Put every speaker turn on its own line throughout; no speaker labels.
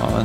Ja,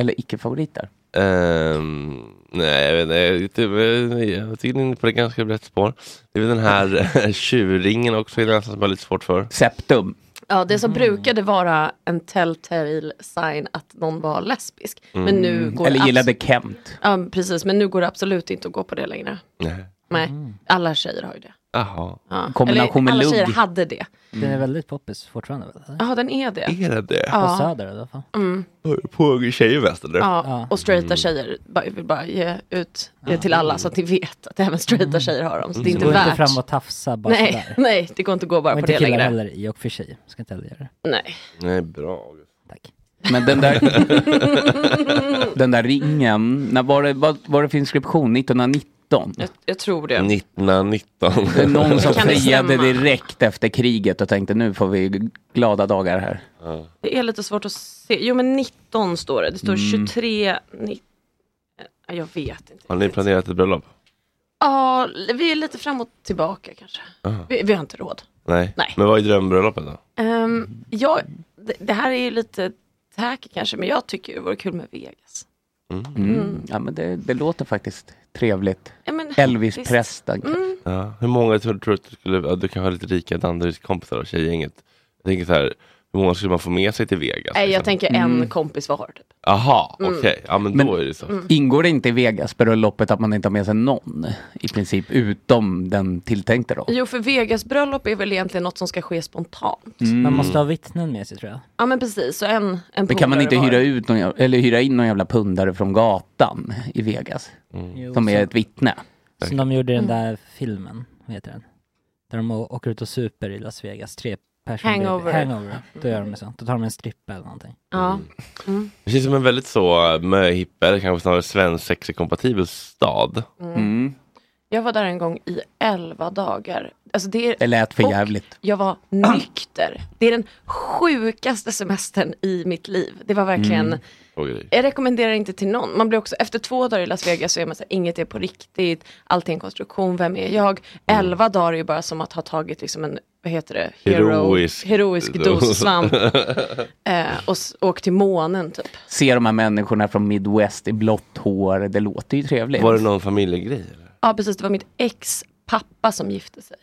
Eller icke-favoriter?
Ehm, nej, jag vet inte. Jag tycker- Jag tycker ni är på det ganska rätt spår. Det är väl den här tjurringen också, är det nästan som jag har lite svårt för.
Septum.
Ja, det
Mm.
som brukade vara en telltale sign att någon var lesbisk. Men nu går
Mm. Eller
det
gillade
abs-
Kent.
Ja, precis. Men nu går det absolut inte att gå på det längre.
Nej.
Nej, alla tjejer har ju det.
Jaha.
Ja.
Mm. Kombination med
Eller, alla tjejer
lugg. Mm.
hade det.
Den är väldigt poppis fortfarande väl? eller?
Ja, den är det.
Är det det?
Ja.
På Söder i alla fall.
Mm.
På tjejväst eller?
Ja, och straighta
Mm.
tjejer bara, vill bara ge ut det till alla så att ni vet att även straighta tjejer har dem. Så det är
Så
inte
gå
värt.
Mm. inte fram och tafsa bara
nej,
sådär.
nej, det går inte att gå bara på
Och inte
det
killar
längre.
heller i och för sig. Ska inte heller göra det.
Nej.
Nej, bra.
Men den där, den där ringen, när var, det, var, var det för inskription? 1919?
Jag tror det.
1919.
Det är någon som
Kan det
friade
stämma?
direkt efter kriget och tänkte nu får vi glada dagar här.
Det är lite svårt att se. Jo, men 19 står det. Det står
Mm.
23, 19. Jag vet inte.
Har ni planerat ett bröllop?
Ja, vi är lite fram och tillbaka kanske.
Aha.
Vi, vi har inte råd.
Nej.
Nej.
Men vad är drömbröllopet då?
Ehm, jag, det, det här är ju lite tacky kanske, men jag tycker det vore kul med Vegas.
Mm. Ja, men det, det låter faktiskt trevligt.
Ja, men visst.
Elvis-prästen.
Mm.
Ja. Hur många tror tror du att du skulle, ja, du kanske har lite rika Danderydskompisar och tjejgänget. Jag tänker så här, hur många skulle man få med sig till Vegas?
Nej, jag tänker en
Mm.
kompis var. Typ.
Jaha,
Mm.
okej. Ja, men, då är det så.
Ingår det inte i Vegas-bröllopet att man inte har med sig någon? I princip, utom den tilltänkte då?
Jo, för Vegas-bröllop är väl egentligen något som ska ske spontant.
Mm.
Man måste ha vittnen med sig tror jag.
Ja, men precis. Så en, en
Men kan man
polare
inte
var.
hyra, ut någon, jä- eller hyra in någon jävla pundare från gatan i Vegas?
Mm.
Jo,
Som är
så-
ett vittne?
Som de gjorde i den där filmen, vad heter den? Där de å- åker ut och super i Las Vegas, tre Passion
Hangover.
Baby. Hangover. Då gör de så. Då tar de en strippa eller någonting.
Ja. Mm.
Det känns som en väldigt så eh, möhippa, eller kanske snarare svensexekompatibel stad.
Mm. Jag var där en gång i elva dagar. Alltså det, är,
Det lät för
och
jävligt.
Jag var nykter. Det är den sjukaste semestern i mitt liv. Det var verkligen
Mm.
Jag rekommenderar inte till någon. Man blir också, efter två dagar i Las Vegas så är man så här, inget är på riktigt, allt är en konstruktion, vem är jag?
Mm.
Elva dagar är ju bara som att ha tagit liksom en, vad heter det,
Heroisk Mm.
heroisk dos svamp eh, och s- åkt till månen typ.
Se de här människorna från Midwest i blått hår, det låter ju trevligt.
Var det någon familjegrej?
Ja precis, det var mitt ex pappa som gifte sig.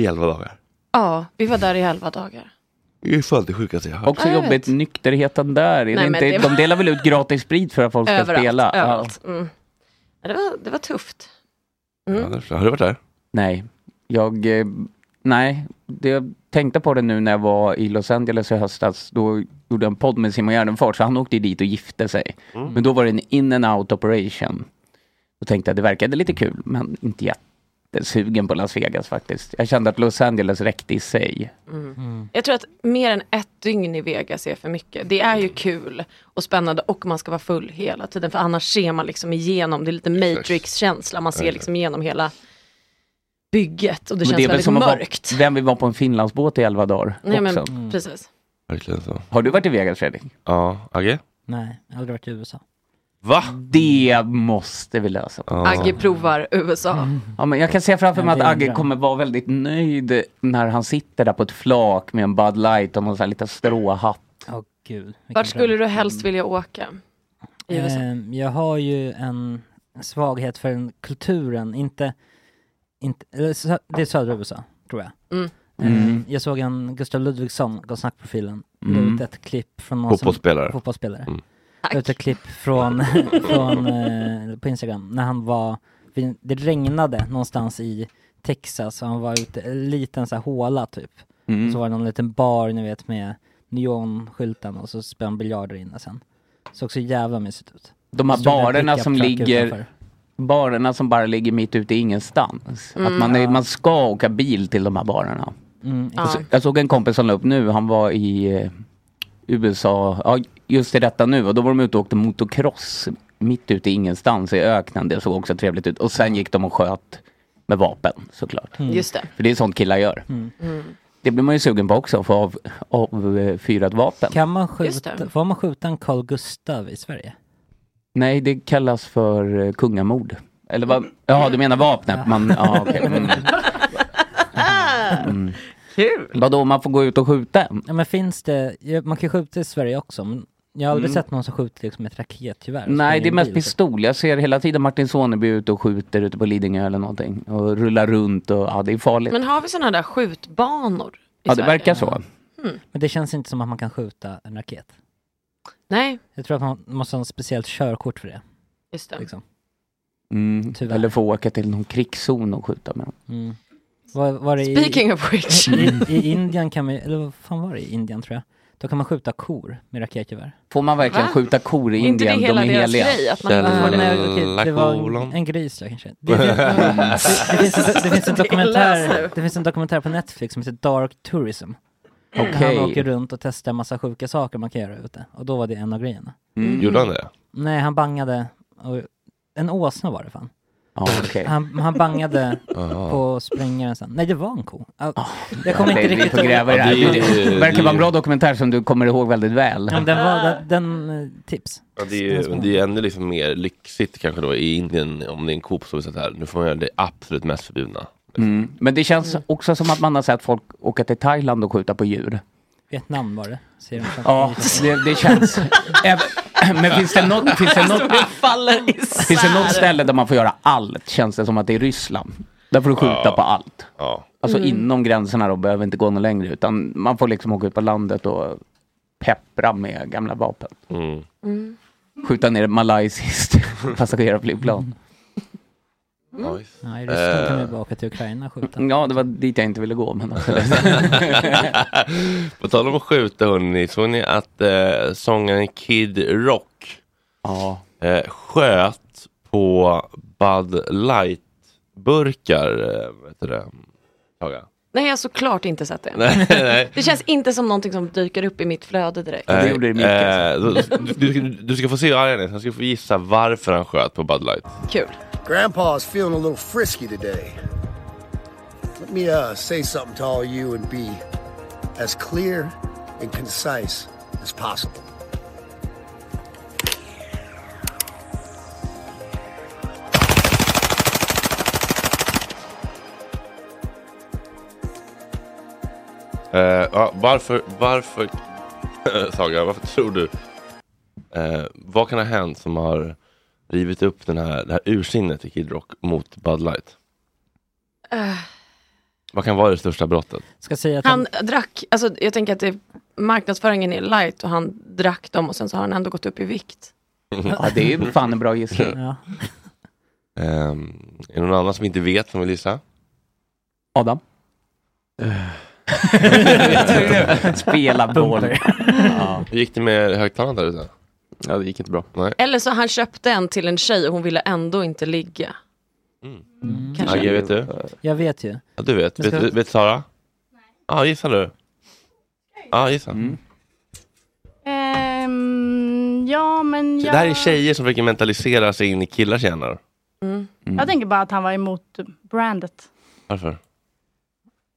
I elva dagar.
Ja, vi var där i elva dagar.
Det är fan det sjukaste jag har hört.
Också
Ja, jag
jobbigt, nykterheten där. Är
Nej,
det
men det
inte,
var-
De delar väl ut gratis sprit för att folk ska
överallt.
spela? Ja.
överallt. Mm. Ja, det, var, det var tufft. Mm.
Har du varit där?
Nej. Jag, eh, nej, det, jag tänkte på det nu när jag var i Los Angeles i höstas. Då gjorde jag en podd med Simon Gärdenfors, så han åkte ju dit och gifte sig.
Mm.
Men då var det en in and out operation. Då tänkte jag att det verkade lite kul, men inte jättesugen på Las Vegas faktiskt. Jag kände att Los Angeles räckte i sig.
Mm. Jag tror att mer än ett dygn i Vegas är för mycket. Det är ju kul och spännande och man ska vara full hela tiden för annars ser man liksom igenom, det är lite Matrix-känsla, man ser liksom igenom hela bygget och det
Men
känns
är väl
väldigt
som att vara-
mörkt.
Vem vill vara på en Finlandsbåt i elva dagar
Nej men Mm.
också?
precis.
Verkligen så.
Har du varit i Vegas Fredrik?
Ja, Agge?
Nej, jag har aldrig varit i USA.
Va?
Det måste vi lösa.
Agge provar USA.
Mm. Ja, men jag kan se framför mig
Ja,
att
det är en
Agge
dröm.
kommer vara väldigt nöjd när han sitter där på ett flak med en Bud Light och någon sån här liten stråhatt.
Åh gud.
Vart skulle du
Mm.
helst vilja åka? I USA?
Ehm, jag har ju en svaghet för den kulturen, inte... inte eller sö- det är södra USA, tror jag.
Mm.
Ehm,
Mm.
Jag såg en Gustav Ludvigsson, Gå och snack-profilen,
Mm.
la ut ett klipp från någon som-
Fotbollsspelare.
fotbollsspelare.
Mm.
La ut ett klipp från, från eh, på Instagram, när han var... Det regnade någonstans i Texas och han var ute, en liten så här håla typ.
Mm.
Så var det någon liten bar, ni vet, med neonskylten och så spelade han biljard där inne sen. Såg så jävla mysigt ut.
De här
Stod en
barerna
pickup
som
truck
ligger
utanför.
barerna som bara ligger mitt ute i ingenstans.
Mm.
Att man, är, man ska åka bil till de här barerna.
Mm,
Jag, så,
exakt.
jag såg en kompis som la upp nu, han var i eh, USA, ja, just i detta nu, och då var de ute och åkte motocross mitt ute i ingenstans i öknen. Det såg också trevligt ut. Och sen gick de och sköt med vapen såklart.
Mm. Just det.
För det är sånt killar gör.
Mm.
Det blir man ju sugen på också, att få av, avfyra ett vapen.
Kan man
Just
skjuta,
det.
får man skjuta en Carl Gustav i Sverige?
Nej, det kallas för eh, kungamord. Eller vad? Ja, du menar vapnet? Man, ja, okej. mm. Mm.
Kul!
Vadå, man får gå ut och skjuta en?
Ja men finns det, ja, man kan skjuta i Sverige också men jag har aldrig
Mm.
sett någon som skjuter liksom ett raketgevär. och springer
Nej, det
i
är
en
mest
bil,
pistol. Jag ser hela tiden Martin Soneby ute och skjuter ute på Lidingö eller någonting. Och rullar runt och ja, det är farligt.
Men har vi sådana där skjutbanor? i
ja, det
Sverige?
verkar så.
Mm.
Men det känns inte som att man kan skjuta en raket.
Nej,
Jag tror att man måste ha en speciellt körkort för det.
just det.
Liksom.
Mm.
Tyvärr.
Eller få åka till någon krigszon och skjuta med dem.
Mm. Var, var det i,
Speaking of which.
I, I Indien kan man ju- eller vad fan var det i Indien tror jag? Då kan man skjuta kor med raketgevär.
Får man verkligen
Va?
skjuta kor i
Är inte det
Indien?
hela
De är
deras
heliga.
grej, att man inte
Ah,
får det?
nej, okej, det var en,
kolon.
en gris då kanske. Det, det, det, det, finns, en- det, finns en
Det läser
dokumentär,
du.
det finns en dokumentär på Netflix som heter Dark Tourism. Där
Okej.
Han åker runt och testar massa sjuka saker man kan göra ute. Och då var det en av grejerna.
Mm.
Gjorde han det?
Nej, han bangade... Och, en åsna var det fan.
Ja, okej.
Han, han bangade
Aha.
på sprängaren sen. Nej, det var en ko. Ah, Jag kommer inte
Nej, vi
riktigt
får gräva i det här.
Ja, det är-
Det verkar vara en bra dokumentär som du kommer ihåg väldigt väl.
Ja, men den var... Den, den eh, tips.
Ja, det, är ju, det är ju ännu liksom mer lyxigt kanske då i Indien om det är en Coop som är så här, nu får man göra det absolut mest förbjudna.
Mm. Men det känns också som att man har sett folk åka till Thailand och skjuta på djur.
Vietnam var det, säger de.
Ja, det, det känns... Även- Men finns det något, finns det något,
faller
finns det något ställe där man får göra allt? Känns det som att det är Ryssland. Där får du skjuta
Ja.
på allt.
Ja.
Alltså
Mm.
inom gränserna då, behöver inte gå någon längre. Utan man får liksom åka ut på landet och peppra med gamla vapen.
Mm.
Skjuta ner ett malaysiskt passagerarflygplan.
Ja, just.
Nej, i Ryssland kan vi
Mm. Eh.
bara åka till Ukraina och skjuta.
Ja, det var dit jag inte ville gå. Men alltså. absolut.
På tal om att skjuta hörni, såg ni att eh, sångaren Kid Rock
ja.
eh, sköt på Bud Light-burkar? Eh, vad heter det? Saga?
Nej, jag har såklart inte sett det.
Nej, nej.
Det känns inte som någonting som dyker upp i mitt flöde direkt.
Nej, eh, du, du, du ska få se hur arg han är, sen ska du få gissa varför han sköt på Bud Light.
Kul.
Grandpa's feeling a little frisky today. Let me uh, say something to all you and be as clear and concise as possible.
Eh, ja, varför, varför, Saga, varför tror du, eh, vad kan ha hänt som har rivit upp den här, det här ursinnet i Kid Rock mot Bud Light?
Eh,
Vad kan vara det största brottet?
Ska säga att han...
han drack, alltså jag tänker att det, marknadsföringen är light och han drack dem och sen så har han ändå gått upp i vikt.
Ja, det är fan en bra gissning.
Ja.
Ehm, är det någon annan som inte vet som vill gissa?
Adam? Spela boll.
Ja. Hur gick det med högtalaren där ute? Ja, det gick inte bra. Nej.
Eller så han köpte en till en tjej och hon ville ändå inte ligga.
Mm.
Kanske. Agge, vet du?
Mm. Jag vet ju.
Ja, du vet.
Jag ska-
Vet, vet, vet Sara? Nej. Ja, gissa du. Ja, gissa.
Mm.
Ehm, ja, men
Det
jag,
här är tjejer som försöker mentalisera sig in i killars hjärnor.
mm.
Mm.
jag tänker bara att han var emot brandet.
Varför?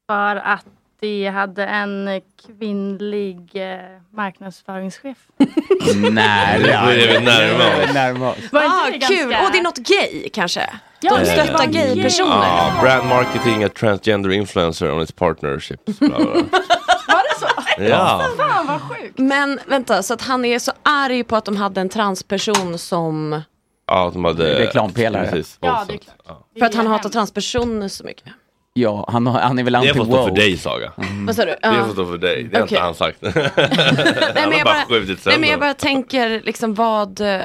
För att de hade en kvinnlig eh, marknadsföringschef.
Nära.
Nu börjar vi närma oss.
närma oss.
Var inte
ah,
det
kul!
ganska-
Och det är något gay kanske?
Ja,
De
det är
stöttar
något gay.
gaypersoner.
Ja, Eh, brand marketing, a transgender influencer on its partnerships. Bla, bla, bla.
Var det så?
Ja.
Fan vad sjukt. Men vänta, så att han är så arg på att de hade en transperson som...
Ja, de hade...
Reklampelare.
Precis,
Ja,
det är klart.
För att han hatar transpersoner så mycket.
Ja, han, har- han är väl
Det får stå för
anti-woke.
dig Saga.
Vad sa du?
Det
Ja.
får stå för dig. Det har
Okej.
inte han sagt. han
jag
har bara
bara-
skjutit
Nej men
sönder.
jag bara tänker liksom vad, eh,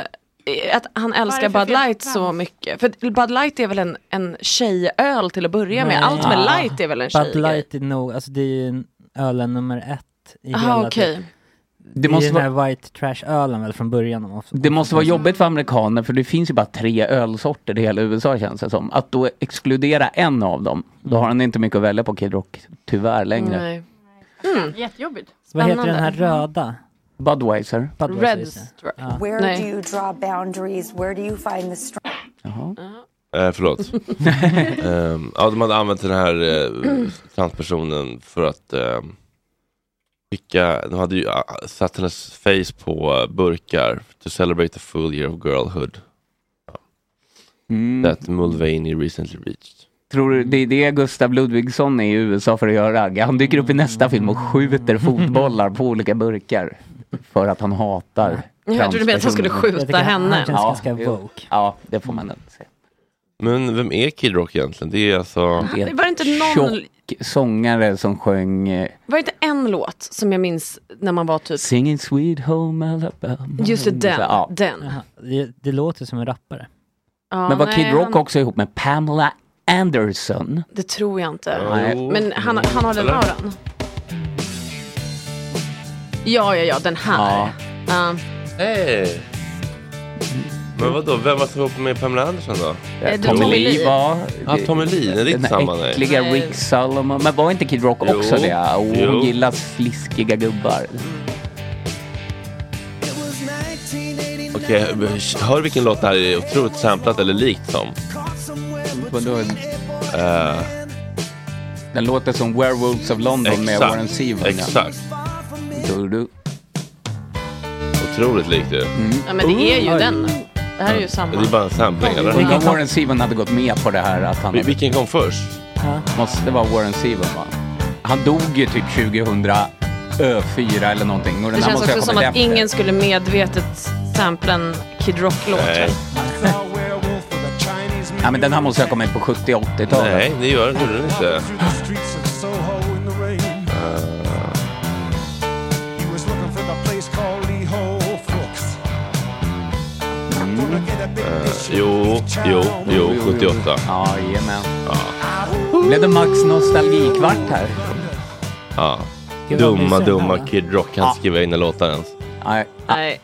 att han älskar
Varför
Bud
fel
Light så mycket. För Bud Light är väl en, en tjejöl till att börja med, allt med light är väl en
Bud
tjejgrej.
light är nog, alltså det är ju ölen nummer ett i
Aha,
hela typ.
okej.
Det,
Det
det
måste
är den här white trash ölen väl från början. Om man får-
Det måste vara jobbigt för amerikaner för det finns ju bara tre ölsorter i hela USA känns det som. Att då exkludera en av dem, då har han inte mycket att välja på Kid Rock, tyvärr längre.
Jättejobbigt.
Vad heter den här röda?
Budweiser.
Budweiser, just det. Ja.
Where
Nej.
do you draw boundaries? Where do you find the strength?
Eh, förlåt. Ehm, ja, de hade använt den här eh, transpersonen för att ehm, skicka, de hade ju ah, satt hennes face på eh, burkar to celebrate the full year of girlhood. Ja.
Mm.
That Mulvaney recently reached.
Tror du det är det Gustav Ludvigsson är i USA för att göra? Han dyker upp i nästa film och
Mm.
skjuter fotbollar på olika burkar. För att han hatar
Jag trodde du menade att han skulle
transpersoner.
skjuta henne.
Ja, jo. ja, det får man inte säga.
Men vem är Kid Rock egentligen? Det är alltså...
Det var inte någon-
Tjock sångare som sjöng eh,
Var det inte en låt som jag minns när man var typ...
Singing Sweet Home Alabama.
Just det, den.
Ja.
den.
Det, det låter som en rappare.
Ja,
Men var
nej,
Kid Rock
han-
också ihop med Pamela Anderson?
Det tror jag inte.
Nej.
Men han, han har den
Eller?
auran. Ja, ja, ja, den här. Ja.
Hey.
Mm.
Men vadå, vem var ihop med Pamela Anderson då?
Eh, Tommy Tommy Lee. Lee
var...
Ja, Tommy Lee, det är
Den
inte samma
här
nej.
äckliga Rick Solomon. Men var inte Kid Rock
Jo.
också det? Oh,
Jo.
hon gillar fliskiga gubbar.
Okej, hör vilken låt det här är otroligt samplat eller likt som. Eh,
Den låter som Werewolves of London med
Exakt,
Warren Zevon.
exakt.
Du, du. Mm.
otroligt likt ju.
ja, men det är ju
Oj.
den. Det här är ju samma.
Det är bara en sampling eller?
Tänk om Warren Zevon hade gått med på det här att han...
Vil- Vilken kom först?
Måste vara Warren Zevon va? Han dog ju typ 2004 eller någonting. Och den
Det
här
känns
måste ha
också som
kommit
att ingen skulle medvetet sampla en Kid Rock-låt.
Nej. Ja, men den här måste ha kommit på 70-80-talet.
Nej, det gör den, gjorde den inte.
Mm.
Eh, jo, jo, jo, 78.
Ja, jajamän.
Ja.
Blev det Max nostalgikvart här?
ja.
Gud, vad
Dumma,
mysigt.
dumma Kid Rock kan
Ja.
skriva in en låtar ens.
Nej.
Nej.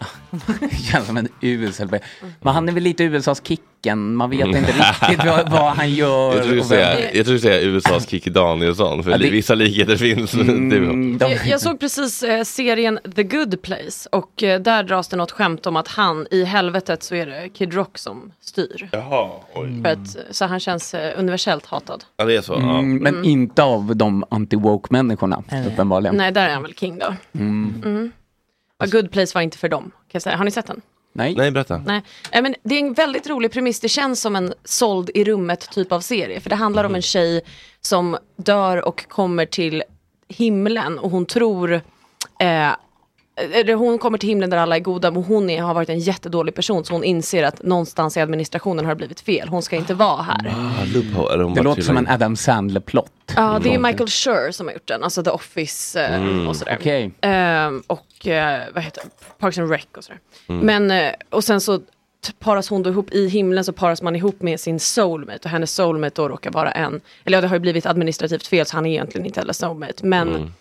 Känns som en usel... be- Men han är väl lite USAs Kicken, man vet inte riktigt vad, vad han gör.
Jag tror du
och vem-
säger, jag tror du säger USAs Kikki Danielsson, för
Ja, det-
vissa likheter finns.
Mm,
du.
Jag, jag såg precis eh, serien The Good Place och eh, där dras det något skämt om att han i helvetet så är det Kid Rock som styr.
Jaha, oj.
För att, så han känns eh, universellt hatad.
Ja, det är så. ja.
Mm, men inte av de anti-woke-människorna, uppenbarligen.
Nej, där är han väl king då.
Mm.
Mm. A
Alltså-
Good Place var inte för dem, kan jag säga. Har ni sett den?
Nej.
Nej, berätta.
Nej, eh, men det är en väldigt rolig premiss. Det känns som en såld i rummet typ av serie. För det handlar om en tjej som dör och kommer till himlen och hon tror eh, eller hon kommer till himlen där alla är goda men hon är, har varit en jättedålig person så hon inser att någonstans i administrationen har det blivit fel. Hon ska inte vara här.
Ah, loophole, eller hon
Det
bara
låter som
trillar
en Adam Sandler-plott.
Ja, det är Michael Schur som har gjort den, alltså The Office eh,
Mm.
och sådär.
Okej.
Ehm, och eh, vad heter det? Parks and Rec och sådär.
Mm.
Men, eh, och sen så t- paras hon då ihop, i himlen så paras man ihop med sin soulmate och hennes soulmate då råkar vara en, eller ja, det har ju blivit administrativt fel så han är egentligen inte heller soulmate, men
Mm.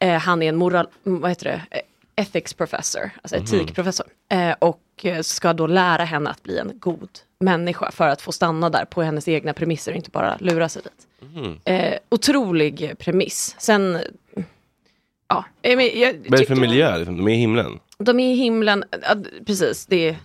eh, han är en moral, mm, vad heter det, Eh, ethics professor, alltså
Mm.
Mhm.
etikprofessor. Eh, och eh, ska då lära henne att bli en god människa för att få stanna där på hennes egna premisser och inte bara lura sig dit.
Mm.
Eh, otrolig premiss. Sen, ja, eh, men jag
Vad är det för
tycker-
miljö? liksom? De är i himlen.
De är i himlen, ja, precis, det är,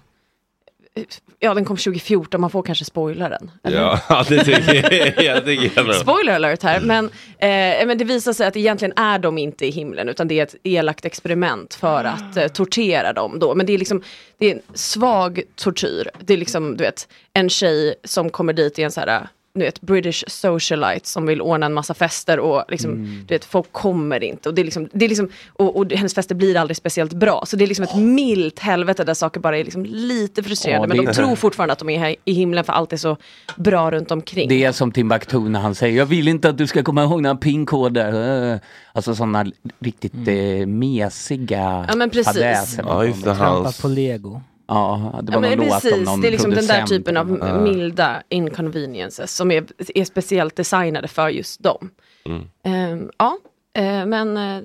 ja den kom 2014, man får kanske spoila den.
Ja, det tycker jag. jag tycker jag är bra.
Spoiler alert här, men, eh, men det visar sig att egentligen är de inte i himlen utan det är ett elakt experiment för
Ah.
att eh, tortera dem då. Men det är liksom, det är en svag tortyr. Det är liksom, du vet, en tjej som kommer dit i en så här, du vet, British socialite som vill ordna en massa fester och liksom,
Mm.
du vet, folk kommer inte. Och, det är liksom, det är liksom, och, och hennes fester blir aldrig speciellt bra. Så det är liksom ett milt helvete där saker bara är liksom lite frustrerande.
Åh,
men
det-
de tror fortfarande att de är här i himlen för allt är så bra runt omkring.
Det är som Timbuktu när han säger, jag vill inte att du ska komma ihåg några pinkoder. Eh, Alltså sådana riktigt eh, mesiga
Ja, men precis.
Ja, just det, Trampa hans- på lego.
Ja, det
Ja,
var
men
någon låt om
precis,
någon
det är liksom den där
producent.
typen av
Ja.
milda inconveniences som är, är speciellt designade för just dem.
Mm.
Ehm, ja, eh, men eh,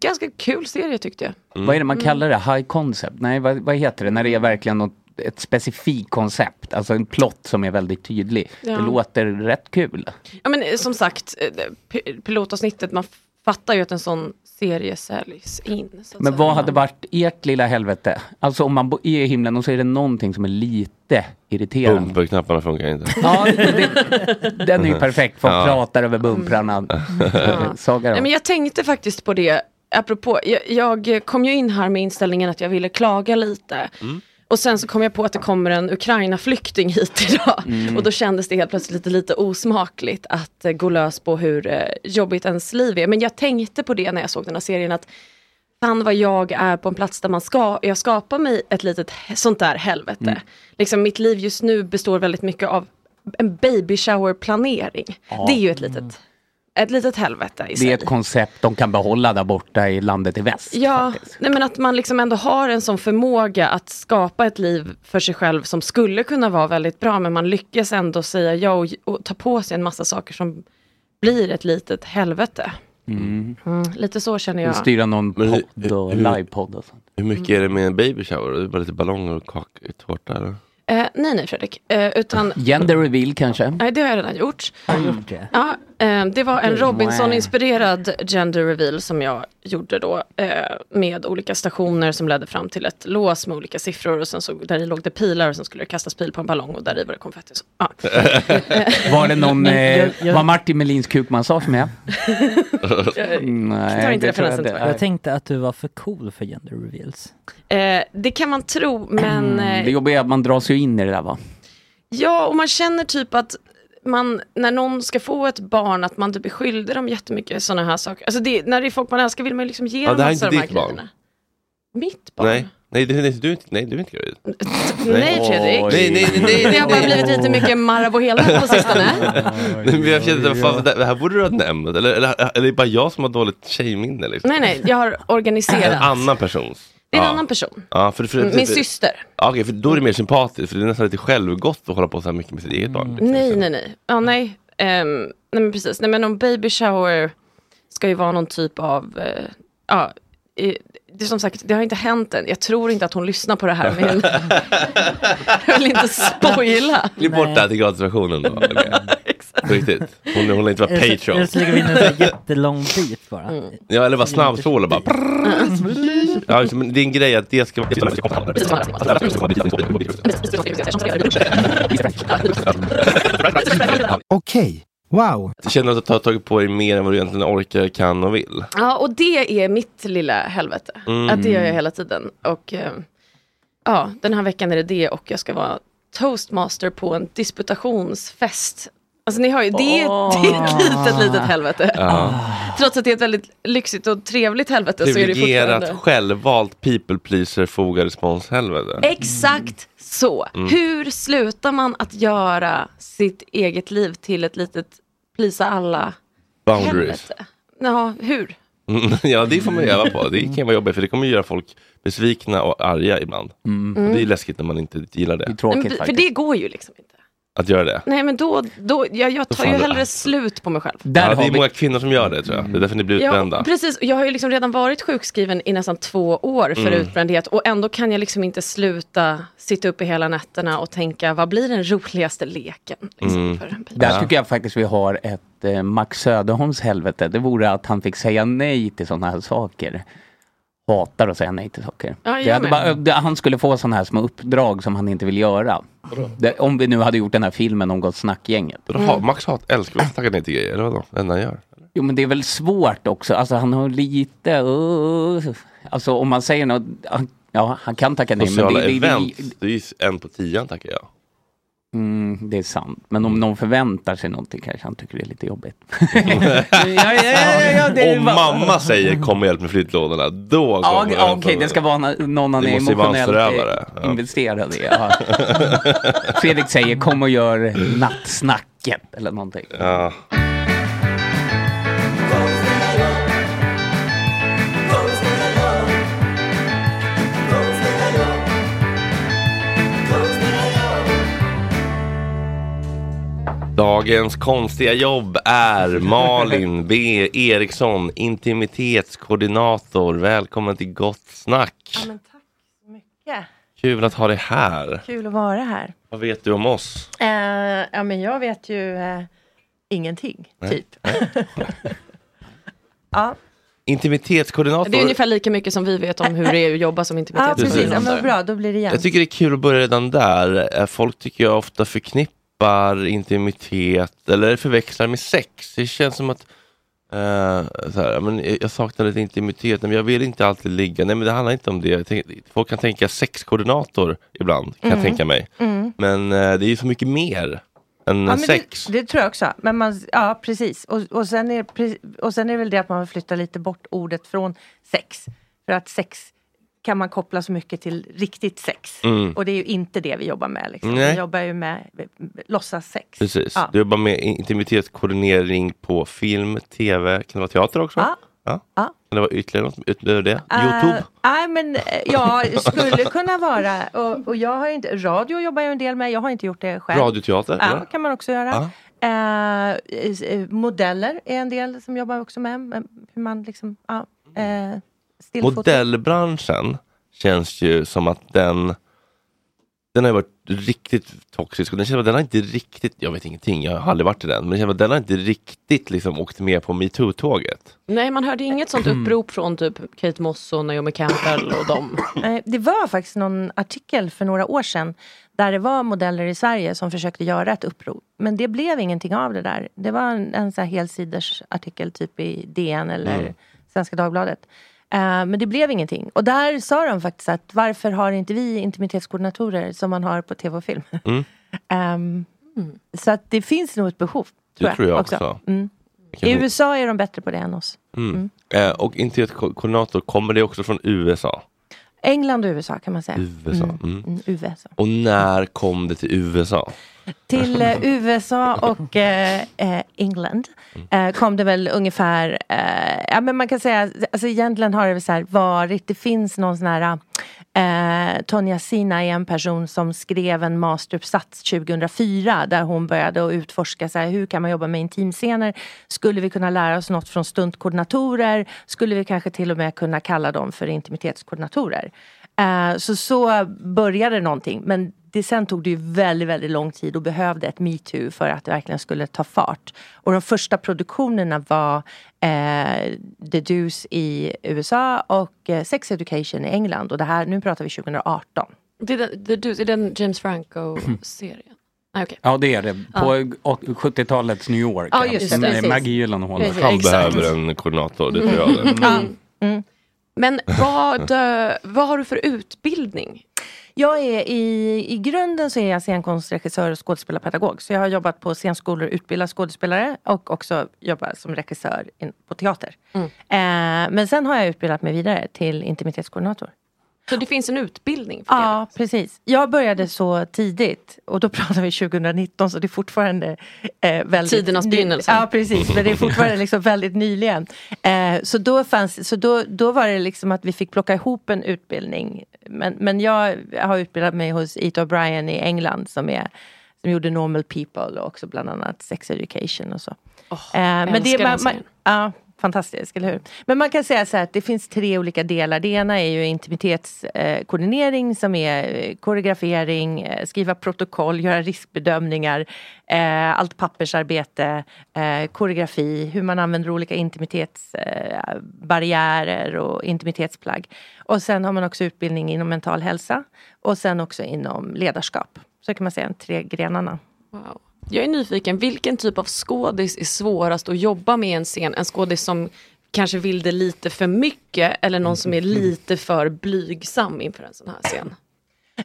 ganska kul serie tyckte jag.
Vad är det man
Mm.
kallar det? High concept? Nej, vad, vad heter det när det är verkligen något, ett specifikt koncept? Alltså en plott som är väldigt tydlig.
Ja.
Det låter rätt kul.
Ja, men eh, som sagt, eh, det- pi- pilotavsnittet, man fattar ju att en sån serie säljs in. Så att
Men
säga.
vad hade varit ert lilla helvete? Alltså om man bo- är i himlen och så är det någonting som är lite irriterande.
Bumperknapparna funkar inte.
Ja, det, den är ju perfekt. Folk
Ja. Mm.
pratar över bumprarna. Mm. Saga
Nej,
då?
men jag tänkte faktiskt på det, apropå, jag, jag kom ju in här med inställningen att jag ville klaga lite.
Mm.
Och sen så kom jag på att det kommer en Ukraina-flykting hit idag.
Mm.
Och då kändes det helt plötsligt lite, lite osmakligt att eh, gå lös på hur eh, jobbigt ens liv är. Men jag tänkte på det när jag såg den här serien att fan vad jag är på en plats där man ska, jag skapar mig ett litet he- sånt där helvete.
Mm.
Liksom mitt liv just nu består väldigt mycket av en baby shower planering.
Ja.
Det är ju ett litet, ett litet helvete i
Det
sig.
är ett koncept de kan behålla där borta i landet i väst.
Ja, nej men att man liksom ändå har en sån förmåga att skapa ett liv för sig själv som skulle kunna vara väldigt bra, men man lyckas ändå säga ja och, och ta på sig en massa saker som blir ett litet helvete.
Mm.
Mm, lite så känner
Ja.
jag.
Styra någon
Men hur-
podd och
hur-
livepodd och sånt.
Hur mycket är det med en baby shower? Det är bara lite ballonger och kaktårta eller?
Eh, nej, nej Fredrik, eh, utan
Gender reveal kanske?
Nej, det har jag redan gjort.
gjort det?
Ja, eh, det var en
Okej.
Robinson-inspirerad gender reveal som jag gjorde då eh, med olika stationer som ledde fram till ett lås med olika siffror och sen så där i låg det pilar och sen skulle det kastas pil på en ballong och där i var det konfetti. och Så, ja.
Var det någon,
Men
eh,
jag- jag-
var Martin Melins kukmassage med?
tar
Nej,
inte
det tror jag
referensen,
inte.
tror
Jag tänkte att du var för cool för gender reveals.
Eh, det kan man tro, men
Mm,
eh,
Det jobbiga är att man dras ju in i det där va?
ja, och man känner typ att man, när någon ska få ett barn, att man typ är skyldig dem jättemycket sådana här saker. Alltså det, när det är folk man älskar vill man ju liksom ge
Ja,
dem
det här är
massa
inte
de här
ditt barn.
grejerna. Mitt
Nej, nej, det, nej, du, är inte- nej du är inte gravid.
Nej, Fredrik.
Nej, nej, nej, nej.
Det har bara blivit lite mycket Marabou hela på sistone.
Nej, men jag kände, fan, det det här borde du ha nämnt. Eller, eller, eller är det bara jag som har dåligt tjejminne? Liksom?
Nej, nej, jag har
En
organiserat.
annan persons.
alltså. Det är en
Ja.
annan person.
Ja, för, för,
Min syster.
Ja, okej, för då är det mer sympatiskt, för det är nästan lite självgott att hålla på så här mycket med sitt eget barn.
Nej, nej, nej. Ja, nej. Ehm, nej, men precis. Nej, men om baby shower ska ju vara någon typ av, eh, ja, eh, det, är som sagt, det har inte hänt än. Jag tror inte att hon lyssnar på det här. Men jag vill inte spoila.
Klipp bort det här till gratulationen då. Olivia. På riktigt. Hon hon lär inte vara
Eller så- Eller
Patreon.
så lägger vi in en sån här jättelång bit bara.
Mm.
Ja, eller bara snabbspola bara. Ja, just det, men det är en grej att det ska vara...
Okej, wow.
Känner du att du har tagit på dig mer än vad du egentligen orkar, kan och vill?
Ja, och det är mitt lilla helvete.
Mm.
Att det gör jag hela tiden. Och eh, ja, den här veckan är det det och jag ska vara toastmaster på en disputationsfest. Alltså ni har ju, det, är- det är ett litet, litet helvete.
Ja.
Trots att det är ett väldigt lyxigt och trevligt helvete så är det
Privilegierat,
fortfarande...
självvalt, people pleaser, foga respons-helvete.
Exakt så.
Mm.
Hur slutar man att göra sitt eget liv till ett litet plisa alla?
Boundaries.
Ja, hur?
Mm, ja, det får man öva på. Det kan vara jobbigt, för det kommer göra folk besvikna och arga ibland.
Mm.
Och det är läskigt när man inte gillar det. Det är
Nej, men, för det går ju liksom inte.
Att göra det.
Nej men då, då jag, jag tar ju
Fan, det-
hellre slut på mig själv.
ja, det är många kvinnor som gör det tror
Mm.
jag. Det är därför ni blir utbrända.
Ja, precis. Jag har ju liksom redan varit sjukskriven i nästan två år för
Mm.
utbrändhet och ändå kan jag liksom inte sluta sitta uppe hela nätterna och tänka vad blir den roligaste leken? Liksom, Mm.
Där tycker jag faktiskt vi har ett eh, Max Söderholms helvete. Det vore att han fick säga nej till sådana här saker. Hatar att säga nej till saker.
Ja, jag
det hade
med.
bara, det, han skulle få sådana här små uppdrag som han inte vill göra.
Vadå?
Det, om vi nu hade gjort den här filmen om Gott Snack-gänget.
Vadå, Mm.
Max hat, älskar väl tacka nej till grejer? Eller vadå? Det enda han gör?
Jo men det är väl svårt också. Alltså han har lite... Uh, alltså om man säger något... han- Ja, han kan tacka nej.
Sociala
det, det,
event,
det,
det är ju en på tian tackar jag.
Mm, det är sant. Men om någon förväntar sig någonting kanske han tycker det är lite jobbigt. ja, ja, ja, det är
Om
bara-
mamma säger kom och hjälp med flyttlådorna, då kommer
Ja,
jag
okej,
hämta
okej,
dem.
det ska vara na- någon han
Det
är
måste ju vara en
emotionellt
förövare.
eh, investerad i. Ja. Fredrik säger kom och gör nattsnacket eller någonting.
Ja. Dagens konstiga jobb är Malin B Eriksson, intimitetskoordinator. Välkommen till Gott Snack.
Ja, men tack så mycket.
Kul att ha dig här.
Kul att vara här.
Vad vet du om oss?
Eh, ja, men jag vet ju eh, ingenting,
Nej.
typ. ja,
Intimitetskoordinator.
Det är ungefär lika mycket som vi vet om hur det är att jobba som
ja precis. Ja,
intimitetsförhandlare.
men bra, då blir det jämnt.
Jag tycker det är kul att börja redan där. Eh, Folk tycker jag ofta förknippar intimitet eller förväxlar med sex. Det känns som att eh, så här, men jag- jag saknar lite intimitet, Nej, men jag vill inte alltid ligga. Nej men det handlar inte om det. Jag tänker- Folk kan tänka sexkoordinator ibland, kan
Mm.
jag tänka mig.
Mm.
Men eh, det är ju så mycket mer än
Ja, men
sex.
det, det tror jag också. Men man, ja, precis. Och, och, sen är, pre- och sen är det väl det att man vill flytta lite bort ordet från sex. För att sex kan man koppla så mycket till riktigt sex.
Mm.
Och det är ju inte det vi jobbar med. Liksom.
Nej.
Vi jobbar ju med eh, låtsas sex.
Precis,
Ja.
du jobbar med intimitetskoordinering på film, tv, kan det vara teater också?
Ja. Ja.
Kan det vara ytterligare något utöver det? Youtube?
Eh, Nej men eh, ja, skulle kunna vara. Och, och jag har ju inte, radio jobbar jag en del med, jag har inte gjort det själv.
Radioteater,
Ja,
eller?
kan man också göra.
Ja.
Eh, is- eh, modeller är en del som jobbar också med. men Hur man liksom, ja, eh, stillfoto.
Modellbranschen känns ju som att den den har ju varit riktigt toxisk och den känns som att den har inte riktigt, jag vet ingenting, jag har aldrig varit i den, men det känns som att den har inte riktigt liksom åkt med på metoo-tåget.
Nej, man hörde inget sånt
Mm.
upprop från typ Kate Moss och Naomi Campbell och dem.
Eh, Det var faktiskt någon artikel för några år sedan där det var modeller i Sverige som försökte göra ett uppror. Men det blev ingenting av det där. Det var en, en så här helsiders artikel typ i DN eller
Mm.
Svenska Dagbladet. Eh, men det blev ingenting. Och där sa de faktiskt att varför har inte vi intimitetskoordinatorer som man har på tv och film?
Mm.
Ehm, Så att det finns nog ett behov. Tror
Det tror jag också.
Mm.
Kan
I
vi-
USA är de bättre på det än oss.
Mm. Eh, och internetkoordinator, kommer det också från USA?
England och USA kan man säga.
USA.
Mm.
Mm.
Mm, USA.
Och när kom det till USA?
Till eh, USA och eh, eh, England eh, kom det väl ungefär, eh, ja men man kan säga, alltså egentligen har det väl så här varit, det finns någon sån här Eh, Tonja Sina är en person som skrev en masteruppsats 2004 där hon började att utforska så här, hur kan man jobba med intimscener? Skulle vi kunna lära oss något från stuntkoordinatorer? Skulle vi kanske till och med kunna kalla dem för intimitetskoordinatorer? Eh, så så började någonting. Men det, sen tog det ju väldigt, väldigt lång tid och behövde ett metoo för att det verkligen skulle ta fart. Och de första produktionerna var eh, The Deuce i USA och eh, Sex Education i England. Och det här, nu pratar vi 2018.
Det är den, det, du- det är den James Franco-serien? Nej, okej.
Ja det är det. På
Ja.
åt- 70-talets New York.
Ja, just det,
Med
precis.
Maggie Gyllenhaal.
Precis, Han exakt. behöver
en koordinator,
det tror jag. Mm. Ja. Men vad, eh, vad har du för utbildning?
Jag är i, i grunden så är jag scenkonstregissör och skådespelarpedagog. Så jag har jobbat på scenskolor och utbildat skådespelare och också jobbat som regissör in, på teater.
Mm.
Eh, men sen har jag utbildat mig vidare till intimitetskoordinator.
Så det finns en utbildning? För
Ja, precis. Jag började så tidigt och då pratar vi 2019 så det är fortfarande eh, väldigt...
Tidernas
ny-
begynnelse.
Ja, precis. Men det är fortfarande liksom väldigt nyligen. Eh, så då, fanns, så då, då var det liksom att vi fick plocka ihop en utbildning. Men, men jag har utbildat mig hos Ito O'Brien i England som, är, som gjorde Normal People och också bland annat Sex Education och så. Eh,
älskar den
man, man,
serien.
ja, fantastiskt, eller hur? Men man kan säga så här att det finns tre olika delar. Det ena är ju intimitetskoordinering som är eh, koreografering, eh, skriva protokoll, göra riskbedömningar, eh, allt pappersarbete, eh, koreografi, hur man använder olika intimitetsbarriärer eh, barriärer och intimitetsplagg. Och sen har man också utbildning inom mental hälsa och sen också inom ledarskap. Så kan man säga, de tre grenarna.
Wow. Jag är nyfiken, vilken typ av skådis är svårast att jobba med i en scen? En skådis som kanske vill det lite för mycket eller någon som är
Mm.
lite för blygsam inför en sån här scen?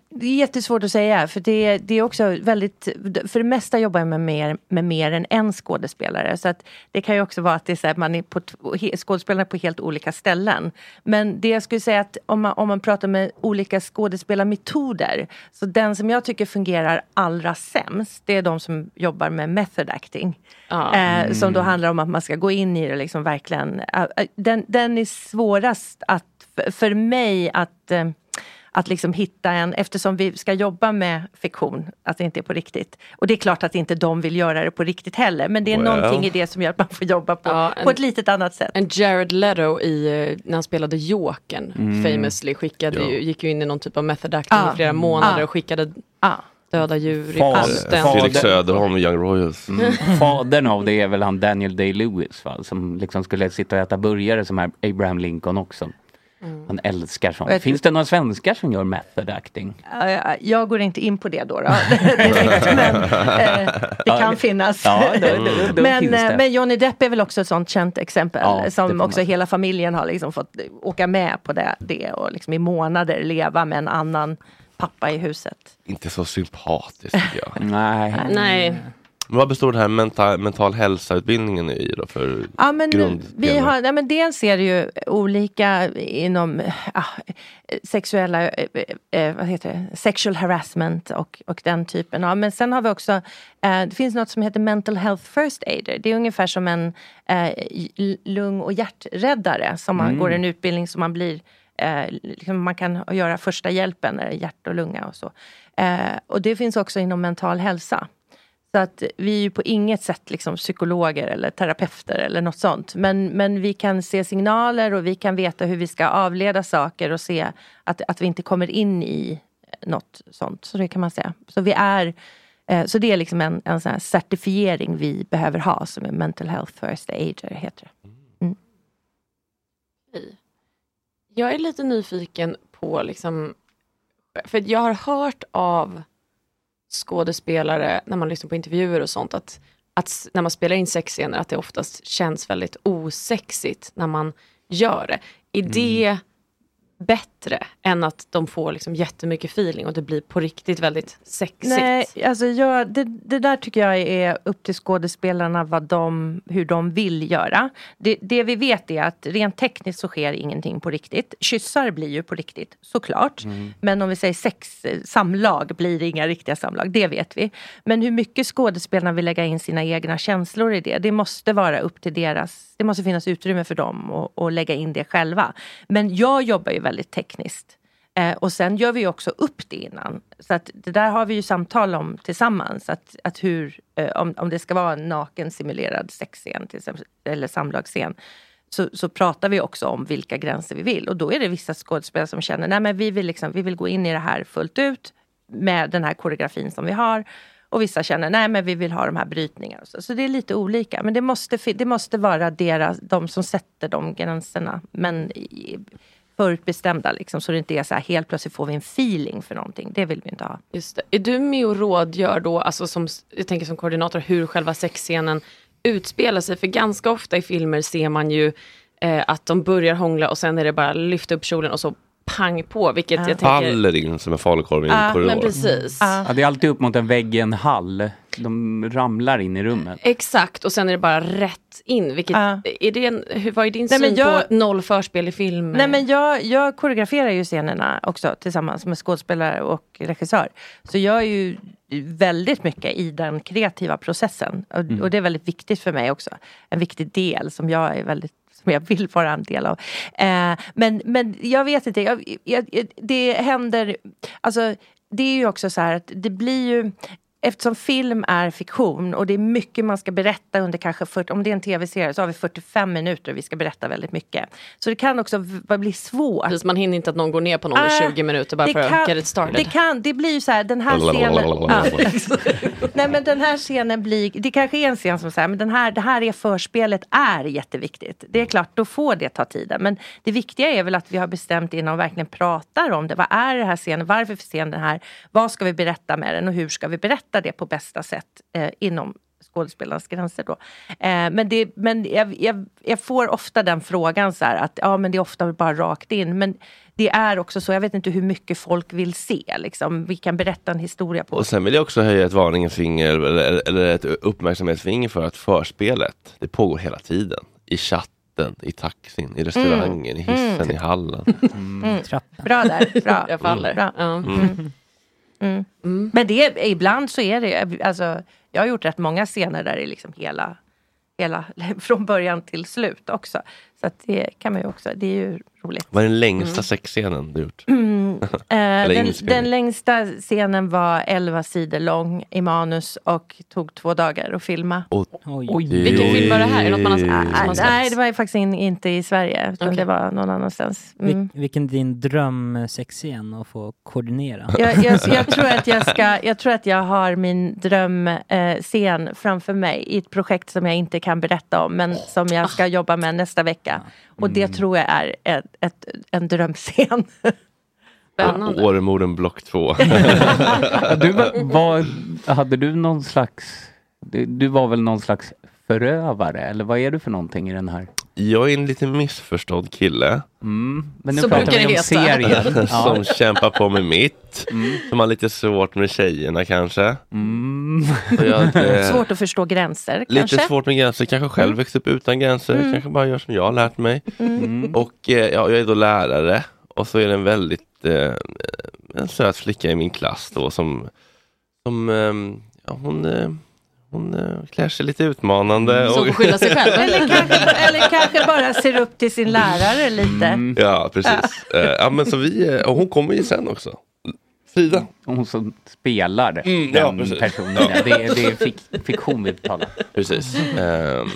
Det är jättesvårt att säga, för det, det är också väldigt... För det mesta jobbar jag med mer, med mer än en skådespelare. Så att det kan ju också vara att det är så här, man är på, t- he- skådespelarna är på helt olika ställen. Men det jag skulle säga att om man, om man pratar med olika skådespelarmetoder, så den som jag tycker fungerar allra sämst, det är de som jobbar med method acting. Eh, som då
Mm.
handlar om att man ska gå in i det liksom verkligen. eh, eh, Den, den är svårast att, för- för mig att eh, att liksom hitta en, eftersom vi ska jobba med fiktion, att det inte är på riktigt. Och det är klart att inte de vill göra det på riktigt heller, men det är
Well.
någonting i det som gör att man får jobba på, på ett litet annat sätt.
En Jared Leto i, eh, när han spelade Jokern,
Mm.
famously, skickade
Ja.
ju, gick ju in i någon typ av method acting
Ah.
i flera månader
Ah.
och skickade
ah.
döda djur i
Far-
posten.
far-
Felix Söderholm och Young Royals.
Mm. Fadern av det är väl han Daniel Day-Lewis va? som liksom skulle sitta och äta burgare som här Abraham Lincoln också.
Mm.
Han älskar
Och jag
sånt.
tror-
Finns det några svenskar som gör method acting?
Eh, Jag går inte in på det då, då direkt, men eh, det kan
Ja.
finnas.
Ja, då- då- då
men,
finns det.
eh, men Johnny Depp är väl också ett sånt känt exempel
Ja, det får
som
man
också hela familjen har liksom fått åka med på det, det och liksom i månader leva med en annan pappa i huset.
Inte så sympatiskt tycker jag.
Nej.
Nej.
Men vad består den här menta- mental hälsa-utbildningen i då för
Ja, men vi
grunddelar?
har, nej, men dels är det ju olika inom ah, sexuella, eh, eh, vad heter det, sexual harassment och, och den typen. Ja, men sen har vi också, eh, det finns något som heter mental health first aider. Det är ungefär som en eh, lung och hjärträddare som man
Mm.
går en utbildning som man blir Eh, liksom man kan göra första hjälpen, när det är hjärt och lunga och så. Eh, och det finns också inom mental hälsa. Så att vi är ju på inget sätt liksom psykologer eller terapeuter eller något sånt. Men, men vi kan se signaler och vi kan veta hur vi ska avleda saker och se att, att vi inte kommer in i något sånt. Så det kan man säga. Så, vi är, eh, så det är liksom en, en sån här certifiering vi behöver ha som är Mental Health First Aider heter det.
Jag är lite nyfiken på liksom, för jag har hört av skådespelare när man lyssnar på intervjuer och sånt, att, att s- när man spelar in sexscener, att det oftast känns väldigt osexigt när man gör det. Är
Mm.
det bättre än att de får liksom jättemycket feeling och det blir på riktigt väldigt sexigt?
Nej, alltså jag, det, det där tycker jag är upp till skådespelarna vad de, hur de vill göra. Det, det vi vet är att rent tekniskt så sker ingenting på riktigt. Kyssar blir ju på riktigt, såklart.
Mm.
Men om vi säger sex, eh, samlag blir det inga riktiga samlag, det vet vi. Men hur mycket skådespelarna vill lägga in sina egna känslor i det, det måste vara upp till deras... Det måste finnas utrymme för dem att, att lägga in det själva. Men jag jobbar ju väldigt tekniskt. Eh, Eh, och sen gör vi ju också upp det innan. Så att det där har vi ju samtal om tillsammans. Att, att hur, eh, om, om det ska vara en naken simulerad sexscen till exempel, eller samlagsscen. Så, så pratar vi också om vilka gränser vi vill. Och då är det vissa skådespelare som känner nej men vi vill, liksom, vi vill gå in i det här fullt ut med den här koreografin som vi har. Och vissa känner nej men vi vill ha de här brytningarna. och Så, så det är lite olika. Men det måste, fi- det måste vara deras, de som sätter de gränserna. Men i, förutbestämda liksom, så det inte är så här helt plötsligt får vi en feeling för någonting. Det vill vi inte ha.
Just det. Är du med och rådgör då, alltså som, jag tänker som koordinator, hur själva sexscenen utspelar sig? För ganska ofta i filmer ser man ju eh, att de börjar hångla och sen är det bara lyfta upp kjolen och så pang på, vilket
Ah.
jag tänker...
Faller in som en falukorv i en
Ja,
korridor.
men precis.
Ja, det är alltid upp mot en vägg i en hall. De ramlar in i rummet.
Exakt, och sen är det bara rätt in. Vilket, är det en, hur, vad är din
Ah. Nej, men
syn
jag-
på noll förspel i film?
Nej, men jag, jag koreograferar ju scenerna också tillsammans med skådespelare och regissör. Så jag är ju väldigt mycket i den kreativa processen. Och,
Mm.
och det är väldigt viktigt för mig också. En viktig del som jag är väldigt som jag vill vara en del av. Eh, men, men jag vet inte, jag, jag, det händer... Alltså, det är ju också så här att det blir ju... Eftersom film är fiktion och det är mycket man ska berätta under kanske 40, om det är en tv-serie så har vi 45 minuter och vi ska berätta väldigt mycket. Så det kan också v- bli svårt.
Precis, man hinner inte att någon går ner på någon i 20 minuter bara för att get it started.
Det, kan, det blir ju så här, den här scenen... Ja. Nej men den här scenen blir, det kanske är en scen som säger, men den här, det här är förspelet är jätteviktigt. Det är klart, då får det ta tiden. Men det viktiga är väl att vi har bestämt innan och verkligen pratar om det. Vad är den här scenen? Varför är scenen den här? Vad ska vi berätta med den? Och hur ska vi berätta det på bästa sätt eh, inom skådespelarens gränser då. Eh, men det, men jag, jag, jag får ofta den frågan så här att ja men det är ofta bara rakt in. Men det är också så, jag vet inte hur mycket folk vill se. Liksom. Vi kan berätta en historia på
Och sen vill jag också höja ett varningens finger, eller, eller ett uppmärksamhetsfinger för att förspelet, det pågår hela tiden. I chatten, i taxin, i restaurangen, i hissen,
Mm.
i hallen.
Mm. Bra där. Bra.
Jag faller.
Bra. Mm. Mm. Men det, ibland så är det... Alltså, jag har gjort rätt många scener där det är liksom hela, hela... Från början till slut också. Så att det kan man ju också... Det är ju roligt.
Vad är den längsta
Mm.
sexscenen du gjort?
Mm, eh,
Eller
den,
inspelning.
den längsta scenen var 11 sidor lång i manus och tog två dagar att filma.
Oj. Vilken film var det här? Är det något man har- som man har
Nej,
sett?
nej, det var ju faktiskt in, inte i Sverige. Utan
Okej.
det var någon annanstans.
Vil-
Mm.
vilken är din drömsexscen att få koordinera?
Jag, jag, jag, tror att jag, ska, jag tror att jag har min drömscen eh, framför mig i ett projekt som jag inte kan berätta om men som jag ska jobba med nästa vecka. Och det tror jag är ett, ett, en drömscen.
Å- Åremorden block 2.
Du, var- var, hade du någon slags... Du, du var väl någon slags förövare? Eller vad är du för någonting i den här?
Jag är en lite missförstådd kille.
Mm. Men nu Så pratar brukar vi det om heta. serier.
som
Ja.
kämpar på med mitt.
Mm.
Som har lite svårt med tjejerna kanske.
Mm.
Och jag, eh,
Svårt att förstå gränser
Lite
kanske.
svårt med gränser, kanske själv växt upp utan gränser,
Mm.
kanske bara gör som jag har lärt mig.
Mm.
Och eh, ja, jag är då lärare och så är det en väldigt eh, en söt flicka i min klass då som, som eh, ja, hon, eh, hon eh, klär sig lite
Mm.
utmanande. och-
eller, kanske, eller kanske bara ser upp till sin lärare lite.
Mm.
Ja, precis. Eh, ja, men så vi, eh, och hon kommer ju sen också. Frida.
Hon som spelar
Mm, ja,
den
precis.
personen.
Ja.
där. Det, är- det är fik, fiktion vi talar om.
Precis. Ehm,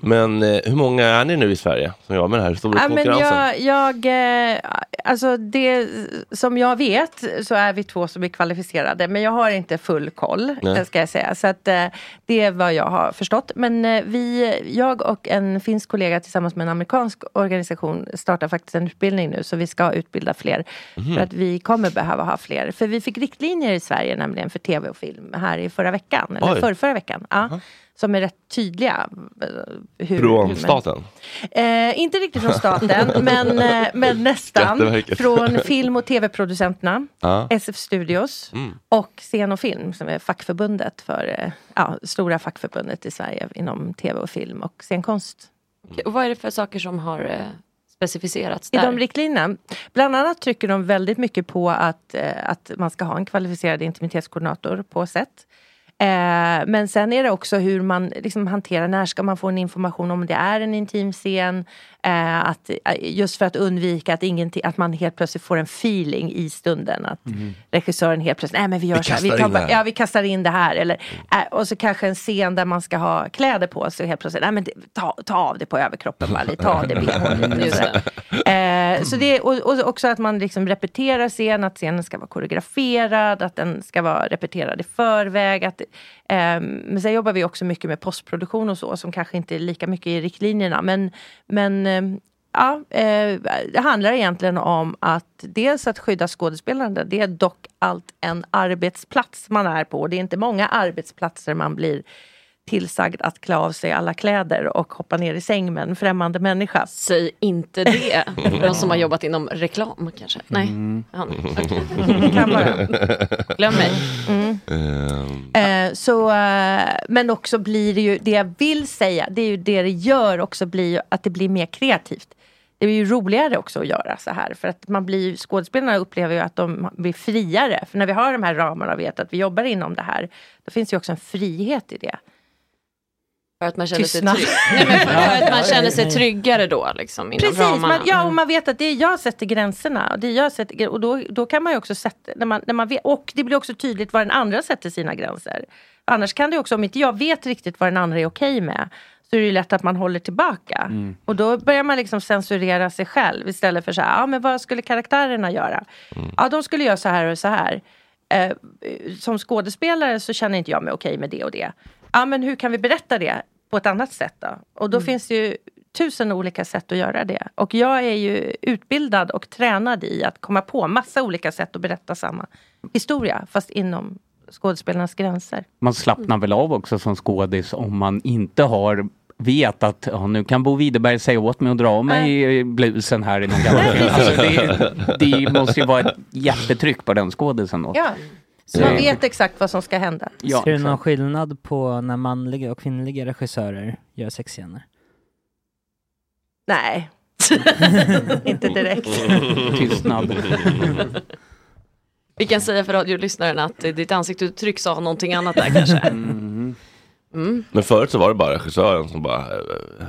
men eh, hur många är ni nu i Sverige som jobbar med den här stora
Ja, men
konkurrensen?
jag, jag, eh, alltså det som jag vet så är vi två som är kvalificerade men jag har inte full koll
Nej.
eh, ska jag säga. Så att, eh, det är vad jag har förstått. Men eh, vi, jag och en finsk kollega tillsammans med en amerikansk organisation startar faktiskt en utbildning nu så vi ska utbilda fler.
Mhm.
För att vi kommer behöva ha fler. För vi fick riktlinjer i Sverige nämligen för tv och film här i förra veckan.
Oj.
Eller förra, förra veckan. Ja, Som är rätt tydliga. eh, Hur, hur
Från
man-
staten?
Eh, inte riktigt från staten, men, eh, men nästan.
Skatteverket.
Från film och tv-producenterna,
Ja.
SF Studios
Mm.
och Scen och film som är fackförbundet för, eh, ja, stora fackförbundet i Sverige inom tv och film och scenkonst.
Okej, Och vad är det för saker som har eh, specificerats
I
där?
de riktlinjerna. Bland annat trycker de väldigt mycket på att, eh, att man ska ha en kvalificerad intimitetskoordinator på sätt. Eh, men sen är det också hur man liksom hanterar, när ska man få en information om det är en intim scen? Eh, att, eh, just för att undvika att, ingenting, att man helt plötsligt får en feeling i stunden. Att
Mhm.
regissören helt plötsligt, nej men vi gör
Vi
så här,
kastar
vi, tar
in det
bara-
här." Mm.
ja, vi kastar in det här. Eller, eh, och så kanske en scen där man ska ha kläder på sig och helt plötsligt, nej men det- ta, ta av det på överkroppen bara, lite, ta av det bhn.
Mm.
lite och
Just
sådär. Eh, så det, och, och också att man liksom repeterar scen, att scenen ska vara koreograferad, att den ska vara repeterad i förväg. Att, ehm, men sen jobbar vi också mycket med postproduktion och så, som kanske inte är lika mycket i riktlinjerna. Men, men ehm, ja, eh, det handlar egentligen om att dels att skydda skådespelarna. Det är dock allt en arbetsplats man är på. Det är inte många arbetsplatser man blir tillsagd att klä av sig alla kläder och hoppa ner i säng med en främmande människa.
Säg inte det. För de som har jobbat inom reklam kanske. Nej. Ja, okej.
Kan vara.
Glöm mig.
Mm. Eh, så, eh, men också blir det ju, det jag vill säga, det är ju det det gör också blir ju att det blir mer kreativt. Det är ju roligare också att göra så här för att man blir ju- skådespelarna upplever ju att de blir friare. För när vi har de här ramarna och vet att vi jobbar inom det här, då finns det ju också en frihet i det.
För att man känner sig
Tystnad.
trygg. Nej, men för, för att man känner sig tryggare då liksom inom
Precis,
ramarna.
man, ja, och man vet att det är jag sätter gränserna. Och, det är jag sätter, grä- och då, då kan man ju också sätta, när man, när man vet, och det blir också tydligt var den andra sätter sina gränser. Annars kan det ju också, om inte jag vet riktigt vad den andra är okej med, så är det ju lätt att man håller tillbaka. Och då börjar man liksom censurera sig själv istället för så här, ja men vad skulle karaktärerna göra? Ja, de skulle göra så här och så här. Eh, som skådespelare så känner inte jag mig okej med det och det. Ja, men hur kan vi berätta det på ett annat sätt då? Och då finns det ju tusen olika sätt att göra det. Och jag är ju utbildad och tränad i att komma på massa olika sätt att berätta samma historia, fast inom skådespelarnas gränser.
Man slappnar väl av också som skådis om man inte har vet att ja, nu kan Bo Widerberg säga åt mig att dra av mig eh, blusen här i någon gammal film. alltså, det, det måste ju vara ett jättetryck på den skådisen då.
Ja, så
Det-
man vet exakt vad som ska hända.
Eh. Ja,
Ser du någon
exakt.
skillnad på när manliga och kvinnliga regissörer gör sexscener?
Nej, inte direkt.
Tystnad.
Vi kan säga för radiolyssnaren att eh, ditt ansiktsuttryck sa någonting annat där kanske. Mm.
Men förut så var det bara regissören som bara... eh,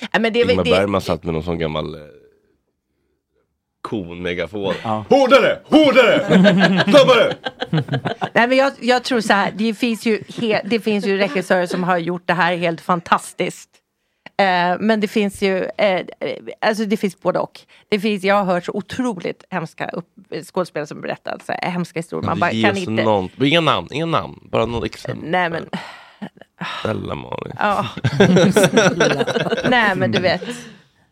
Nej, men det är väl-
Ingmar
det-
Bergman satt med någon sån gammal eh, kon-megafon.
Hårdare! Hårdare!
Snabbare!
Nej, men jag, jag tror så här, det finns, ju he, det finns ju regissörer som har gjort det här helt fantastiskt. Eh, men det finns ju, eh, alltså det finns både och. Det finns, jag har hört så otroligt hemska upp, skådespelare som berättar så här, hemska historier. Man bara,
Ge
kan
oss
inte.
någon, inga namn, inga namn. Bara något exempel.
Nej men,
Snälla Malin.
ja. nej
Mm.
men du vet.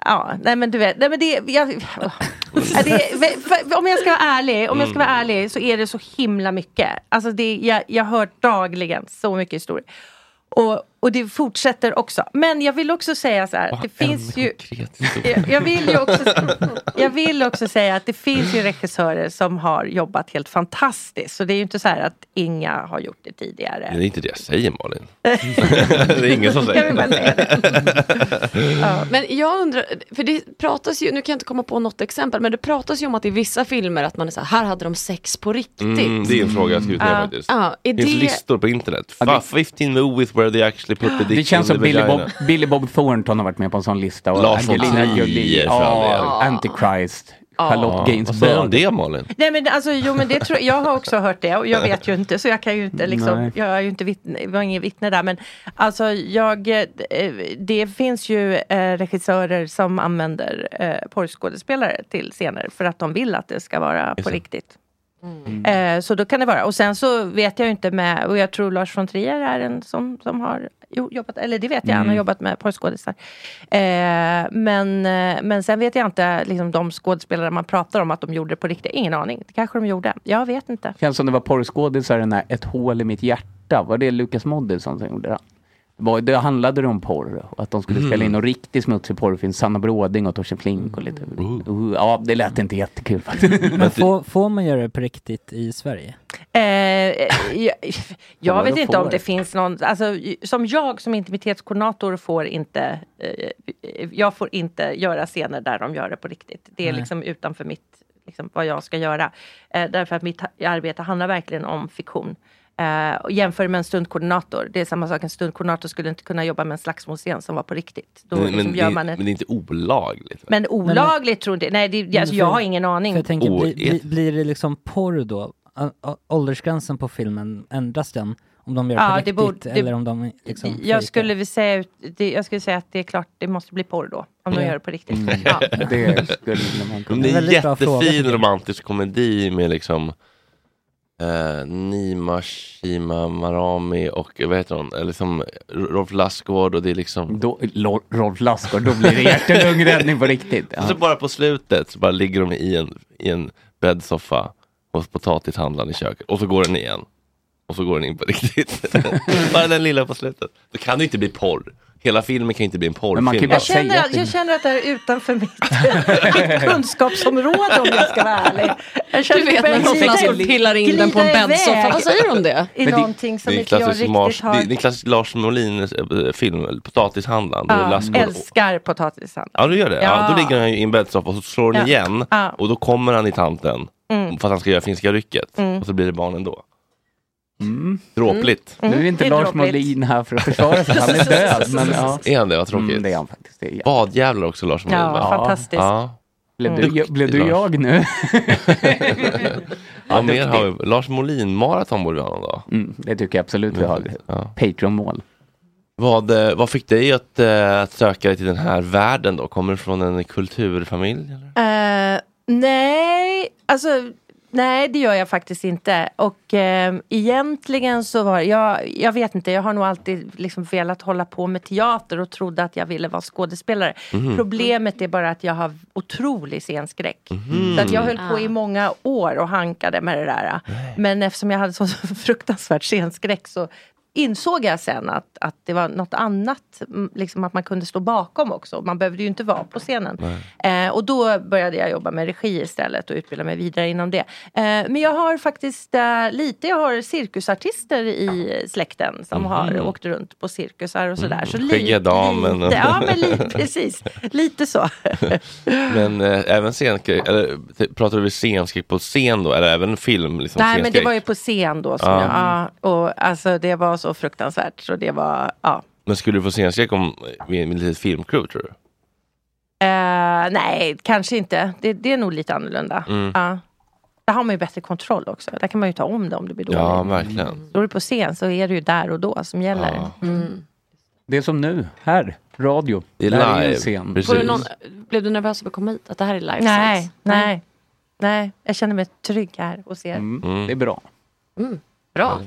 Ja, nej men du vet, nej men det, jag, Ja, det för, för, om jag ska vara ärlig, om jag ska vara
Mm.
ärlig så är det så himla mycket. Alltså det, jag, jag hör dagligen så mycket historier. Och, och det fortsätter också. Men jag vill också säga så här, det finns ju... Jag, jag, vill ju också, jag vill också säga att det finns ju regissörer som har jobbat helt fantastiskt. Så det är ju inte så här att inga har gjort det tidigare.
Det är inte det jag säger Malin. det är ingen som säger
Jag vill bara
det.
säga
Men jag undrar, för det pratas ju, nu kan jag inte komma på något exempel, men det pratas ju om att i vissa filmer att man är så här, här hade de sex på riktigt.
Mm, det är en fråga jag skrivit ner
Ja.
faktiskt.
Ja, är
det finns
det-
listor på internet. Fa- 15 movies where they actually put
Ah.
the dick
Det känns
in
som
the
Billy Bob,
vagina.
Billy Bob Thornton har varit med på en sån lista. Och
Lars von
Angelina
Trier,
Jolie,
för all del.
ja, Antichrist,
Ja.
Charlotte
Ja, Vad säger du om
Gainsbourg.
det Malin?
Nej men alltså, jo men det tror jag, jag har också hört det och jag vet ju inte så jag kan ju inte
Nej.
liksom, jag är ju inte vittne, jag var ingen vittne där men alltså jag, eh, det finns ju eh, regissörer som använder eh, porrskådespelare till scener för att de vill att det ska vara på riktigt.
Mm.
Eh, så då kan det vara. Och sen så vet jag ju inte med, och jag tror Lars von Trier är en sån som har jo, jobbat, eller det vet jag, han har
Mm.
jobbat med porrskådisar. Eh, men, eh, men sen vet jag inte, liksom de skådespelare man pratar om att de gjorde det på riktigt, ingen aning. Det kanske de gjorde, jag vet inte.
Känns som det var porrskådisar, den här Ett hål i mitt hjärta. Var det Lukas Moodysson som gjorde det? Det var- Det handlade om porr, och att de skulle
Mm.
spela in någon riktigt smutsig porrfilm. Sanna Bråding och Torsten Flink och lite... Uh, ja, det lät inte jättekul faktiskt.
Men får, får man göra det på riktigt i Sverige?
Eh, eh, jag jag
Vad
vet
du
inte om
får.
det finns någon, alltså, j- som jag som intimitetskoordinator får inte, eh, jag får inte göra scener där de gör det på riktigt. Det är
Nej.
liksom utanför mitt, liksom, vad jag ska göra. Eh, därför att mitt ha- arbete handlar verkligen om fiktion. Eh, och jämför med en stuntkoordinator. Det är samma sak, en stuntkoordinator skulle inte kunna jobba med en slagsmålscen som var på riktigt. Då
men,
liksom
men,
gör
det,
man
men
en,
det är inte olagligt.
men olagligt tror inte... Nej, det, alltså,
för-
jag har ingen aning.
För jag tänker, bli, bli, blir det liksom porr då? Å- å- Åldersgränsen på filmen, ändras den? Om de gör det
Ja,
på
det
riktigt
borde- det-
eller om de liksom...
jag, skulle väl säga, ut- det, jag skulle säga att det är klart, det måste bli porr då. Om de
Ja.
gör det på riktigt.
Mm.
Ja.
Det skulle man kunna.
Men det är en
Väldigt bra fråga,
jättefin
tycker jag.
romantisk komedi med liksom eh, Nima Shima Marami och eh, vad heter hon? Eh, Liksom Rolf Lassgård och det är liksom...
Rolf Lassgård, då blir det hjärt och lungräddning på riktigt. Ja.
Och så bara på slutet så bara ligger de i en, i en bäddsoffa hos potatishandlaren i köket och så går den igen. Och så går den in på riktigt. bara den lilla på slutet. Då kan det inte bli porr. Hela filmen kan inte bli en porrfilm.
man kan ju bara
Jag känner, att, jag känner att det här är utanför mitt, mitt kunskapsområde om jag ska vara ärlig. Jag känner
Du vet
mig
när
glida-
någon pillar in den på en
glida
bäddsoffa.
iväg
Vad säger du om det?
I
Men
någonting som
det är
inte jag
klassisk
riktigt
Mars-
har...
Det, det är en klassisk Lars Molin eh, film, eller Potatishandlaren. då är
Ja,
Lassgård-
älskar potatishandel.
Ja, du gör det. Ja.
Ja.
då ligger han ju i en bäddsoffa och så slår hon
Ja.
igen
Ja.
och då kommer han i tanten
Mm.
för att han ska göra finska rycket
Mm.
och så blir det barn ändå. Dråpligt.
Mm. Nu är inte Det är Lars dråpligt. Molin här för att försvara sig. Han är död, men ja.
Är han det? Vad tråkigt.
Mm, det är han
faktiskt. Badjävlar också Lars Molin.
Ja,
va?
fantastiskt. Blev du-
Duktig
blev du
Lars.
jag nu?
ja,
Vad
mer
duktig.
har vi. Lars Molin-maraton borde vi ha någon dag.
Mm,
Mm.
det tycker jag absolut vi har. Patreon-mål.
Vad, eh, vad fick dig att, eh, att söka dig till den här världen då? Kommer du från en kulturfamilj? Eller?
Eh, nej, alltså nej det gör jag faktiskt inte. Och eh, egentligen så var jag, jag vet inte, jag har nog alltid liksom velat hålla på med teater och trodde att jag ville vara skådespelare.
Mhm.
Problemet är bara att jag har otrolig scenskräck. Så att jag höll på i många år och hankade med det där. Men eftersom jag hade så fruktansvärt scenskräck så insåg jag sen att, att det var något annat, mm, liksom att man kunde stå bakom också. Man behövde ju inte vara på scenen. Eh, och då började jag jobba med regi istället och utbilda mig vidare inom det. Eh, men jag har faktiskt eh, lite, jag har cirkusartister i släkten som har
Mhm.
åkt runt på cirkusar och sådär.
Mm,
Så
Skäggiga damen.
Lite, ja, men li, precis. Lite så.
Men eh, även scenskräck, eller t- pratar du om scenskräck på scen då? Eller även film? Liksom,
Nej men det
scenskräck?
var ju på scen då. Som
Ja.
jag, ja, och alltså det var så fruktansvärt. Så det var, ja.
Men skulle du få scenskräck om med ett litet filmcrew tror du?
Eh, nej, kanske inte. Det, det är nog lite annorlunda.
Mm.
Ja. Där har man ju bättre kontroll också. Där kan man ju ta om det om det blir dåligt.
Ja,
Mm.
verkligen.
Står du på scen så är det ju där och då som gäller. Mm.
Mm.
Det är som nu, här, radio.
Det är
Där ju en
live,
scen.
precis.
Får du någon, blev du nervös över att komma hit? Att det här är live
Nej,
sites?
nej, nej. Jag känner mig trygg här hos er.
Mm. Det är bra.
Mm, bra.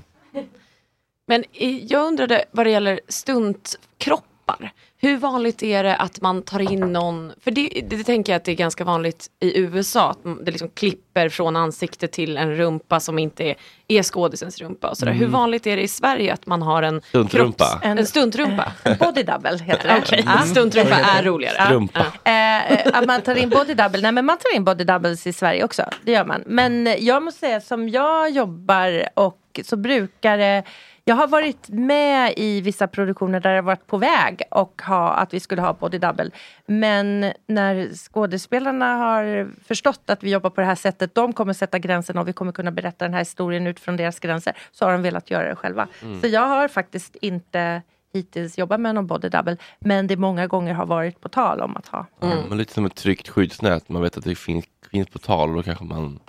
Men i- jag undrade vad det gäller stuntkroppar. Hur vanligt är det att man tar in någon, för det, det tänker jag att det är ganska vanligt i USA, att det liksom klipper från ansikte till en rumpa som inte är, är skådisens rumpa och sådär.
Mm.
Hur vanligt är det i Sverige att man har en
Stuntrumpa?
kropps- en, stuntrumpa?
Body double heter det.
Okej,
Ja. Mm.
stuntrumpa är roligare.
Strumpa.
Eh, eh, att man tar in body double. Nej men man tar in body doubles i Sverige också. Det gör man. Men eh, jag måste säga som jag jobbar och så brukar det jag har varit med i vissa produktioner där jag har varit på väg och ha, att vi skulle ha body double. Men när skådespelarna har förstått att vi jobbar på det här sättet, de kommer sätta gränsen och vi kommer kunna berätta den här historien utifrån deras gränser, så har de velat göra det själva.
Mm.
Så jag har faktiskt inte hittills jobbat med någon body double, men det många gånger har varit på tal om att ha.
Men lite som ett tryggt skyddsnät. Man vet att det finns, finns på tal och då kanske man...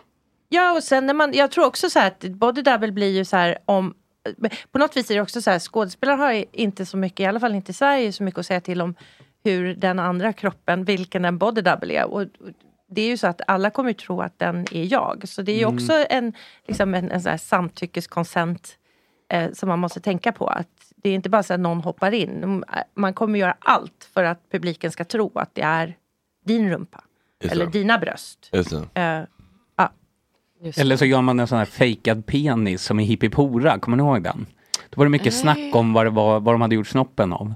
Ja, och sen när man, jag tror också så här att body double blir ju så här om på något vis är det också så här, skådespelare har ju inte så mycket, i alla fall inte i Sverige, så mycket att säga till om hur den andra kroppen, vilken den body double är. Och det är ju så att alla kommer ju tro att den är jag. Så det är ju
Mm.
också en, liksom en, en så här samtyckeskonsent eh, som man måste tänka på. Att det är inte bara så att någon hoppar in. Man kommer göra allt för att publiken ska tro att det är din rumpa.
Just
Eller
det.
dina bröst.
Just det.
Eh,
Eller så gör man en sån här fejkad penis som i Hippipora, kommer ni ihåg den? Då var det mycket snack om vad, det var, vad de hade gjort snoppen av.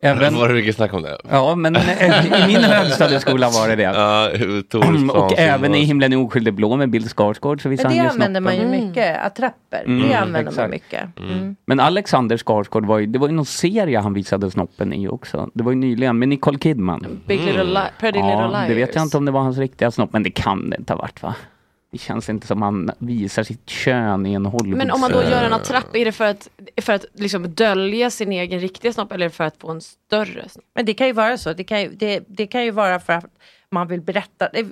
Även-
Äh, Var det mycket snack om det?
Ja, men eh, i min högstadieskola var det det.
Ja, Thorsplan
och
som
även
var-
i Himlen är oskyldig blå med Bill Skarsgård så visade
Men det
han ju
använder
snoppen.
man ju mycket, attrapper.
Mm,
Det använder man
exakt.
mycket.
Mm.
Mm.
Men Alexander Skarsgård var ju, det var ju någon serie han visade snoppen i också. Det var ju nyligen med Nicole Kidman.
Big Little Li- Pretty Little
Ja, det vet jag
Liars.
inte om det var hans riktiga snopp, men det kan det inte ha varit va? Det känns inte som man visar sitt kön i en Hollywood.
Men om man då gör en attrapp, är det för att, för att liksom dölja sin egen riktiga snopp eller är det för att få en större snopp?
Men det kan ju vara så. Det kan ju, det, det kan ju vara för att man vill berätta eh,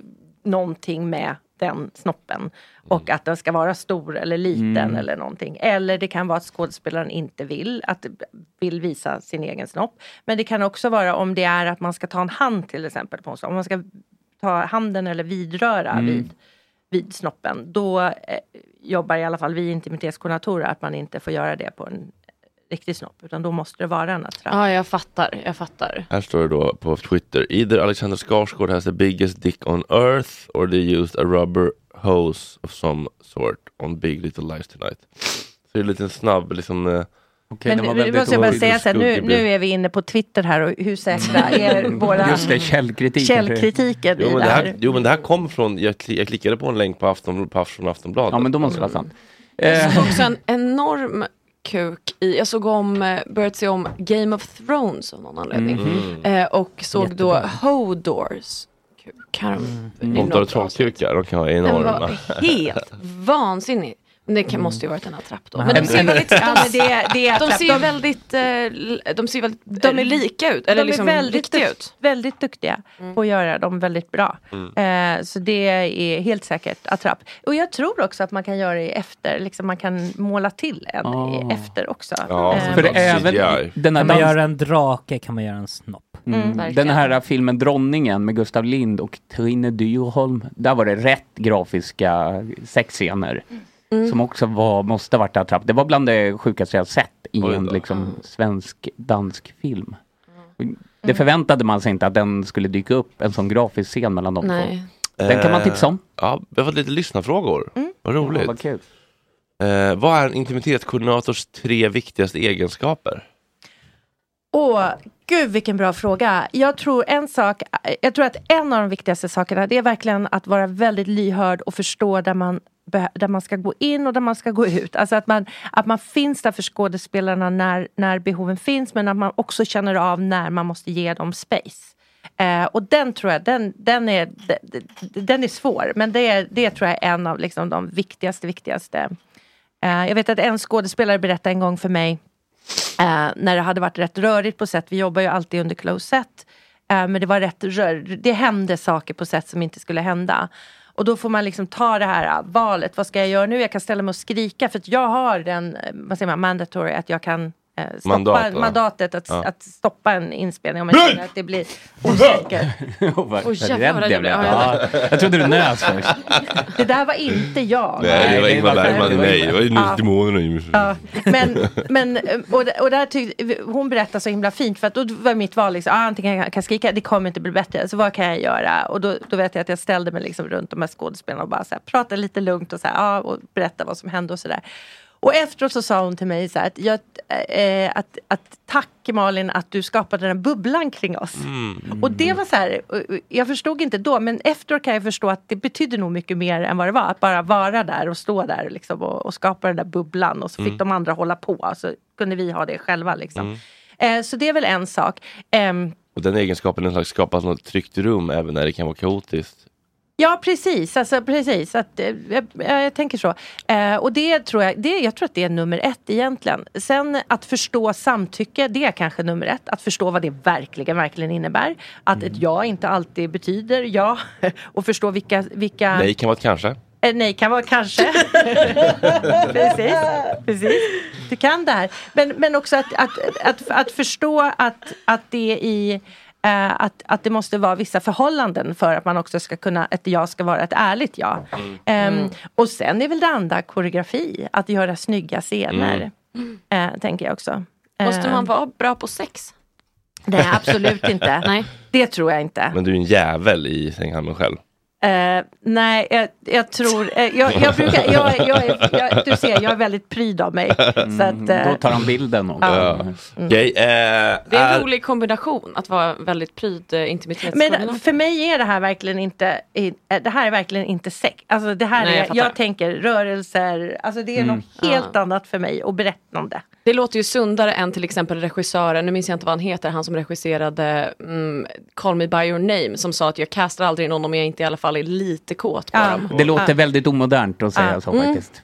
någonting med den snoppen. Och
Mm.
att den ska vara stor eller liten
Mm.
eller någonting. Eller det kan vara att skådespelaren inte vill, att vill visa sin egen snopp. Men det kan också vara om det är att man ska ta en hand till exempel på en snopp. Om man ska ta handen eller vidröra
Mm.
vid, vid snoppen. Då eh, jobbar i alla fall vi intimitetskoordinatorer att man inte får göra det på en riktig snopp. Utan då måste det vara en attrapp.
Ja, jag fattar. Jag fattar.
Här står det då på Twitter. Either Alexander Skarsgård has the biggest dick on earth or they used a rubber hose of some sort on Big Little Lies tonight. Så det är en liten snabb liksom... eh,
Men nu- nu måste jag bara säga så här, nu, nu är vi inne på Twitter här och hur säkra är våra
Just det, källkritiken.
källkritiken
Jo
i
men
det
det
här?
här, jo, men det här kom från, jag, kli, jag klickade på en länk på, Afton, på Afton, Aftonbladet.
Ja, men då måste det vara sant. Eh.
Jag
Eh.
såg också en enorm kuk i, jag såg om, eh, börjat se om Game of Thrones av någon anledning.
Mhm.
Eh, och såg då Hodors kuk. här om- i något
Tomtar och trollkukar, de kan vara
Den
enorma.
var helt vansinnig. Men det kan, måste ju varit en attrapp då.
Men
Men de
här-
ser väldigt,
Ja, men det är- det är
de
attrapp.
ser ju
De-
väldigt, eh, l- de ser väldigt, de är lika ut. Eller
de
liksom
är väldigt,
riktiga
dukt-
ut. Mm.
väldigt duktiga på att göra dem väldigt bra. Eh, så det är helt säkert attrapp. Och jag tror också att man kan göra det i efter, liksom man kan måla till en
Ah.
i efter också.
Ja,
Eh,
för det är även den här
kan man
dans-
göra en drake kan man göra en snopp.
Mm. Den här filmen Dronningen med Gustav Lind och Trine Dyrholm. Där var det rätt grafiska sexscener.
Mm.
Som också var, måste ha varit attrapp. Det var bland det sjukaste jag sett i en
Mm.
liksom, svensk dansk film.
Mm.
Det förväntade man sig inte att den skulle dyka upp, en sån grafisk scen mellan de
Nej.
två. Den kan man
Eh,
tipsa om.
Ja, vi har fått lite lyssnarfrågor.
Mm.
Vad roligt.
Ja, vad kul.
Eh, vad är en intimitetskoordinators tre viktigaste egenskaper?
Åh, gud vilken bra fråga. Jag tror en sak, jag tror att en av de viktigaste sakerna det är verkligen att vara väldigt lyhörd och förstå där man, beh- där man ska gå in och där man ska gå ut. Alltså att man, att man finns där för skådespelarna när, när behoven finns men att man också känner av när man måste ge dem space. Eh, och den tror jag, den, den, är, d- d- den är svår men det, är, det tror jag är en av liksom, de viktigaste, viktigaste Eh, jag vet att en skådespelare berättade en gång för mig eh, när det hade varit rätt rörigt på set. Vi jobbar ju alltid under close set. Eh, men det var rätt rör, Det hände saker på set som inte skulle hända. Och då får man liksom ta det här eh, valet. Vad ska jag göra nu? Jag kan ställa mig och skrika för att jag har den, eh, vad säger man, mandatory att jag kan eh, stoppa
Mandat, va?
mandatet att,
Ja.
att stoppa en inspelning om jag känner att det blir osäkert.
Åh, vad
Åh, jävlar,
rädd
vad
jag
rädd
blev.
jag blev.
Ja, Jag trodde du nös först.
Det där var inte jag.
Nej, det var Ingmar Bergman i mig. Det var ju
Ja.
demonerna i mig.
Ja, men, men eh, och, och där tyckte, hon berättade så himla fint för att då var mitt val liksom, ah, antingen kan jag skrika, det kommer inte bli bättre, så vad kan jag göra? Och då, då vet jag att jag ställde mig liksom runt de här skådespelarna och bara så här, pratade lite lugnt och, så här, ah, och berättade vad som hände och sådär. Och efteråt så sa hon till mig så här, att, jag, eh, att, att tack Malin att du skapade den här bubblan kring oss. Mm. Och det var så här, och- och jag förstod inte då men efteråt kan jag förstå att det betydde nog mycket mer än vad det var. Att bara vara där och stå där liksom, och, och skapa den där bubblan och så fick
Mm.
de andra hålla på. Så kunde vi ha det själva liksom. Eh, så det är väl en sak. Ehm,
Och den egenskapen är en slags skapa något tryggt rum även när det kan vara kaotiskt.
Ja precis, alltså, precis. Att, eh, jag, jag tänker så. Eh, och det tror jag, det, jag tror att det är nummer ett egentligen. Sen att förstå samtycke, det är kanske nummer ett. Att förstå vad det verkligen, verkligen innebär. Att ett ja inte alltid betyder ja. Och förstå vilka... vilka
Nej, kan vara ett kanske.
Eh, nej kan vara kanske. precis, precis. Du kan det här. Men, men också att, att, att, att förstå att, att det i eh, att, att det måste vara vissa förhållanden för att man också ska kunna, ett ja ska vara ett ärligt ja. Ehm,
Mm.
och sen är väl det andra koreografi, att göra snygga scener. eh, tänker jag också.
Måste
Ehm,
man vara bra på sex?
Nej, absolut inte.
Nej.
Det tror jag inte.
Men du är en jävel i sänghalmen själv.
Eh, nej, jag, jag tror... eh, jag, jag brukar, jag, jag, är- jag, du ser, jag är väldigt pryd av mig. Så att, eh,
Mm, Då tar han bilden också.
Ja. Okej, eh,
Mm. Det är en
är-
rolig kombination att vara väldigt pryd eh,
men
intimitetskoordinator.
för mig är det här verkligen inte, i- eh, det här är verkligen inte sex. Alltså det här
Nej, jag
är, jag,
fattar.
tänker rörelser, alltså det är
Mm.
något helt annat för mig och berättande.
Det låter ju sundare än till exempel regissören, nu minns jag inte vad han heter, han som regisserade mm, Call Me By Your Name som sa att jag castar aldrig någon om jag inte i alla fall fall är lite kåt på dem.
Det låter väldigt omodernt att säga
Ja.
så
Mm.
faktiskt.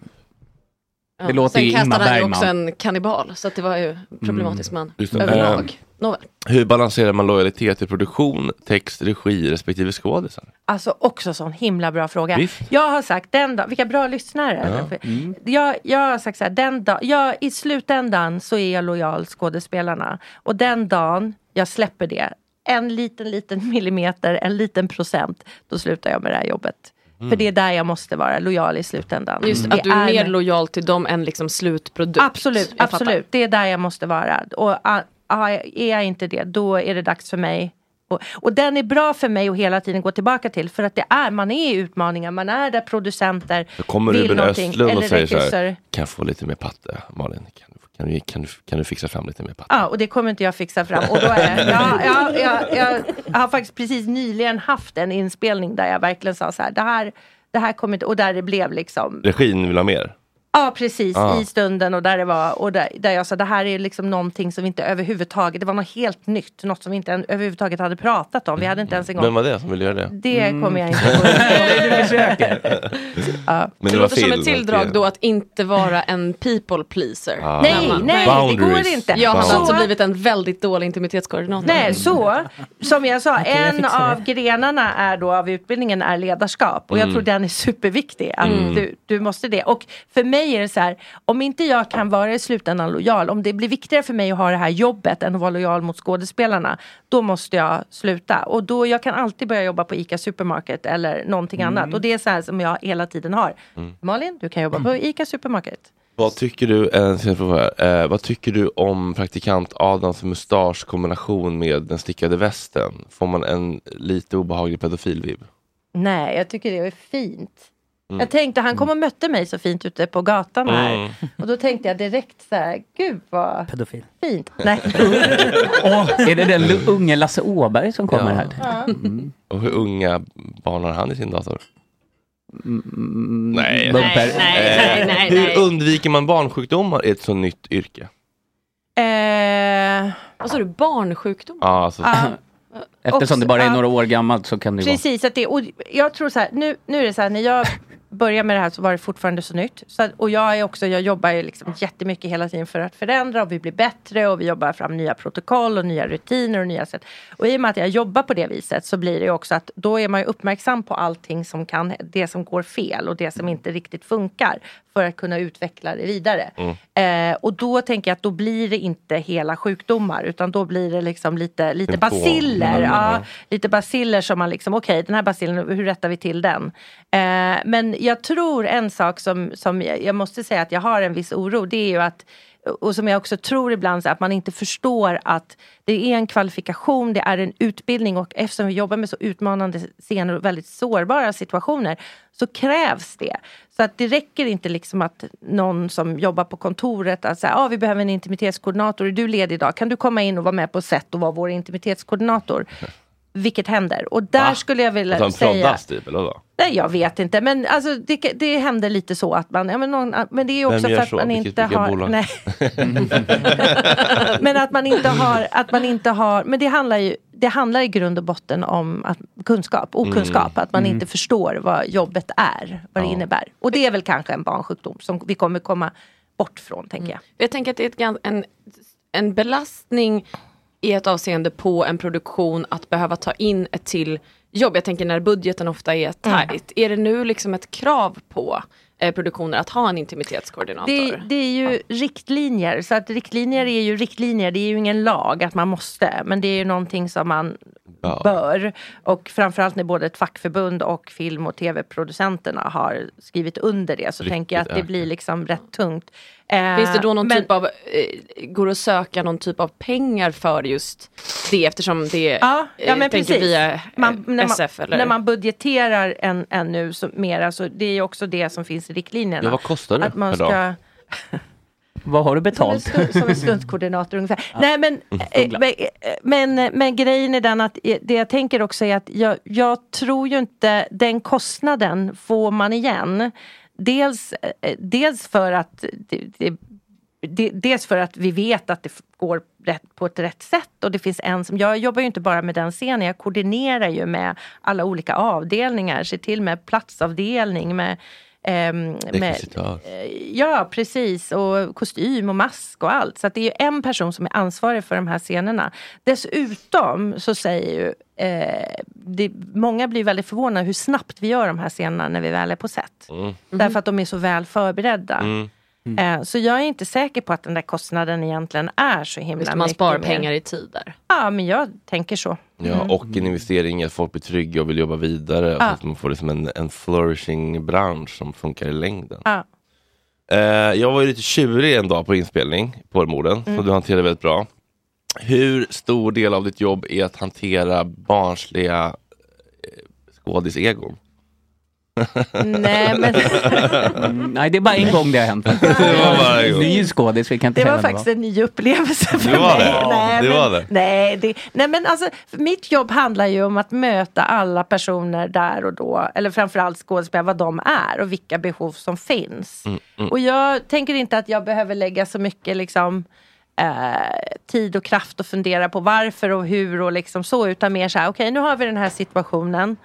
Ja.
Det låter
Sen
ju Ingmar
kastade han ju
Bergman.
också en kannibal, så att det var ju problematisk
Mm.
man
Just det.
överlag.
Eh,
Nåväl.
Hur balanserar man lojalitet i produktion, text, regi respektive skådisar?
Alltså också sån himla bra fråga.
Visst.
Jag har sagt den dag, vilka bra lyssnare.
Ja. Mm.
Jag, jag har sagt så här, den dag, jag, i slutändan så är jag lojal skådespelarna. Och den dagen jag släpper det, en liten, liten millimeter, en liten procent, då slutar jag med det här jobbet.
Mm.
För det är där jag måste vara lojal i slutändan.
Just
Det
att du är mer
med-
lojal till dem än liksom slutprodukt.
Absolut,
Jag fattar.
absolut. Det är där jag måste vara. Och ah, ah, är jag inte det, då är det dags för mig. Och, och den är bra för mig att hela tiden gå tillbaka till. För att det är, man är i utmaningar, man är där producenter
Då kommer
vill
Ruben
någonting,
Östlund och
eller
säger så här,
regissör.
kan jag få lite mer patte, Malin? Kan du, kan du, kan du, kan du fixa fram lite mer patte?
Ja, och det kommer inte jag fixa fram. Och då är det, ja, ja, jag, jag har faktiskt precis nyligen haft en inspelning där jag verkligen sa så här, det här, det här kommer inte, och där det blev liksom
Regin vill ha mer.
Ja precis,
Ah.
i stunden och där det var och där, där jag sa det här är liksom någonting som vi inte överhuvudtaget, det var något helt nytt, något som vi inte en- överhuvudtaget hade pratat om. Vi hade inte ens en gång...
Vem var det som ville göra det?
Det kommer
Mm.
jag inte ja.
det
Men det var
låter som
fel,
ett
men-
tilldrag då att inte vara en people pleaser.
Ah.
Nej,
När
nej, det går Boundaries. inte.
Jag hade
Boundaries.
alltså blivit en väldigt dålig intimitetskoordinator.
Nej, så som jag sa,
Okej, jag
en
fixar det.
av grenarna är då av utbildningen är ledarskap och
Mm.
jag tror den är superviktig. Att
Mm.
du, du måste det. Och för mig är det så här, om inte jag kan vara i slutändan lojal, om det blir viktigare för mig att ha det här jobbet än att vara lojal mot skådespelarna, då måste jag sluta. Och då, jag kan alltid börja jobba på ICA Supermarket eller någonting
Mm.
annat. Och det är så här som jag hela tiden har.
Mm.
Malin, du kan jobba på ICA Supermarket.
Vad tycker du, en sista fråga här. Eh, vad tycker du om praktikant Adams mustasch kombination med den stickade västen? Får man en lite obehaglig pedofilvibb?
Nej, jag tycker det är fint.
Mm.
Jag tänkte, han kom och mötte mig så fint ute på gatan här.
Mm.
Och då tänkte jag direkt så här, gud
Mm.
vad
Pedofil.
fint. Nej.
Åh, är det den lu- unge Lasse Åberg som kommer här?
Ja.
Mm.
Och hur unga barn har han i sin dator?
Mm.
nej.
Bumper. Nej, nej,
Eh,
nej, nej.
Hur undviker man barnsjukdomar i ett så nytt yrke?
Eh,
Vad sa du, barnsjukdom?
Ja, alltså.
Ja.
Eftersom det bara är några år gammalt så kan det ju vara.
Precis, att det, och jag tror så här, nu, nu är det så här, när jag började med det här så var det fortfarande så nytt. Så att, och jag är också, jag jobbar ju liksom jättemycket hela tiden för att förändra och vi blir bättre och vi jobbar fram nya protokoll och nya rutiner och nya sätt. Och i och med att jag jobbar på det viset så blir det ju också att då är man ju uppmärksam på allting som kan, det som går fel och det som inte riktigt funkar för att kunna utveckla det vidare. Eh, och då tänker jag att då blir det inte hela sjukdomar utan då blir det liksom lite, lite
Symptom.
basiller.
Mm.
Ja, lite basiller som man liksom, okej den här basillen, hur rättar vi till den? Eh, men jag tror en sak som, som jag, jag måste säga att jag har en viss oro, det är ju att och som jag också tror ibland, så att man inte förstår att det är en kvalifikation, det är en utbildning och eftersom vi jobbar med så utmanande scener och väldigt sårbara situationer så krävs det. Så att det räcker inte liksom att någon som jobbar på kontoret att säga, ah, vi behöver en intimitetskoordinator, är du ledig idag? Kan du komma in och vara med på set och vara vår intimitetskoordinator? Vilket händer. Och där skulle jag
Att
vilja
han
säga...
proddas typ, eller vadå?
Nej, jag vet inte. Men alltså, det, det händer lite så att man... Ja, men, någon, men det är ju också
Vem
för
gör
att
så?
man
Vilket,
inte
vilka
har...
bolag?
Nej. Men att man inte har, att man inte har, men det handlar ju det handlar i grund och botten om att, kunskap, okunskap,
Mm.
att man
Mm.
inte förstår vad jobbet är, vad det
Ja.
innebär. Och det är väl kanske en barnsjukdom som vi kommer komma bort från, tänker jag.
Mm. Jag tänker att det är ett, gan- en, en belastning i ett avseende på en produktion att behöva ta in ett till jobb. Jag tänker när budgeten ofta är
Mm.
tajt. Är det nu liksom ett krav på eh, produktioner att ha en intimitetskoordinator?
Det, det är ju riktlinjer, så att riktlinjer är ju riktlinjer, det är ju ingen lag att man måste, men det är ju någonting som man
Ja.
bör. Och framförallt när både ett fackförbund och film och tv-producenterna har skrivit under det så
Riktigt
tänker jag att det
ökat.
blir liksom rätt tungt. Eh,
Finns det då någon
men-
typ av, eh, går det att söka någon typ av pengar för just det eftersom det
Ja, ja
eh,
men
tänker
precis.
via eh,
Man- när,
SF
man,
eller?
när man budgeterar en, ännu så, mera så det är ju också det som finns i riktlinjerna.
Ja, vad kostar det
Att man
per
ska,
dag? Vad har du betalt?
Som en, stu- som en stuntkoordinator ungefär.
Ja.
Nej men,
Mm.
eh,
Uggla.
men, eh, men, men grejen är den att eh, det jag tänker också är att jag, jag tror ju inte den kostnaden får man igen. Dels, eh, dels för att det, det de, dels för att vi vet att det f- går rätt, på ett rätt sätt och det finns en som, jag jobbar ju inte bara med den scenen, jag koordinerar ju med alla olika avdelningar, ser till med platsavdelning, med ehm, med,
Rekvisitör.
Eh, Ja, precis. Och kostym och mask och allt. Så att det är ju en person som är ansvarig för de här scenerna. Dessutom så säger ju... Eh, det, många blir väldigt förvånade hur snabbt vi gör de här scenerna när vi väl är på set.
Mm.
Därför att de är så väl förberedda.
Mm.
Eh, så jag är inte säker på att den där kostnaden egentligen är så himla
Visst,
mycket.
man sparar
mer.
pengar i tid där.
Ja, men jag tänker så.
Ja, och en investering i att folk blir trygga och vill jobba vidare.
Ja.
Och att man får liksom en, en flourishing bransch som funkar i längden.
Ja.
Eh, jag var ju lite tjurig en dag på inspelning på morden,
Mm.
som du hanterade väldigt bra. Hur stor del av ditt jobb är att hantera barnsliga eh, skådisegon?
Nej, men-
Mm, nej, det är bara en gång det har hänt.
Det var bara en gång.
Ny skådis, vi kan inte
Det var
säga vem
faktiskt en ny upplevelse för
Det var
mig.
det.
Nej,
Det
men,
var det.
Nej, det, nej, men alltså, för mitt jobb handlar ju om att möta alla personer där och då. Eller framförallt skådespelare, vad de är och vilka behov som finns.
Mm,
Mm.
Och jag tänker inte att jag behöver lägga så mycket liksom, eh, tid och kraft och fundera på varför och hur och liksom så. Utan mer så här, okej nu har vi den här situationen.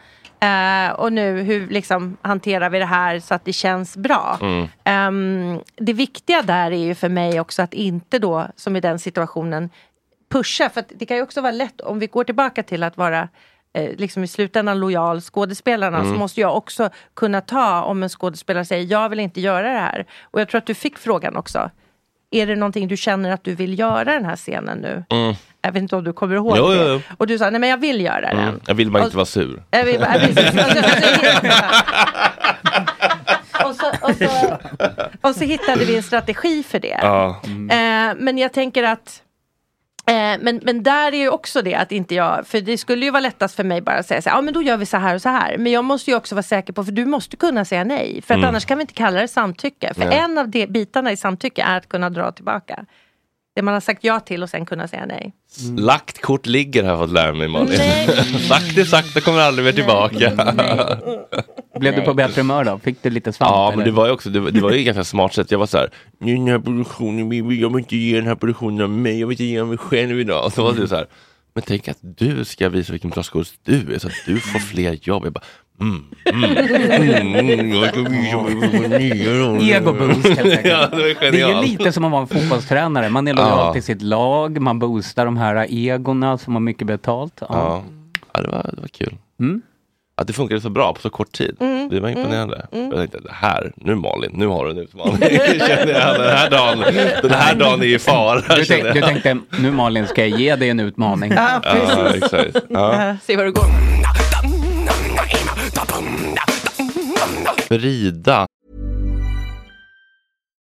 Eh, och nu hur liksom, hanterar vi det här så att det känns bra.
Mm.
Ehm, det viktiga där är ju för mig också att inte då, som i den situationen, pusha. För att det kan ju också vara lätt, om vi går tillbaka till att vara eh, liksom i slutändan lojal skådespelarna,
Mm.
så måste jag också kunna ta om en skådespelare säger jag vill inte göra det här. Och jag tror att du fick frågan också. Är det någonting du känner att du vill göra den här scenen nu?
Mm.
Jag vet inte om du kommer ihåg
Jo,
det.
jo, jo.
Och du sa, nej men jag vill göra den.
Mm. Jag vill bara inte vara sur.
Jag vill bara- jag vill- alltså, alltså, Och så, och, så, och så hittade vi en strategi för det.
Ja.
Eh, men jag tänker att eh, men, men där är ju också det att inte jag, för det skulle ju vara lättast för mig bara att säga så här, ja men då gör vi så här och så här. Men jag måste ju också vara säker på, för du måste kunna säga nej. För att
Mm.
annars kan vi inte kalla det samtycke. För
Nej.
en av de bitarna i samtycke är att kunna dra tillbaka. Det man har sagt ja till och sen kunna säga nej.
Lagt kort ligger har jag fått lära mig Malin.
Nej.
sagt är sagt och kommer aldrig mer tillbaka.
Blev du på bättre humör då? Fick du lite svamp?
Ja, men
eller?
det var ju också, det, var- det var ju ganska smart sätt. Jag var så här, "Nu den här produktionen, vi- vi- jag vill inte ge den här produktionen av mig, jag vill inte ge den mig själv idag. Och så var det så här, men tänk att du ska visa vilken bra skådis du är, så att du får fler jobb. Jag bara, mm, mm, mm, mm, jag ska visa vad jag får nya roller."
Egoboost helt enkelt.
Ja, det var ju
det är ju
genialt.
lite som att vara en fotbollstränare. Man är lojal
Ja.
till sitt lag, man boostar de här egorna som har mycket betalt. Ja.
Ja, ja det, var, det var kul. Att det funkade så bra på så kort tid.
Mm,
Det var
mm,
imponerande.
mm.
Jag tänkte, det här, nu Malin, nu har du en utmaning. kände jag, den här dagen, den här dagen är i fara.
Mm. Du,
kände
tänk, du
jag.
tänkte, nu Malin ska jag ge dig en utmaning.
Ja, precis.
Ja, exakt. Ja.
Se vad det går.
Frida.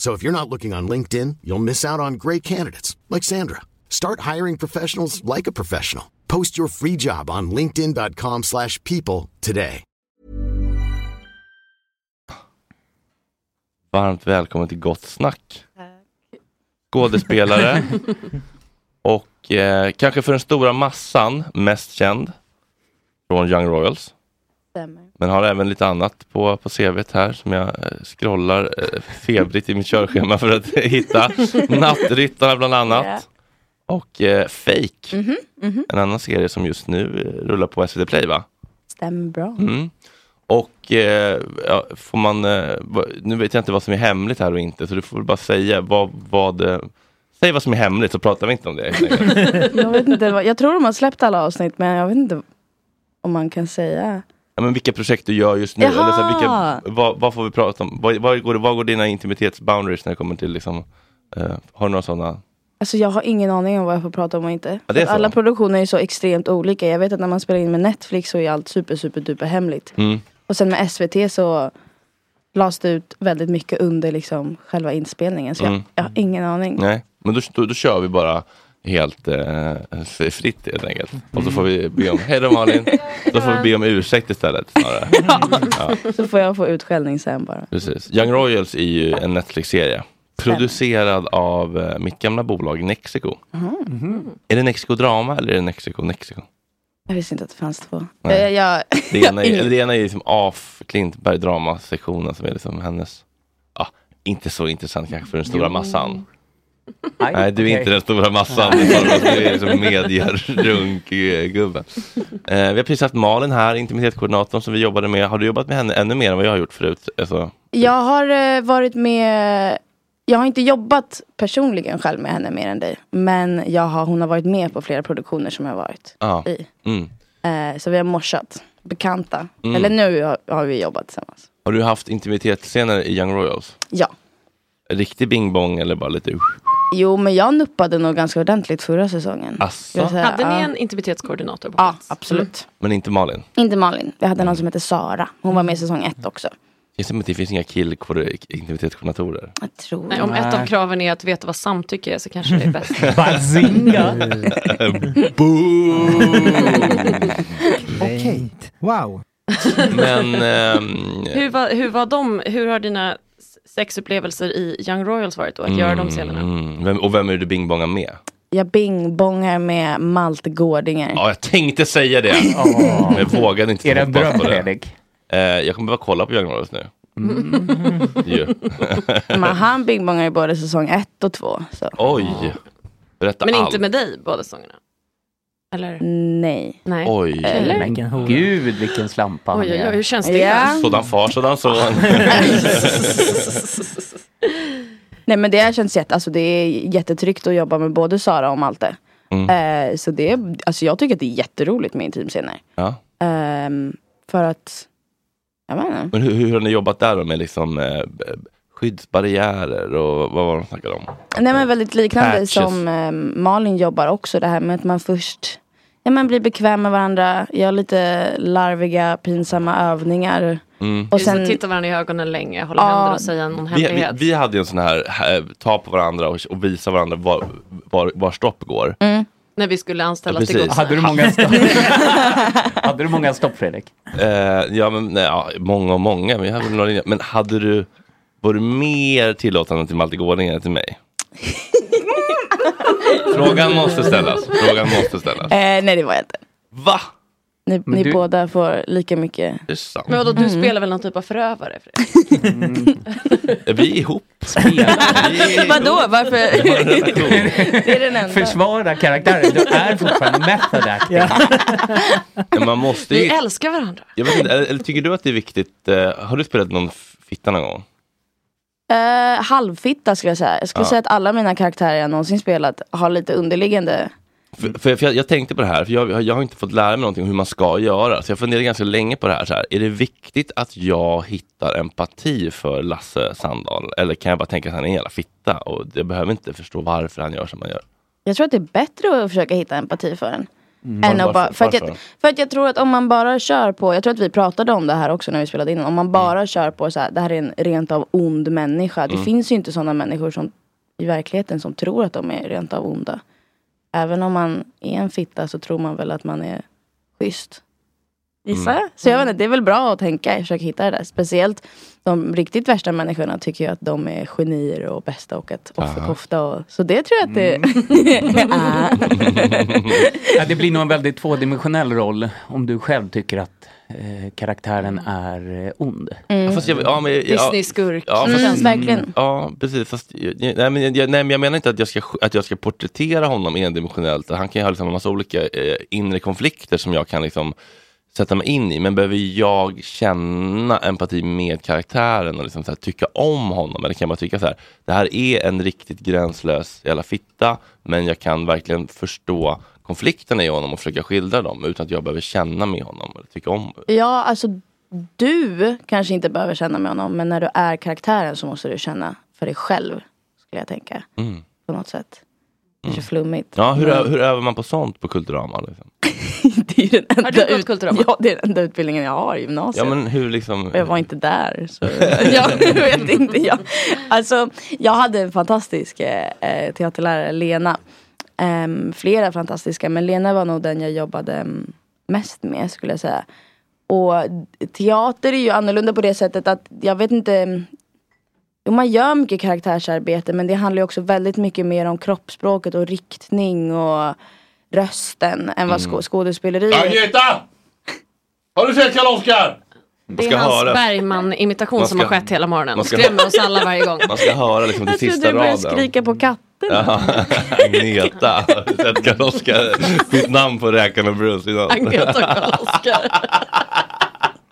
So if you're not looking on LinkedIn, you'll miss out on great candidates like Sandra. Start hiring professionals like a professional. Post your free job on linkedin.com/people slash people today.
Varmt välkommen till Gott Snack. Skådespelare. och eh, kanske för den stora massan mest känd från Young Royals.
Stämmer.
Men har även lite annat på, på CVt här som jag eh, scrollar eh, febrigt i mitt körschema för att hitta. Nattryttarna bland
Ja.
annat. Och eh, Fake,
Mhm, mhm.
en annan serie som just nu eh, rullar på SVT Play va?
Stämmer bra.
Mm. Och eh, ja, får man, eh, va- nu vet jag inte vad som är hemligt här och inte, så du får bara säga vad, vad eh, Säg vad som är hemligt så pratar vi inte om det. helt enkelt.
jag, vet inte, vad- jag tror de har släppt alla avsnitt men jag vet inte om man kan säga.
ja, men vilka projekt du gör just nu,
Jaha!
eller så här, vilka, vad, vad får vi prata om? Vad, vad, går, vad går dina intimitetsboundaries när det kommer till liksom, eh, har du några sådana?
Alltså jag har ingen aning om vad jag får prata om och inte.
Ja, det är
För
så.
alla produktioner är så extremt olika. Jag vet att när man spelar in med Netflix så är allt super super duper hemligt.
Mm.
Och sen med SVT så lades det ut väldigt mycket under liksom själva inspelningen. Så jag,
Mm.
jag har ingen aning.
Nej, men då, då, då kör vi bara helt eh, f- fritt helt enkelt. Och så får vi be om, hej då Malin, då får vi be om ursäkt istället snarare. Ja,
Så får jag få utskällning sen bara.
precis. Young Royals är ju en Netflix-serie. Producerad av eh, mitt gamla bolag Nexiko. Är det Nexiko Drama eller är det Nexiko Nexiko?
Jag visste inte att det fanns två.
Nej.
Eh, Jag,
Det ena är,
ingen-
eller det ena är liksom AF Klintberg dramasektionen som är liksom hennes, ja, inte så intressant kanske för den stora
Jo.
massan.
Aj,
Nej, du är
okej.
inte den stora massan.
Nej.
Du är liksom medierunkgubben. Eh, vi har precis haft Malin här, intimitetskoordinatorn som vi jobbade med. Har du jobbat med henne ännu mer än vad jag har gjort förut? Alltså,
jag har eh, varit med, jag har inte jobbat personligen själv med henne mer än dig. Men jag har, hon har varit med på flera produktioner som jag har varit
ja.
i.
Mm.
Eh, så vi har morsat, bekanta.
Mm.
Eller nu har, har vi jobbat tillsammans.
Har du haft intimitetsscener i Young Royals?
Ja.
Riktig bingbong eller bara lite...
Jo men jag nuppade nog ganska ordentligt förra säsongen.
Asså?
Jag vill säga,
Hade ni
ja.
en intimitetskoordinator på
Ja,
plats?
absolut.
Mm.
Men inte Malin?
Inte Malin, vi hade någon som hette Sara. Hon var med i säsong ett också.
Just det, men det finns inga kill-intimitetskoordinatorer.
Jag tror
Nej, om ett av kraven är att veta vad samtycke är så kanske det är bäst.
Bazinga!
Okej. Wow.
Men... ehm,
Hur var, hur var de, hur har dina s- sexupplevelser i Young Royals varit då? Att göra de scenerna?
Mm. Vem, och vem är det du bingbongar med?
Jag bingbongar med Malte Gårdinger.
Ja, jag tänkte säga det. Men jag vågade inte.
Är det en
hoppas
dröm,
på
Fredrik?
Eh, jag kommer bara kolla på Young Royals nu. Ju.
Men han bingbongar ju både säsong ett och två. Så.
Oj. Berätta
Men
allt.
inte med dig båda säsongerna? Eller?
Nej.
Nej.
Oj.
Eller?
Men gud vilken slampa han
Oj, oj,
är.
oj, hur känns det?
Sådan far, sådan son.
Nej men det känns jätte, alltså det är jättetryggt att jobba med både Sara och Malte.
Mm.
Eh, så det är, alltså jag tycker att det är jätteroligt med intimscener.
ja.
Ehm, för att, jag vet inte.
Men hur, hur har ni jobbat där då med liksom, eh, b- skyddsbarriärer och vad var det de snackade om?
Nej men väldigt liknande
Patches.
som eh, Malin jobbar också. Det här med att man först ja, man blir bekväm med varandra, gör lite larviga pinsamma övningar.
Och
Och
sen...
sen-
Titta varandra i ögonen länge, hålla
Ja.
händer och säga någon
Mm. Vi, vi,
hemlighet.
vi hade ju en sån här, eh, ta på varandra och, och visa varandra var, var, var stopp går.
När vi skulle anställas till
precis.
Goodson.
Hade du många
stopp? Hade du många stopp Fredrik?
Eh, ja, men nej, ja, många och många. Men, jag hade väl några linjer. men hade du, var du mer tillåtande till Malte Gårding än till mig? Frågan måste ställas. Frågan måste ställas.
Eh, nej det var jag inte.
Va?
Ni,
Men
ni
du-
båda får lika mycket.
Det är sant.
Men vadå, du spelar väl någon typ av förövare? Fredrik?
Eh, Vi är ihop.
Vadå, varför? det är den enda.
Försvara karaktären, du är fortfarande method acting.
Men Man måste
Vi
ju,
älskar varandra.
jag vet inte, eller, eller tycker du att det är viktigt? Eh, har du spelat någon fitta någon gång?
Eh, halvfitta skulle jag säga. Jag skulle
Ja.
säga att alla mina karaktärer jag någonsin spelat har lite underliggande.
För, för, för jag, jag tänkte på det här, för jag, jag har inte fått lära mig någonting om hur man ska göra. Så jag funderade ganska länge på det här. Så här. Är det viktigt att jag hittar empati för Lasse Sandahl? Eller kan jag bara tänka att han är en jävla fitta? Och jag behöver inte förstå varför han gör som han gör.
Jag tror att det är bättre att försöka hitta empati för en.
Mm.
Än
Varför-
att bara, för, att jag,
varför?
för att jag tror att om man bara kör på, jag tror att vi pratade om det här också när vi spelade in. Om
Mm.
man bara kör på så här, det här är en rent av ond människa. Det
Mm.
finns ju inte sådana människor som, i verkligheten som tror att de är rent av onda. Även om man är en fitta så tror man väl att man är schysst. Gissar
Mm.
jag. Så jag vet inte, det är väl bra att tänka, försöka hitta det där. Speciellt de riktigt värsta människorna tycker ju att de är genier och bästa och att offerkofta och så det tror jag att det
Mm.
ja, det blir nog en väldigt tvådimensionell roll om du själv tycker att eh, karaktären är eh, ond.
Mm.
Ja, fast jag, ja, men, ja, Ja, fast, Mm. Ja, precis. Fast, jag, nej, men, jag, nej, men jag menar inte att jag ska, att jag ska porträttera honom endimensionellt. Han kan ju ha liksom, en massa olika eh, inre konflikter som jag kan liksom, sätta mig in i. Men behöver jag känna empati med karaktären och liksom, så här, tycka om honom? Eller kan jag bara tycka så här, det här är en riktigt gränslös jävla fitta, men jag kan verkligen förstå konflikterna i honom och försöka skildra dem utan att jag behöver känna med honom eller tycka om
Ja, alltså du kanske inte behöver känna med honom men när du är karaktären så måste du känna för dig själv. Skulle jag tänka.
Mm.
På något sätt. Kanske flummigt.
Ja, hur,
Men-
ö- hur övar man på sånt på Kulturama? Liksom?
Har du gått Kulturama? Ja, det är den enda utbildningen jag har i gymnasiet.
Ja, men hur liksom...
Och jag var inte där. Så jag vet inte. Jag, alltså, jag hade en fantastisk eh, eh, teaterlärare, Lena. Ehm, flera fantastiska, men Lena var nog den jag jobbade mm, mest med skulle jag säga. Och teater är ju annorlunda på det sättet att jag vet inte mm, Jo, man gör mycket karaktärsarbete men det handlar ju också väldigt mycket mer om kroppsspråket och riktning och rösten än vad
Mm.
skå- skådespeleriet
Har du sett Karl-Oskar?
Det är hans Bergman-imitation som har skett hela morgonen.
man ska-
Skrämmer oss alla varje gång.
Man ska höra liksom till
Jag trodde
sista
du började
raden.
skrika på katt.
Ja, Agneta. Har du sett Karl-Oskar? Mitt namn på Räkan och Bruce innan.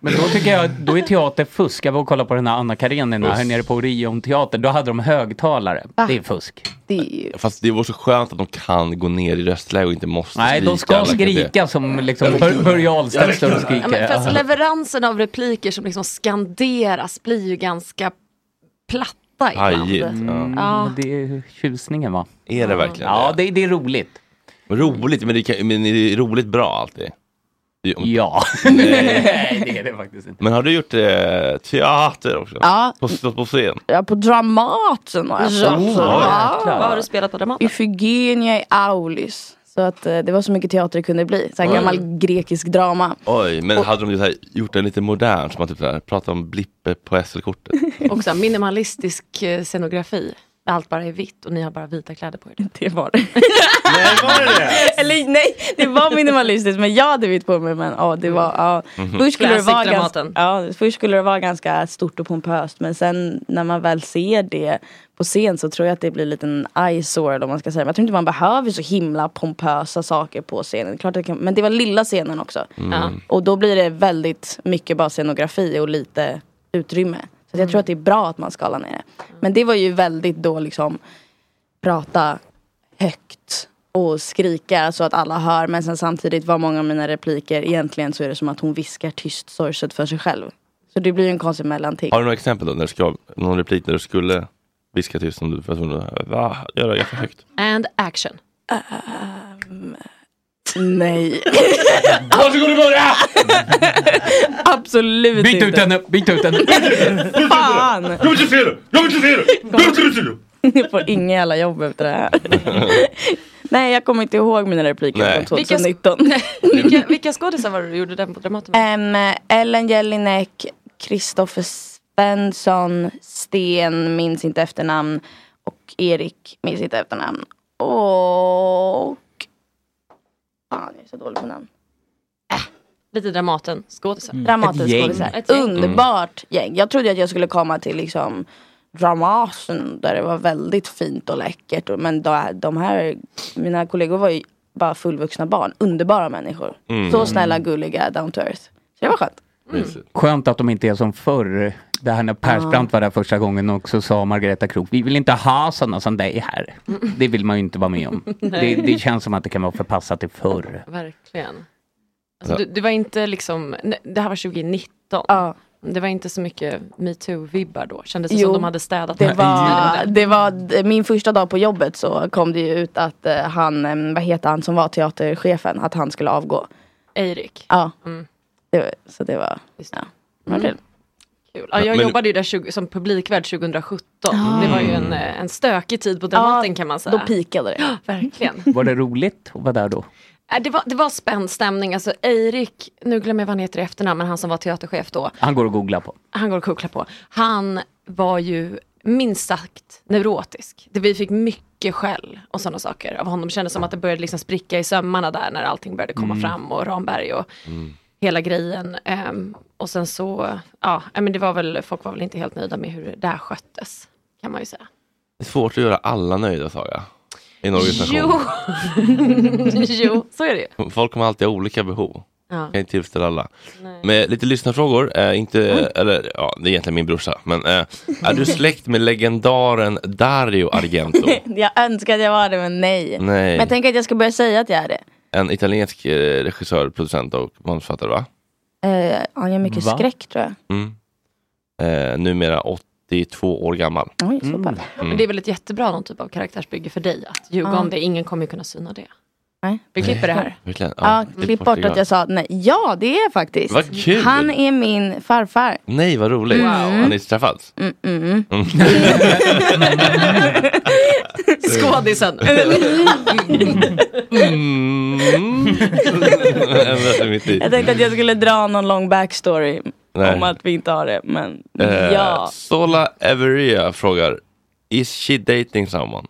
Men då tycker jag, då är teater fusk. Jag var och kollade på den här Anna Karenina här nere på Orion teater. Då hade de högtalare. Det är fusk.
Fast det vore så skönt att de kan gå ner i röstläge och inte måste
Nej, de ska
eller kan
skrika
det.
som liksom Bör- Börje Ahlstedt står och
Ja, men fast
skriker.
leveransen av repliker som liksom skanderas blir ju ganska platta ibland.
Mm,
Ja.
Det är tjusningen va?
Är det verkligen
Ja, det, det är roligt.
Roligt, men det, kan, men är det roligt bra alltid?
Ja.
Nej,
det är det faktiskt inte.
Men har du gjort eh, teater också?
Ja.
På, stått på scen?
Ja, på Dramaten har jag
Ja,
stått.
jäklar.
Ja.
Vad har du spelat på Dramaten?
Ifigenia i Aulis. Så att eh, det var så mycket teater det kunde bli. Så här
Oj.
gammal grekisk drama.
Oj, men hade de ju så här, gjort den lite modern? Som man typ så här, pratar om blipper på SL-kortet.
Och så här minimalistisk eh, scenografi. Där allt bara är vitt och ni har bara vita kläder på er.
Det var det. Eller nej, det var minimalistiskt men jag hade vitt på mig. Men ja, det var, ja.
Mhm.
Först, skulle det vara
Classic
ganska, ja, först skulle det vara ganska stort och pompöst men sen när man väl ser det på scen så tror jag att det blir en liten eyesore eller vad man ska säga. Men jag tror inte man behöver så himla pompösa saker på scenen. Klart att det kan, men det var lilla scenen också.
Mm. Ja.
Och då blir det väldigt mycket bara scenografi och lite utrymme. Så att jag tror att det är bra att man skalar ner det. Men det var ju väldigt då liksom prata högt och skrika så att alla hör. Men sen samtidigt var många av mina repliker egentligen så är det som att hon viskar tyst sorgset för sig själv. Så det blir ju en konstig mellanting.
Har du några exempel då? När du ska, någon replik där du skulle viska till som du var tvungen att va, göra jättehögt?
And action.
Nej.
Varsågod och börja!
Absolut
Byt
inte.
ut henne, byt ut henne.
Fan! Jag
vill inte se det! Jag vill inte se det! Jag vill inte se det!
Jag får inga jävla jobb efter det här. Nej, jag kommer inte ihåg mina repliker
Nej.
från 2019.
Vilka, vilka skådisar var det du gjorde den på Dramaten?
Em, Ellen Jelinek, Kristoffer Svensson, Sten, minns inte efternamn. Och Erik, minns inte efternamn. Och... Fan, jag är så dålig på namn.
Äh, Lite Dramaten-skådisar.
Dramaten skådisar. Mm. Ett Underbart gäng. Jag trodde att jag skulle komma till liksom Dramaten där det var väldigt fint och läckert. Och- Men då- de här, mina kollegor var ju bara fullvuxna barn. Underbara människor.
Mm.
Så snälla, gulliga, down to earth. Så det var skönt.
Mm.
Skönt att de inte är som förr. Det här när Persbrandt var där första gången och så sa Margareta Krook, vi vill inte ha sådana som dig här. Det vill man ju inte vara med om.
Mm. Nej.
Det, det känns som att det kan vara förpassat till förr.
Verkligen. Alltså,
Ja.
du, det var inte liksom, nej, det här var 2019. Det var inte så mycket metoo-vibbar då. Kändes det
Jo,
som de hade städat.
Det
upp.
var, det var d- min första dag på jobbet så kom det ju ut att eh, han, eh, vad heter han som var teaterchefen, att han skulle avgå.
Eirik.
Ja,
Mm.
det, var- så det var, ja. Var
Mm.
det-
Kul. Ja, jag
Men- Ah.
jobbade ju där 20, som publikvärd 2017. Det var ju en, eh, en stökig tid på Dramaten kan man säga.
då pikade det.
Ja, verkligen.
Var det roligt att vara där då?
Äh, Det var, det var spänd stämning. Alltså Eirik, nu glömmer jag vad han heter i efternamn, men han som var teaterchef då.
Han går och googlar på.
han går och kucklar på. Han var ju minst sagt neurotisk. Det, vi fick mycket skäll och sådana saker av honom. Kändes som att det började liksom spricka i sömmarna där när allting började komma
Mm.
fram och Ramberg och hela grejen. Ehm, och sen så, ja, nej, men det var väl, folk var väl inte helt nöjda med hur det där sköttes, kan man ju säga.
Det är svårt att göra alla nöjda, sa jag. I en organisation.
Jo, jo så är det ju.
Folk kommer alltid ha olika behov.
Ja.
Kan inte tillfredsställa alla. Men lite lyssnarfrågor. Eh, inte, eller, ja, det är egentligen min brorsa. Men eh, är du släkt med legendaren Dario Argento?
jag önskar att jag var det, men nej.
Nej.
Men jag tänker att jag ska börja säga att jag är det.
En italiensk eh, regissör, producent och manusförfattare va?
Eh, han gör mycket
Va?
skräck tror jag.
Mm. Eh, numera 82 år gammal.
Oj, så pass.
Mm.
Men det är väl ett jättebra någon typ av karaktärsbygge för dig att ljuga
Ja.
om det. Ingen kommer ju kunna syna det.
Nej.
Vi klipper det här.
Verkligen.
Ja,
klipp
klipp
bort
bort
det,
att jag sa nej. Ja, det är faktiskt.
Vad kul!
Han är min farfar.
Nej vad roligt.
Wow.
Har ni träffats?
Mm, mm.
Mm.
Skådisen.
Mm. Ända till mitt i.
jag tänkte att jag skulle dra någon lång backstory
Typ. Nej.
om att vi inte har det. Men
Eh,
ja.
Sola Everia frågar Is she dating someone?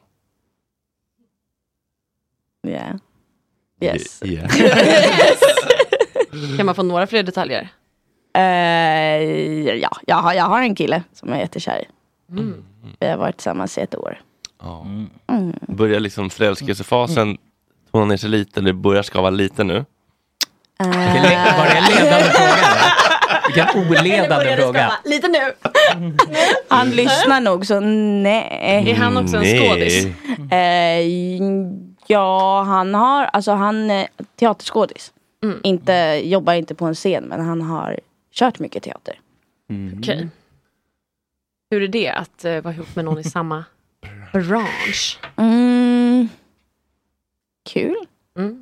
Yeah. Yes.
Y- yeah.
Kan man få några fler detaljer?
Eh, ja, jag har, jag har en kille som jag är jättekär i.
Mm.
Vi har varit tillsammans i ett år.
Ja.
Mm.
Börjar liksom förälskelsefasen tona ner sig lite eller börjar skava lite nu?
Var det en ledande fråga? eller? Vilken oledande fråga.
Lite nu. han lyssnar nog så nej.
Är han också en Nej. skådis?
Eh, ja, han har, alltså han är teaterskådis.
Mm.
Inte, jobbar inte på en scen men han har kört mycket teater.
Mm.
Okej. Hur är det att eh, vara ihop med någon i samma bransch?
Mm. Kul.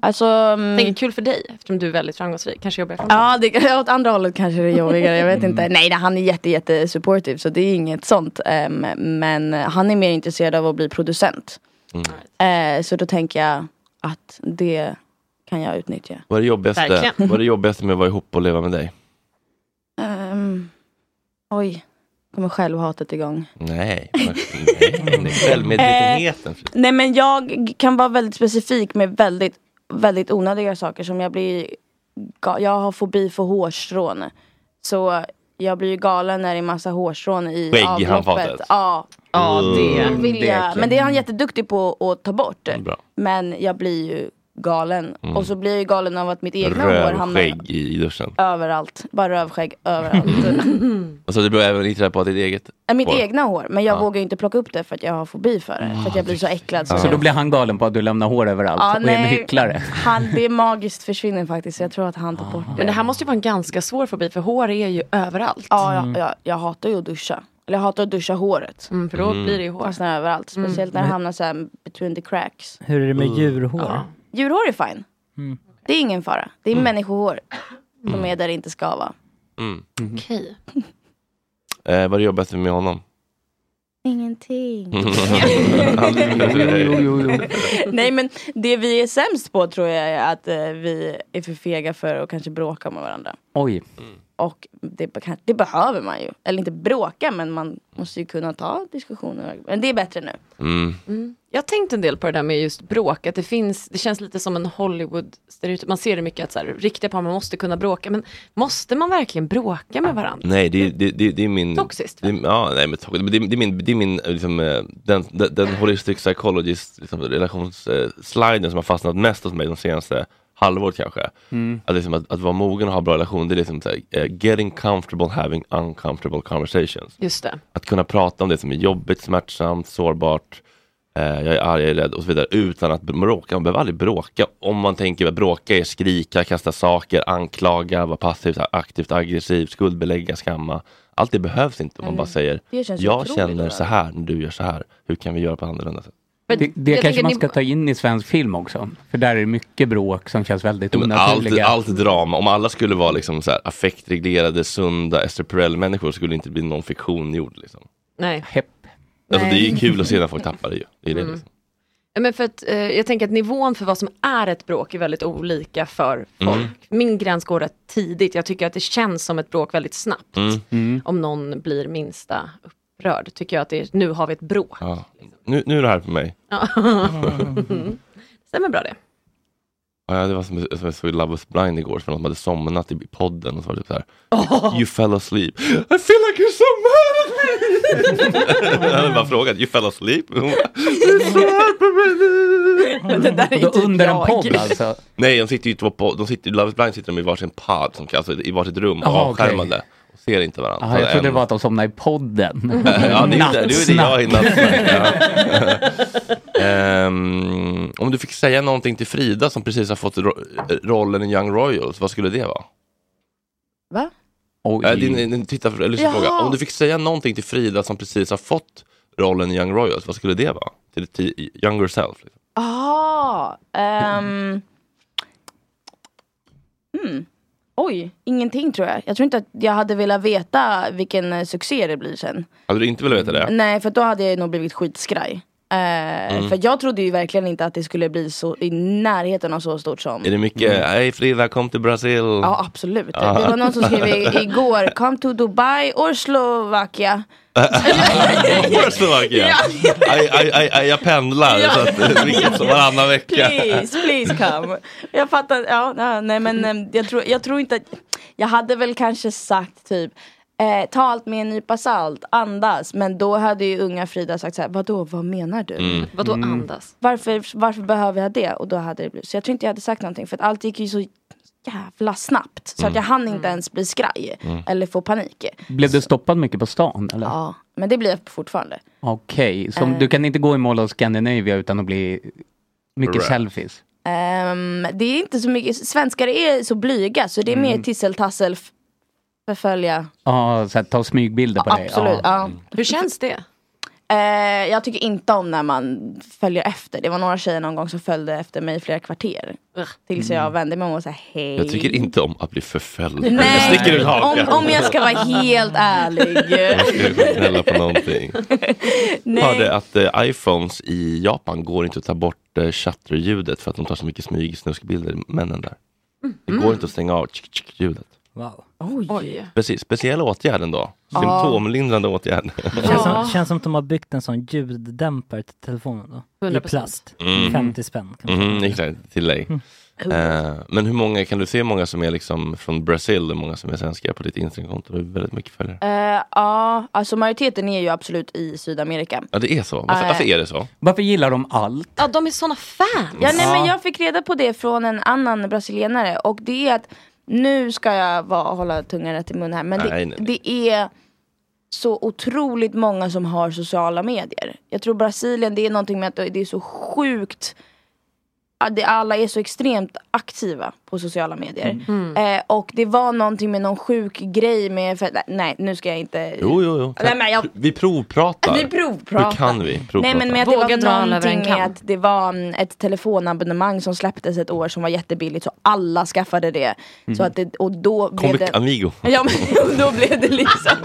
Alltså, mm,
Tänk kul för dig eftersom du är väldigt framgångsrik. Kanske jobbar jag
Ja, det, åt andra hållet kanske det är jobbigare. Jag vet inte. Nej, nej, han är jätte, jätte supportive så det är inget sånt. Ehm, men han är mer intresserad av att bli producent.
Mm.
Eh, så då tänker jag att det kan jag utnyttja.
Vad är det jobbigaste,
Verkligen.
vad är det jobbigaste med att vara ihop och leva med dig?
Ehm, oj, kommer självhatet igång.
Nej, men- nej, nej. självmedvetenheten.
Eh, Nej men jag kan vara väldigt specifik med väldigt, väldigt onödiga saker som jag blir ga- Jag har fobi för hårstrån. Så jag blir ju galen när det är massa hårstrån i
Skägg i
avloppet.
handfatet.
Ja.
Ja, det- Mm,
vill
det
jag.
är äckligt.
Men det är han jätteduktig på att ta bort.
Bra.
Men jag blir ju galen.
Mm.
Och så blir jag ju galen av att mitt egna hår hamnar
Rövskägg i duschen.
överallt. Bara rövskägg överallt.
Alltså det beror även inte på att ditt eget
Äh, Mitt
hår.
egna hår, men jag vågar ju inte plocka upp det för att jag har fobi för det. För att jag blir så äcklad.
Så Alltså, då blir han galen på att du lämnar hår överallt
Ja,
och är en
nej.
hycklare.
Han, det magiskt försvinner faktiskt. Jag tror att han tar bort
Men det här måste ju vara en ganska svår fobi för hår är ju överallt.
Ja, jag, jag, jag hatar ju att duscha. Eller jag hatar att duscha håret.
Mm, för då Mm. blir det ju hår. Mm.
Fastnar överallt. Speciellt när det hamnar så här between the cracks.
Hur är det med
uh,
Mm.
djurhår?
Djurhår är fine.
Mm.
Det är ingen fara. Det är
Mm.
människohår som är där det inte ska vara.
Mm.
Okej.
Eh, vad är det jobbigaste med honom?
Ingenting.
Jo, jo, jo.
Nej men det vi är sämst på tror jag är att eh, vi är för fega för att kanske bråka med varandra.
Oj.
Och det, be- kan- det behöver man ju. Eller inte bråka men man måste ju kunna ta diskussioner. Men det är bättre nu.
Mm.
Mm. Jag har tänkt en del på det där med just bråk, att det finns, det känns lite som en Hollywood-stereotyp. Man ser det mycket att så här, riktiga par, man måste kunna bråka, men måste man verkligen bråka med varandra?
Nej, det, är- det, det, det är min...
Toxiskt,
Det, är- ja, nej, men toxiskt. Men Det, är- det är min, det är min eh, liksom, eh, den, den, den holistic psychologist liksom, relationssliden som har fastnat mest hos mig de senaste halvåret kanske.
Mm.
Att, liksom, att, att vara mogen och ha bra relation, det är liksom så här, eh, getting comfortable having uncomfortable conversations.
Just det.
Att kunna prata om det som är jobbigt, smärtsamt, sårbart, eh, jag är arg, jag är rädd och så vidare utan att bråka. Man behöver aldrig bråka. Om man tänker att bråka är skrika, kasta saker, anklaga, vara passivt, aktivt, aggressiv, skuldbelägga, skamma. Allt det behövs inte om man
Mm.
bara säger
Det känns
jag
otroligt
känner
bra.
så här när du gör så här. Hur kan vi göra på annorlunda sätt?
Men
Det, det
jag
kanske
tänker
man
ni-
ska ta in i svensk film också. För där är det mycket bråk som känns väldigt
Men Allt,
onaturliga.
allt drama, om alla skulle vara liksom så här affektreglerade, sunda Esther Perel-människor skulle det inte bli någon fiktion gjord. Liksom.
Nej.
Alltså, det är ju
Nej.
kul att se när folk tappar det ju. Det är det,
Mm.
liksom.
Ja, Men för att, eh, jag tänker att nivån för vad som är ett bråk är väldigt olika för folk.
Mm.
Min gräns går rätt tidigt. Jag tycker att det känns som ett bråk väldigt snabbt.
Mm.
Om någon blir minsta upprörd tycker jag att det är, nu har vi ett bråk.
Ja. Nu, nu är det här på mig.
Ja. Stämmer bra det.
Ja, det var som, som jag såg i Love is blind igår, för någon som hade somnat i podden och så var det typ så här, You fell asleep. I feel like you're so mad at me! jag hade bara frågat, you fell asleep? Hon bara,
Det där är ju typ jag.
alltså.
Alltså.
Nej, de sitter ju i två podd, de sitter, i Love is blind sitter de i varsin pod, som, alltså i varsitt rum,
Jaha,
avskärmade. Och ser inte varandra.
Aha, jag trodde det var att de somnade i podden.
ja, det är ju det, det, är ju det jag hinner.
Nattsnack.
Ja. Ehm, om du fick säga någonting till Frida som precis har fått ro- rollen i Young Royals, vad skulle det vara?
Va?
Äh, din, din, titta, eller lyssna
Jaha.
fråga. Om du fick säga någonting till Frida som precis har fått rollen i Young Royals, vad skulle det vara? Till, till Younger Self? Liksom. Ah,
Jaha. ehm. hmm. Oj, ingenting tror jag. Jag tror inte att jag hade velat veta vilken eh, succé det blir sen.
Hade du inte velat veta det?
Nej, för då hade jag nog blivit skitskraj. Eh,
Mm.
För jag trodde ju verkligen inte att det skulle bli så i närheten av så stort som
Är det mycket, hej Frida kom till Brasil?
Ja absolut.
Ja.
Det var någon som skrev i- igår, come to Dubai or Slovakia.
Or Slovakia? Aj, aj, aj, aj, Jag pendlar, så att, vilket som varannan vecka.
Please, please come. Jag fattar, ja, ja, nej men eh, jag tror, jag tror inte att, jag hade väl kanske sagt typ Eh, ta allt med en nypa salt, andas. Men då hade ju unga Frida sagt såhär, vadå, vad menar du?
Mm. Vadå Mm. andas?
Varför, varför behöver jag det? Och då hade det blivit, så jag tror inte jag hade sagt någonting för att allt gick ju så jävla snabbt. Så
Mm.
att jag hann inte ens bli skraj
Mm.
eller få panik.
Blev du stoppad mycket på stan? Eller?
Ja, men det blir jag fortfarande.
Okej, så
Eh.
du kan inte gå i Mall of Scandinavia utan att bli mycket
Right.
selfies?
Ehm, det är inte så mycket, svenskar är så blyga så det är
Mm.
mer tisseltassel, f- förfölja.
Ja, så här, ta smygbilder på dig?
Absolut.
Ja.
Mm.
Ja. Hur känns det? Eh, jag tycker inte om när man följer efter. Det var några tjejer någon gång som följde efter mig i flera kvarter. Tills jag vände mig om och sa hej.
Mm. Jag tycker inte om att bli förföljd.
Nej.
Jag sticker ut
om,
hakan.
om jag ska vara helt ärlig.
Jag ska ju gnälla på någonting. Jag hörde att eh, iPhones i Japan går inte att ta bort eh, chatterljudet för att de tar så mycket smyg i snuskbilder, männen där. Det
Mm.
går inte att stänga av tsk, tsk, ljudet.
Wow.
Oj.
Precis, speciell åtgärd ändå.
Ja.
Symptomlindrande åtgärd.
Det känns,
Ja.
som, känns som att de har byggt en sån ljuddämpare till telefonen då. I
100%.
plast.
Mm.
50 spänn. kanske.
Mm, exakt, tillägg.
Mm.
Oh.
Eh, men hur många, kan du se hur många som är liksom från Brasil och hur många som är svenska på ditt Instagramkonto? Det är väldigt mycket följare.
Eh, ja, alltså majoriteten är ju absolut i Sydamerika.
Ja, det är så. Varför,
Eh.
varför är det så?
Varför gillar de allt?
Ja, de är såna fans. Ja, nej,
Ja.
men jag fick reda på det från en annan brasilianare och det är att nu ska jag vara, hålla tungan rätt i mun här men det,
Nej, nej,
det är så otroligt många som har sociala medier. Jag tror Brasilien, det är någonting med att det är så sjukt ja, det- alla är så extremt aktiva på sociala medier.
Mm.
Eh, och det var någonting med någon sjuk grej med, för, nej nu ska jag inte
Jo, jo, jo.
Eh, Nej, men jag-
Vi provpratar.
vi provpratar.
Hur kan vi provprata?
Nej men med att det
Våga dra
var
alla över en
någonting med
kam.
att det var mm, ett telefonabonnemang som släpptes ett år som var jättebilligt så alla skaffade det. Så
Mm.
att det och då blev
Comic
det...
Amigo.
Ja men då blev det liksom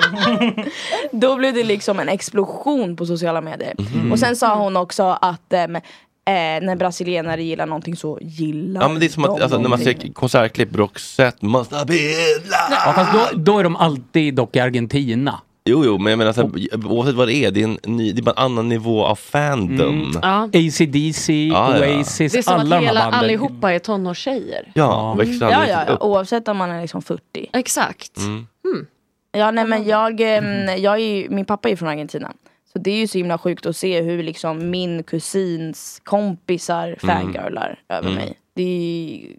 Då blev det liksom en explosion på sociala medier.
Mhm.
Och sen sa hon också att ehm, eh, när brasilianare gillar någonting så gillar
Ja men det är som att
de
alltså, när man
någonting.
ser konsertklipp, Roxette, must have been love.
Ja, fast då, då är de alltid dock i Argentina.
Jo jo, men jag menar så här, oavsett vad det är, det är, en ny, det är bara en annan nivå av fandom.
Mm. ACDC,
Ja, ja.
Oasis,
Det är som
alla
att
de här
hela
banden.
allihopa är tonårstjejer.
Ja, växer
Mm. Ja,
aldrig
ja, ja,
upp.
oavsett om man är liksom 40.
Exakt.
Mm.
Ja nej men jag, ehm,
Mhm.
jag är ju, min pappa är ju från Argentina. Så det är ju så himla sjukt att se hur liksom min kusins kompisar fangirlar över
Mm.
mig. Det är ju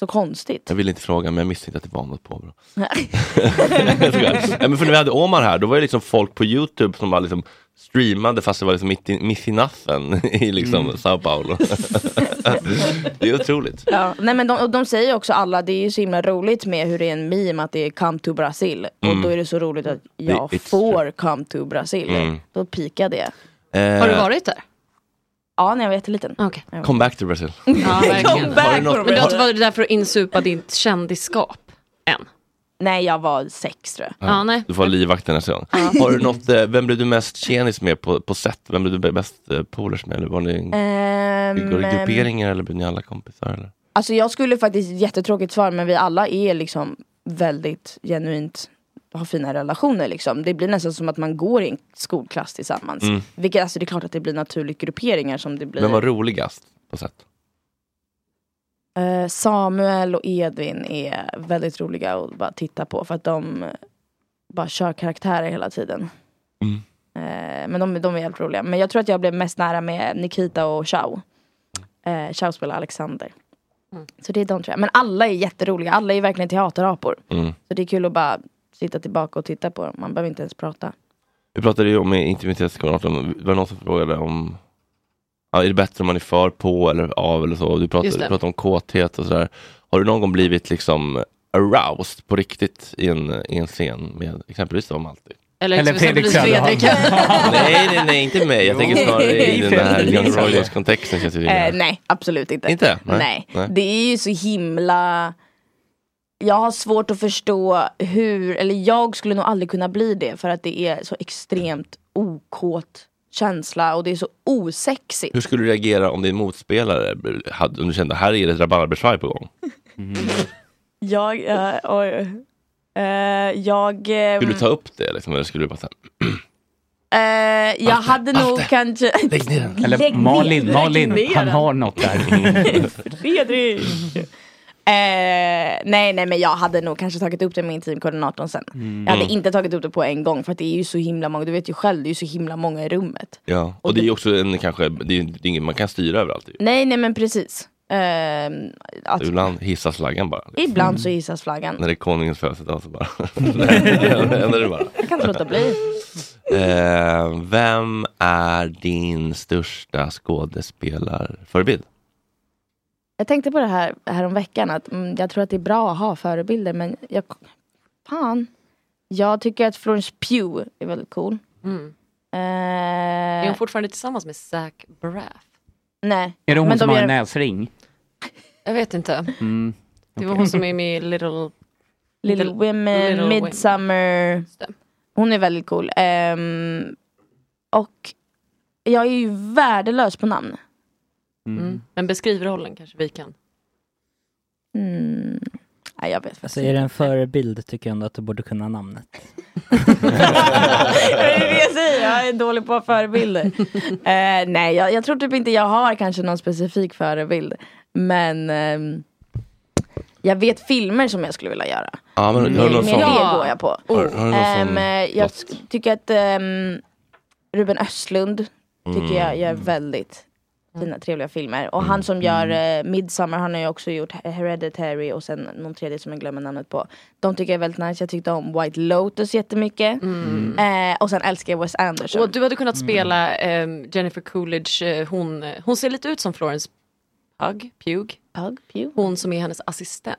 så konstigt.
Jag vill inte fråga men jag misstänkte att det var något påbrå. Jag skojar. Nej, men för när vi hade Omar här, då var det liksom folk på Youtube som var liksom streamade fast det var liksom mitt i, mitt i natten i liksom
Mm.
Sao Paulo. det är otroligt.
Ja, nej men de, och de säger ju också alla, det är ju så himla roligt med hur det är en meme att det är come to Brasil.
Mm.
Och då är det så roligt att jag
it's
får come to Brasil.
Mm.
Då pikar det.
Eh,
där? Ja, när jag var jätteliten.
Okay.
Come back to Brazil.
Mm.
Ja, verkligen.
back Har du
Ah,
något-
Men du har inte
har-
varit där för att insupa ditt kändisskap än?
Nej, jag var sex tror
jag. Ja, nej.
Du får ha livvakten nästa gång. Har du något, eh, vem blev du mest tjenis med på, på set? Vem blev du bäst eh, polers med? Eller var ni
Ehm,
Går Mm. det grupperingar eller blir ni alla kompisar? Eller?
Alltså jag skulle faktiskt, jättetråkigt svar, men vi alla är liksom väldigt genuint har fina relationer liksom. Det blir nästan som att man går i en skolklass tillsammans.
Mm.
Vilket, alltså det är klart att det blir naturligt grupperingar som det blir.
Vem var roligast på set?
Eh, Samuel och Edvin är väldigt roliga att bara titta på för att de bara kör karaktärer hela tiden. Eh, men de, de är helt roliga. Men jag tror att jag blev mest nära med Nikita och Chao. Eh, Chao spelar Alexander. Så det är de tror jag. Men alla är jätteroliga. Alla är verkligen teaterapor.
Mm.
Så det är kul att bara sitta tillbaka och titta på dem. Man behöver inte ens prata.
Vi pratade ju om intimitetsskoordinatorn, det var någon som frågade om ja, är det bättre om man är för, på eller av eller så? Du
Just
pratade,
det.
du pratade om kåthet och sådär. Har du någon gång blivit liksom aroused på riktigt i en, i en scen med exempelvis då Malte?
Eller, liksom
Eller
till exempel
Fredrik
Fredrik.
nej, nej, nej, inte mig. Jag tänker snarare i den här Young Royals kontexten. Känns det ju mer.
Eh, nej, absolut inte.
Inte? Nej.
Nej.
Nej.
Det är ju så himla... Jag har svårt att förstå hur, eller jag skulle nog aldrig kunna bli det för att det är så extremt okåt känsla och det är så osexigt.
Hur skulle du reagera om din motspelare hade, om du kände här är det ett rabarbersvaj på gång?
Jag, eh, oj, eh, jag... ehm,
Skulle du ta upp det liksom, eller skulle du bara säga
eh, jag hade nog kanske...
Lägg ner den.
Eller
Lägg ner-
Malin,
lägg
Malin,
ner
han
den.
har något där.
Fredrik! Eh, nej nej men jag hade nog kanske tagit upp det med intimkoordinatorn sen.
Mm.
Jag hade
Mm.
inte tagit upp det på en gång för att det är ju så himla många, du vet ju själv, det är ju så himla många i rummet.
Ja, och det är ju också en kanske, det är, ju- det är inget man kan styra överallt. typ. ju.
Nej nej men precis. Eh, att,
Ibland hissas flaggan bara.
ibland så hissas flaggan.
När det är konungens födelsedag så bara händer det bara.
Jag kan inte låta bli.
Eh, vem är din största skådespelarförebild?
Jag tänkte på det här häromveckan att mm, jag tror att det är bra att ha förebilder men jag, fan. Jag tycker att Florence Pugh är väldigt cool.
Mm.
Eh,
Är hon fortfarande tillsammans med Zach Braff?
nej.
Är det hon
Men
som
de
har
gör-
en näsring?
Jag vet inte.
Mm.
Det var hon som är med i Little...
Little Women,
Little Women.
Midsummer. Hon är väldigt cool. Ehm, och jag är ju värdelös på namn.
Mm. Men beskriv rollen kanske vi kan.
Mm. Nej, jag vet faktiskt
Alltså är det en förebild tycker jag ändå att du borde kunna namnet.
det är det jag säger, jag är dålig på förebilder. Eh, nej, jag, jag tror typ inte jag har kanske någon specifik förebild. Men ehm, jag vet filmer som jag skulle vilja göra.
Ja, men, har du
Mer
någon
mer
sån?
Mm, det går jag på.
Har, har du någon
Ehm,
sån?
eh, jag sk- tycker att ehm, Ruben Östlund
Mm. Mm.
tycker jag gör väldigt fina trevliga filmer. Och han som gör eh, Midsommar, han har ju också gjort Hereditary och sen någon tredje som jag glömmer namnet på. De tycker jag är väldigt nice. Jag tyckte om White Lotus jättemycket.
Mm.
Eh, och sen älskar jag Wes Anderson.
Och du hade kunnat
Mm.
spela ehm, Jennifer Coolidge, eh, hon, eh, hon ser lite ut som Florence Pug, Pugh. Hon som är hennes assistent.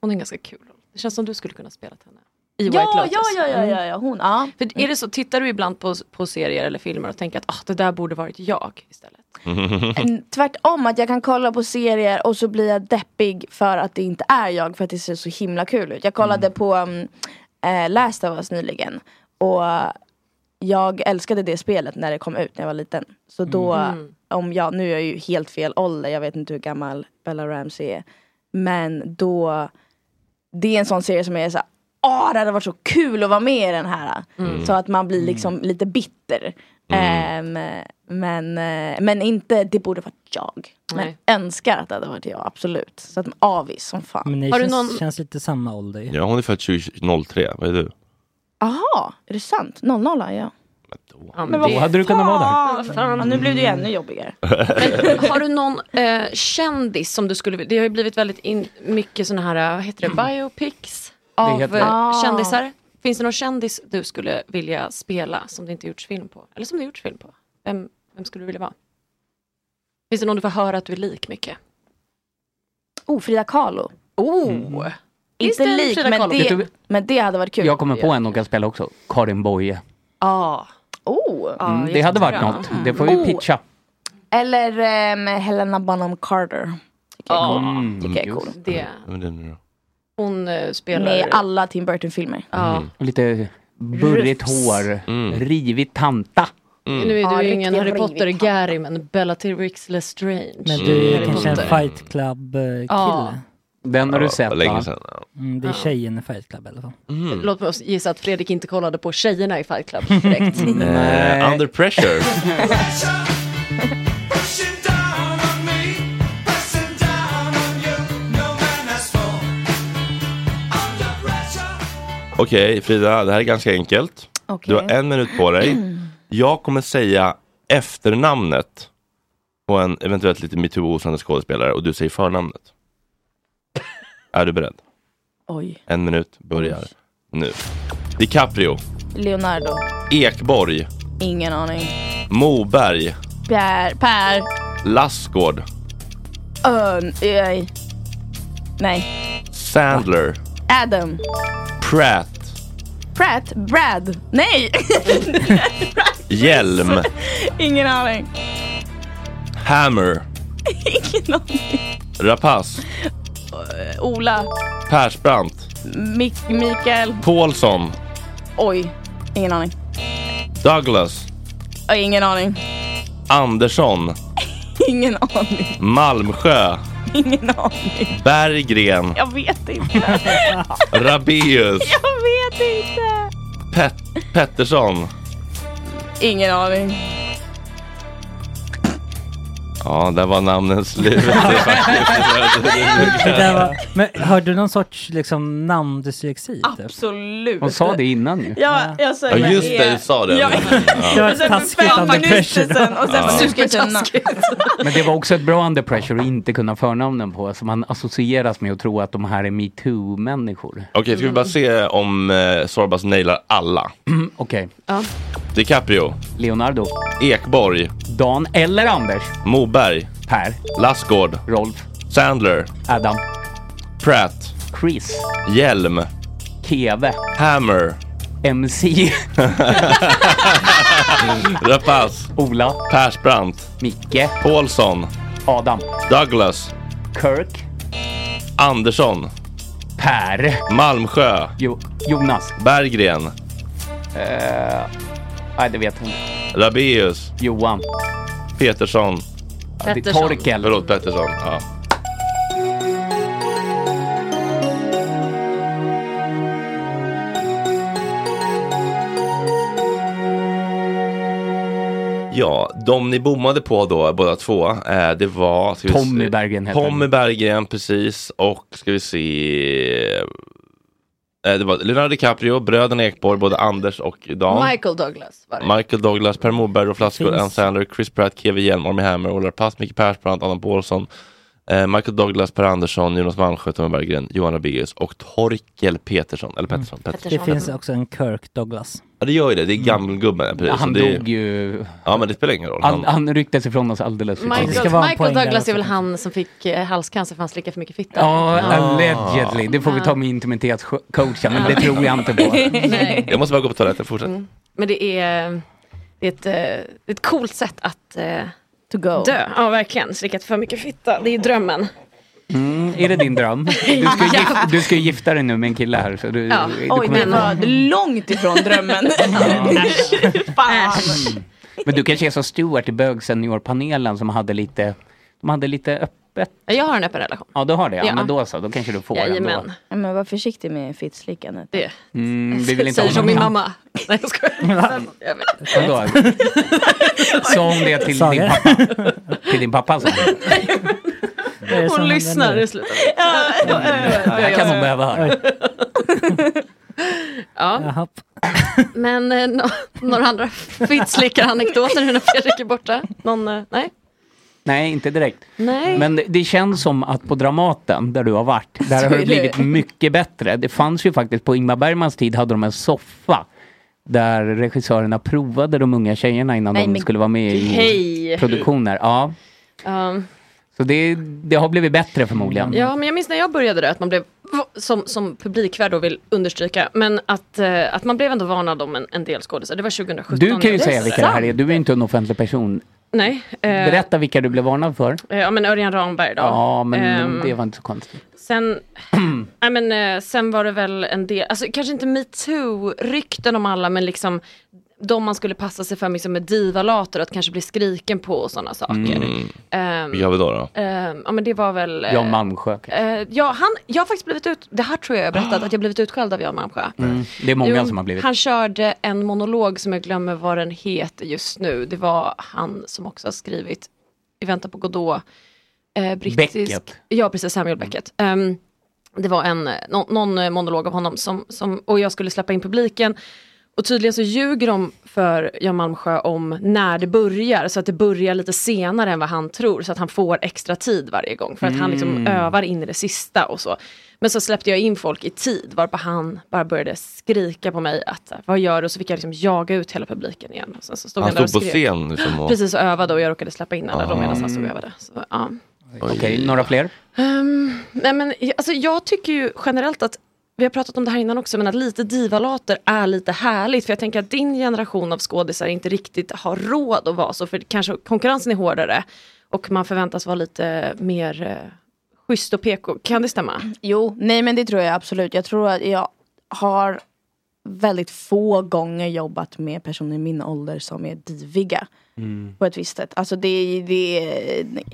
Hon är en ganska kul roll. Det känns som du skulle kunna spela henne. I
ja,
White Lotus. Mm.
ja, ja, ja, ja, ja, hon. Ja.
För är det så, tittar du ibland på, på serier eller filmer och tänker att ah, det där borde varit jag istället?
Mm, Tvärtom, att jag kan kolla på serier och så blir jag deppig för att det inte är jag för att det ser så himla kul ut. Jag kollade på um, eh, Last of Us nyligen och jag älskade det spelet när det kom ut när jag var liten. Så då,
Mm.
om jag, nu är jag ju helt fel ålder, jag vet inte hur gammal Bella Ramsey är. Men då, det är en sån serie som jag är såhär, åh det hade varit så kul att vara med i den här.
Mm.
Så att man blir liksom lite bitter. Ehm, men, eh, men inte, det borde varit jag. Men
Nej.
önskar att det hade varit jag, absolut. Så att avis som fan.
Men ni
Har du
känns,
någon-
känns lite samma ålder ju.
Ja, hon är född 2003, vad är du?
Aha, är det sant? 00 är jag.
men
vad
då hade du kunnat vara där.
fan! Ja, nu blev det ju ännu jobbigare.
Men har du någon eh, kändis som du skulle vilja, det har ju blivit väldigt in, mycket sådana här, vad heter det, biopics av
heter-
eh,
Ah.
kändisar. Finns det någon kändis du skulle vilja spela som det inte gjorts film på? Eller som det gjorts film på? Vem, vem skulle du vilja vara? Finns det någon du får höra att du är lik mycket?
Oh, Frida Kahlo.
Oh! Finns
Inte
det en
lik,
Frida
men
Kahlo? Vet
det,
du-
men det hade varit kul.
Jag kommer på en hon kan spela också, Karin Boye.
Ja.
Oh.
Mm, det hade varit något, det får vi
Oh,
pitcha.
Eller ehm, Helena Bonham Carter. Tycker jag är cool.
Mm,
Tycker Ah, jag är cool.
Det.
Vem är det nu då?
Hon eh, spelar...
Med alla Tim Burton-filmer.
Och lite burrigt
Rups.
hår, rivigt tanta.
Nu är du
Ja,
ju ingen
riktigt
Harry
rivig
Potter Gary men Bellatrix Lestrange.
Men du
Mm.
är
Harry
kanske en
Potter.
fight club-kille?
Ja.
Den har du sett
länge
va?
sedan. Mm.
Mm, det är tjejen i fight club i alla fall.
Mm. Låt oss gissa att Fredrik inte kollade på tjejerna i Fight Club direkt.
Eh, under pressure.
Pressure, pressure down on me, pressing down on you.
Okej Frida, det här är ganska enkelt.
Okej.
Du har en minut på dig. Jag kommer säga efternamnet på en eventuellt lite metoo-osande skådespelare och du säger förnamnet. är du beredd?
Oj.
En minut börjar nu. DiCaprio,
Leonardo.
Ekborg,
Ingen aning.
Moberg,
Per. Per.
Lassgård,
Örn. Nej. Nej.
Sandler,
Adam.
Pratt,
Pratt. Brad. Nej.
Hjelm,
Ingen aning.
Hammer,
Ingen aning.
Rapace,
Eh, Ola.
Persbrandt,
Mik- Mikael.
Paulsson,
Oj. Ingen aning.
Douglas,
Ö, Ingen aning.
Andersson,
Ingen aning.
Malmsjö,
Ingen aning.
Berggren,
Jag vet inte.
Rabeus,
Jag vet inte.
Pet Pettersson.
Ingen aning.
Ja, där var namnen slut.
Det där var, men har du någon sorts liksom namndyslexi?
Absolut.
Hon sa det innan ju.
Ja, jag sa
Ja, just
är-
det, du sa det.
Ja.
Det var
Och sen
taskigt
fem
under
minuter
pressure.
sen, Och sen
Ja.
supertaskigt.
Men det var också ett bra under pressure att inte kunna förnamnen på, så man associeras med att tro att de här är metoo-människor.
Okej, ska vi bara se om eh, Sorbas nailar alla.
Okej.
DiCaprio.
Leonardo.
Ekborg.
Dan eller Anders.
Moberg.
Per.
Lassgård.
Rolf.
Sandler.
Adam.
Pratt.
Chris.
Hjelm.
Keve.
Hammer.
MC.
Rapace.
Ola.
Persbrandt.
Micke.
Paulsson.
Adam.
Douglas.
Kirk.
Andersson.
Per.
Malmsjö.
Jonas.
Berggren.
Eh, nej, det vet jag inte.
Rabeus.
Johan.
Petersson.
Ja, det är Pettersson. Torkel.
Förlåt, Pettersson. Ja. Ja, de ni bommade på då, båda två, eh, det var... ska vi
Tommy
se-
Berggren heter
Tommy Berggren, precis. Och ska vi se... eh, Det var Leonardo DiCaprio, bröderna Ekborg, både Anders och Dan.
Michael Douglas var det.
Michael Douglas, Per Morberg, Rolf Lassgård,
Finns.
Ann Sandler, Chris Pratt, Kevin Hjelm, Armie Hammer, Ola Pass, Micke Persbrandt, Adam Paulsson, eh, Michael Douglas, Per Andersson, Jonas Malmsjö, Tommy Berggren, Johan Rabaeus och Torkel Petersson.
Mm.
Eller Pettersson. Pettersson.
Det finns också en Kirk Douglas.
Ja, det gör ju det. Det är gammelgubben. ja, Precis.
Mm. Han
Så det är-
dog ju...
Ja, men det spelar ingen roll.
Han, han rycktes ifrån oss alldeles för tidigt.
Michael, Michael Douglas är väl han som fick eh, halscancer för han slickade för mycket fitta?
Ja, allegedly. Det får vi
Ja.
ta med intimitetscoachen, men det tror jag inte på.
Nej.
Jag måste bara gå på toaletten, fortsätt.
Men det är, det är, ett, eh, det är ett coolt sätt att eh,
to go.
dö. Ja, verkligen. Slickat för mycket fitta. Det är drömmen.
Mm, är det din dröm? Du ska, ju gif- du ska ju gifta dig nu med en kille här. Så du,
Ja.
du
Oj,
kommer-
det var långt ifrån drömmen. Fan.
Men du kanske är som Stuart i Bög seniorpanelen som hade lite, de hade lite öppet.
Jag har en öppen relation.
Ja, du har det. Ja,
Ja.
men då så. Då kanske du får ändå.
Ja, Men var försiktig med fittslickandet.
Det
Mm, vi vill inte
säger
ha
som
någon-
min mamma. Nej, jag skojar. Jag vet.
Vadå? Sa hon det till din
Saga?
pappa? Till din pappa? sa hon.
är som
Hon
händer
lyssnar
nu?
i slutet. Ja, ja, ja,
Det här kan
ja.
hon behöva höra.
Ja. Men eh, nå- några andra fittslickar-anekdoter nu när Fredrik är borta? Någon, eh, nej?
Nej, inte direkt.
Nej.
Men det- det känns som att på Dramaten, där du har varit, där
Så är
har det
det.
blivit mycket bättre. Det fanns ju faktiskt, på Ingmar Bergmans tid hade de en soffa där regissörerna provade de unga tjejerna innan
Nej,
de
men
skulle vara med i
hej.
produktioner. Ja.
Um,
Så det, det har blivit bättre förmodligen.
Ja, men jag minns när jag började det, att man blev, som, som publikvärd då vill understryka, men att, eh, att man blev ändå varnad om en, en del skådisar. Det var 2017.
Du kan ju
jag
säga
började.
vilka det här är, du är ju inte en offentlig person.
Nej. eh,
Berätta vilka du blev varnad för.
eh, Ja, men Örjan Ramberg då.
Ja, men
Ehm,
det var inte så konstigt.
Sen, nej men, eh, sen var det väl en del, alltså kanske inte metoo-rykten om alla, men liksom de man skulle passa sig för liksom med divalater, att kanske bli skriken på och sådana saker.
Mm.
Ehm,
Vilka har vi då? då?
ehm, ja men det var väl... eh,
Jan Malmsjö.
Eh, ja, han, jag har faktiskt blivit ut, det här tror jag jag har berättat, att jag blivit utskälld av Jan Malmsjö.
Mm. Det är många
Jo,
som har blivit.
Han körde en monolog som jag glömmer vad den heter just nu. Det var han som också har skrivit I väntan på Godot. Eh, brittisk,
Beckett. Mm.
Ja, precis, Samuel Beckett. Ehm, Det var en, eh, nå- någon eh, monolog av honom som, som, och jag skulle släppa in publiken. Och tydligen så ljuger de för Jan Malmsjö om när det börjar, så att det börjar lite senare än vad han tror, så att han får extra tid varje gång, för att han liksom
Mm.
övar in i det sista och så. Men så släppte jag in folk i tid, varpå han bara började skrika på mig att vad gör du? Och så fick jag liksom jaga ut hela publiken igen. Och sen så stod
Han
där och
stod på
skrek.
scen liksom och-
Precis, och övade och jag råkade släppa in alla
Ah.
då medan han stod och övade. Så, ja.
Okej, några fler?
Ehm, nej men, jag- alltså, jag tycker ju generellt att, vi har pratat om det här innan också, men att lite divalater är lite härligt. För jag tänker att din generation av skådisar inte riktigt har råd att vara så, för kanske konkurrensen är hårdare och man förväntas vara lite mer eh, schysst och PK. Kan det stämma?
Jo, nej men det tror jag absolut. Jag tror att jag har väldigt få gånger jobbat med personer i min ålder som är diviga. på ett visst sätt. Alltså det, är- det, är- nej.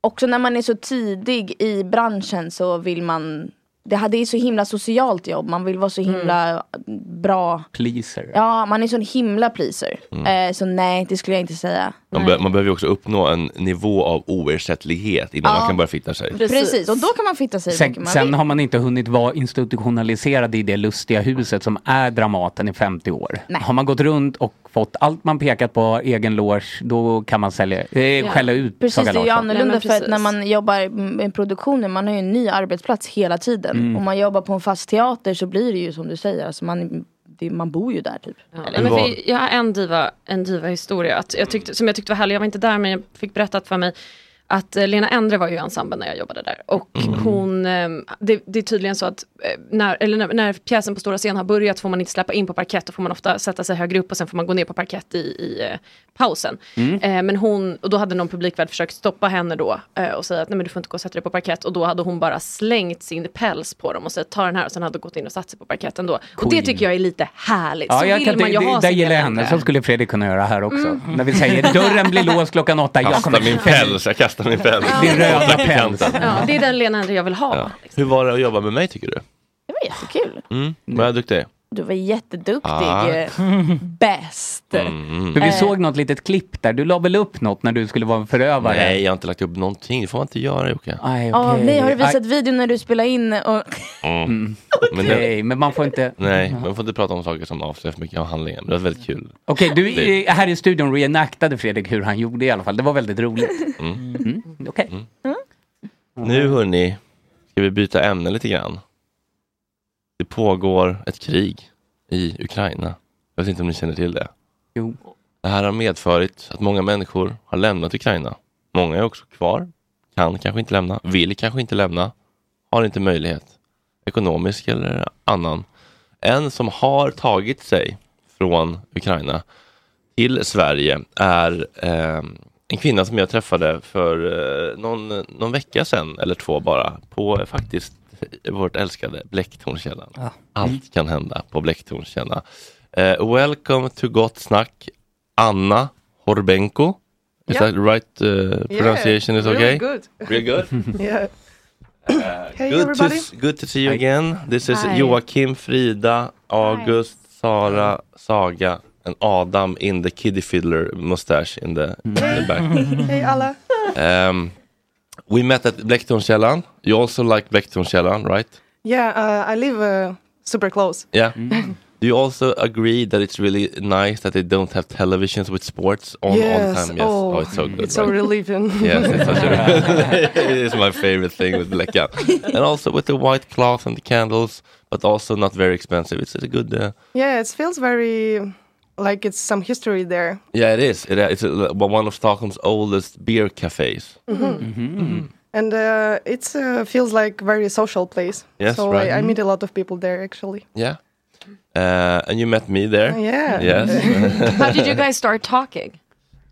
också när man är så tidig i branschen så vill man det här- det är så himla socialt jobb, man vill vara
Mm.
så himla bra.
Pleaser.
Ja, man är sån himla pleaser.
Mm.
Eh, så nej, det skulle jag inte säga.
Man, be- man behöver ju också uppnå en nivå av oersättlighet innan
Ja.
man kan börja fitta sig.
Precis. och då kan man fitta sig hur mycket
Sen,
man
sen
vill.
har man inte hunnit vara institutionaliserad i det lustiga huset som är Dramaten i 50 år.
Nej.
Har man gått runt och fått allt man pekat på, egen loge, då kan man sälja, eh,
Ja.
skälla ut
Precis,
Saga
det är ju
Larsson.
annorlunda
Nej, men
för att
precis.
när man jobbar med produktioner, man har ju en ny arbetsplats hela tiden.
Mm.
Om man jobbar på en fast teater så blir det ju som du säger, alltså man, det, man bor ju där typ.
Ja, men för jag har en diva, en diva historia att jag tyckte, som jag tyckte var härlig. Jag var inte där men jag fick berättat för mig att eh, Lena Endre var ju i ensemblen när jag jobbade där. Och hon, eh, det, det är tydligen så att eh, när, eller när, när pjäsen på stora scen har börjat får man inte släppa in på parkett. Då får man ofta sätta sig högre upp och sen får man gå ner på parkett i, i eh, pausen.
Mm.
Eh, men hon, och då hade någon publikvärd försökt stoppa henne då eh, och säga att nej men du får inte gå och sätta dig på parkett. Och då hade hon bara slängt sin päls på dem och sagt ta den här och sen hade gått in och satt sig på parketten då. Och det
Queen.
tycker jag är lite härligt.
Ja,
så
jag
vill
kan,
man ju
det,
ha
det, det
sin
gillar jag
lilla
henne,
ändra.
så skulle Fredrik kunna göra här också.
Mm.
När vi säger dörren blir låst klockan åtta, jag
Kasta
kommer...
min päls, jag kastar min päls.
Din röda
Tack i
päls.
kanten.
Ja, det är den Lena Endre jag vill ha.
Ja. Hur var det att jobba med mig tycker du?
Det var jättekul.
Mm. Var jag duktig?
Du var jätteduktig.
Ah.
eh, Bäst.
Mm,
För vi
Eh,
såg något litet klipp där, du la väl upp något när du skulle vara en förövare?
Nej, jag har inte lagt upp någonting. Det får man inte göra Jocke.
Aj,
Ja,
okej.
nej, har du
Aj.
visat videon när du spelar in? Och,
Mm. Men det-
Nej, men man får inte... Mm.
Nej, man får inte prata om saker som avslöjar för mycket av handlingen. Men det var väldigt kul.
Okej, du
Det-
eh, här i studion reenactade Fredrik hur han gjorde i alla fall. Det var väldigt roligt.
Mm.
Mm. Okej. Mm.
Nu hörni, ska vi byta ämne lite grann. Det pågår ett krig i Ukraina. Jag vet inte om ni känner till det.
Jo.
Det här har medfört att många människor har lämnat Ukraina. Många är också kvar, kan kanske inte lämna, vill kanske inte lämna, har inte möjlighet, ekonomisk eller annan. En som har tagit sig från Ukraina till Sverige är eh, en kvinna som jag träffade för eh, någon, någon vecka sedan eller två bara på eh, faktiskt vårt älskade Blecktornskällan.
Ja. Mm.
Allt kan hända på Blecktornskällan. Eh, welcome to Gott Snack, Anna Horbenko. Is
Ja.
that right uh, pronunciation is okay?
Really good.
Real good? Uh,
yeah. hey
good, to,
everybody.
s- good to see you again. This is
Hi.
Joakim, Frida, August, Sara, Saga and Adam in the kiddie fiddler mustache in the, in the back.
hey Mm. alla.
um, we met at Blecktornskällan. You also like Blecktornskällan, right?
Yeah, uh, I live uh, super close.
Yeah.
Mm.
Do you also agree that it's really nice that they don't have televisions with sports on all the time? Yes.
Oh,
it's so good.
It's
right?
so relieving.
yes, it's such a, it is my favorite thing with Blecka. And also with the white cloth and the candles, but also not very expensive. It's, a good. Uh,
yeah, it feels very like it's some history there.
yeah, it is. It, it's a, one of Stockholm's oldest beer cafes.
Mhm.
Mm. Mm-hmm.
And uh, it uh, feels like very social place.
Yes,
so
right. Mm-hmm.
I, I meet a lot of people there actually.
Yeah. Uh, and you met me there.
Oh, Yeah.
Yes.
How did you guys start talking?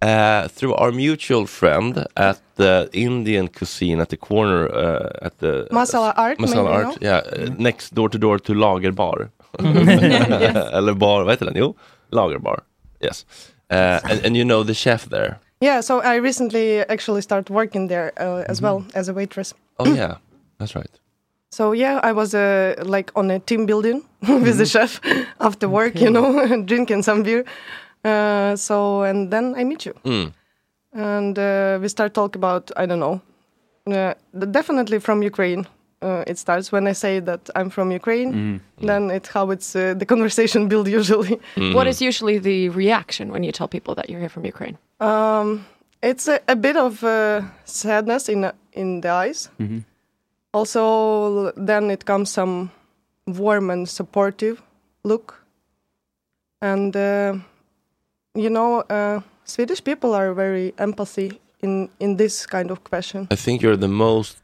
Uh, through our mutual friend at the Indian cuisine at the corner uh, at the
Masala Art,
Masala
maybe,
Art,
no?
yeah, uh,
Mm-hmm.
next door to door to Lagerbar.
Yes.
Eller bar, vad heter den? Jo, Lagerbar. Yes. Uh, and, and you know the chef there.
Yeah, so I recently actually started working there uh, as
Mm-hmm.
well as a waitress.
Oh yeah, that's right.
So yeah, I was uh, like on a team building with the chef after work, you know, drinking some beer. Uh, so and then I meet you,
Mm.
and uh, we start talk about I don't know, uh, d- definitely from Ukraine uh, it starts when I say that I'm from Ukraine.
Mm.
Then it's how it's uh, the conversation build usually.
What is usually the reaction when you tell people that you're here from Ukraine?
Um, it's a, a bit of uh, sadness in uh, in the eyes.
Mhm.
Also, then it comes some warm and supportive look, and uh, you know, uh, Swedish people are very empathy in in this kind of question.
I think you're the most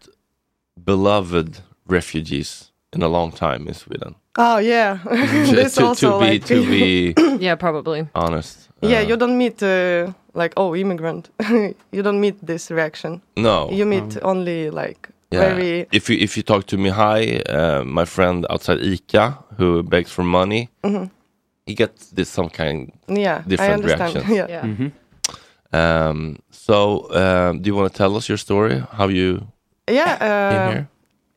beloved refugees in a long time in Sweden. Mm-hmm.
Oh yeah, this
to,
also
to be
like
to be
yeah, probably
honest.
yeah. You don't meet uh, like oh immigrant. you don't meet this reaction.
No.
you meet only like
Yeah.
very
If you if you talk to Mihai, uh, my friend outside ICA who begs for money,
Mhm.
he gets this some kind
Yeah, I
different
understand.
reactions.
Yeah. Yeah. Mhm.
Um, so um, do you want to tell us your story? How you?
Yeah.
Came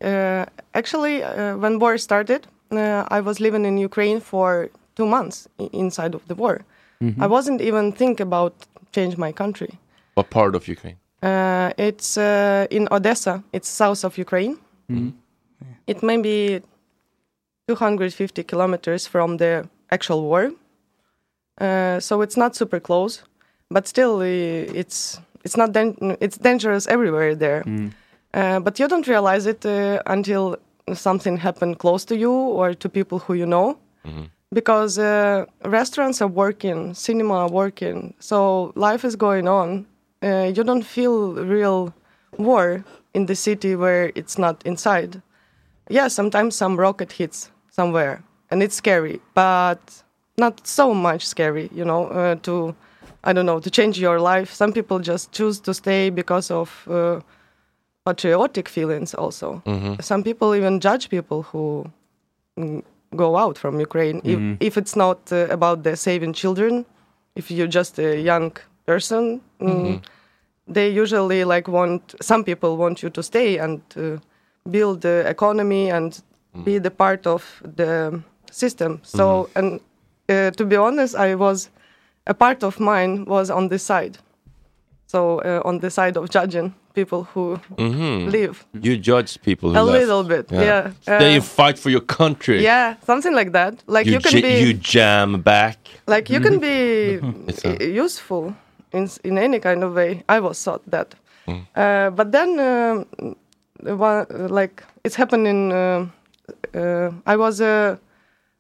Uh, uh, actually, uh, when war started, uh, I was living in Ukraine for two months i- inside of the war.
Mhm.
I wasn't even think about change my country.
What part of Ukraine?
Uh, it's uh, in Odessa. It's south of Ukraine.
Mhm.
It may be 250 kilometers from the actual war, uh, so it's not super close. But still, uh, it's it's not dan- it's dangerous everywhere there. Uh, but you don't realize it uh, until something happened close to you or to people who you know. Mm-hmm. Because uh, restaurants are working, cinema are working, so life is going on. Uh, you don't feel real war in the city where it's not inside. Yeah, sometimes some rocket hits somewhere, and it's scary, but not so much scary, you know, uh, to, I don't know, to change your life. Some people just choose to stay because of uh, patriotic feelings also.
Mm-hmm.
Mhm.
Some people even judge people who mm, go out from Ukraine if,
Mhm.
if it's not uh, about the saving children. If you're just a young person, mm,
Mm-hmm.
mm-hmm.
Mhm.
they usually like want some people want you to stay and uh, build the economy and be the part of the system. So and uh, to be honest, I was a part of mine was on this side. So uh, on the side of judging people who
Mhm.
live.
You judged people who
A
left.
little bit, yeah.
they
Uh,
fight for your country.
Yeah, something like that. Like you, can
ja-
be
you jam back.
like you can be
Mm-hmm. It's uh,
i- useful in s- in any kind of way. I was taught that,
Mm.
uh, but then um, one, like it's happened in uh, uh, I was uh,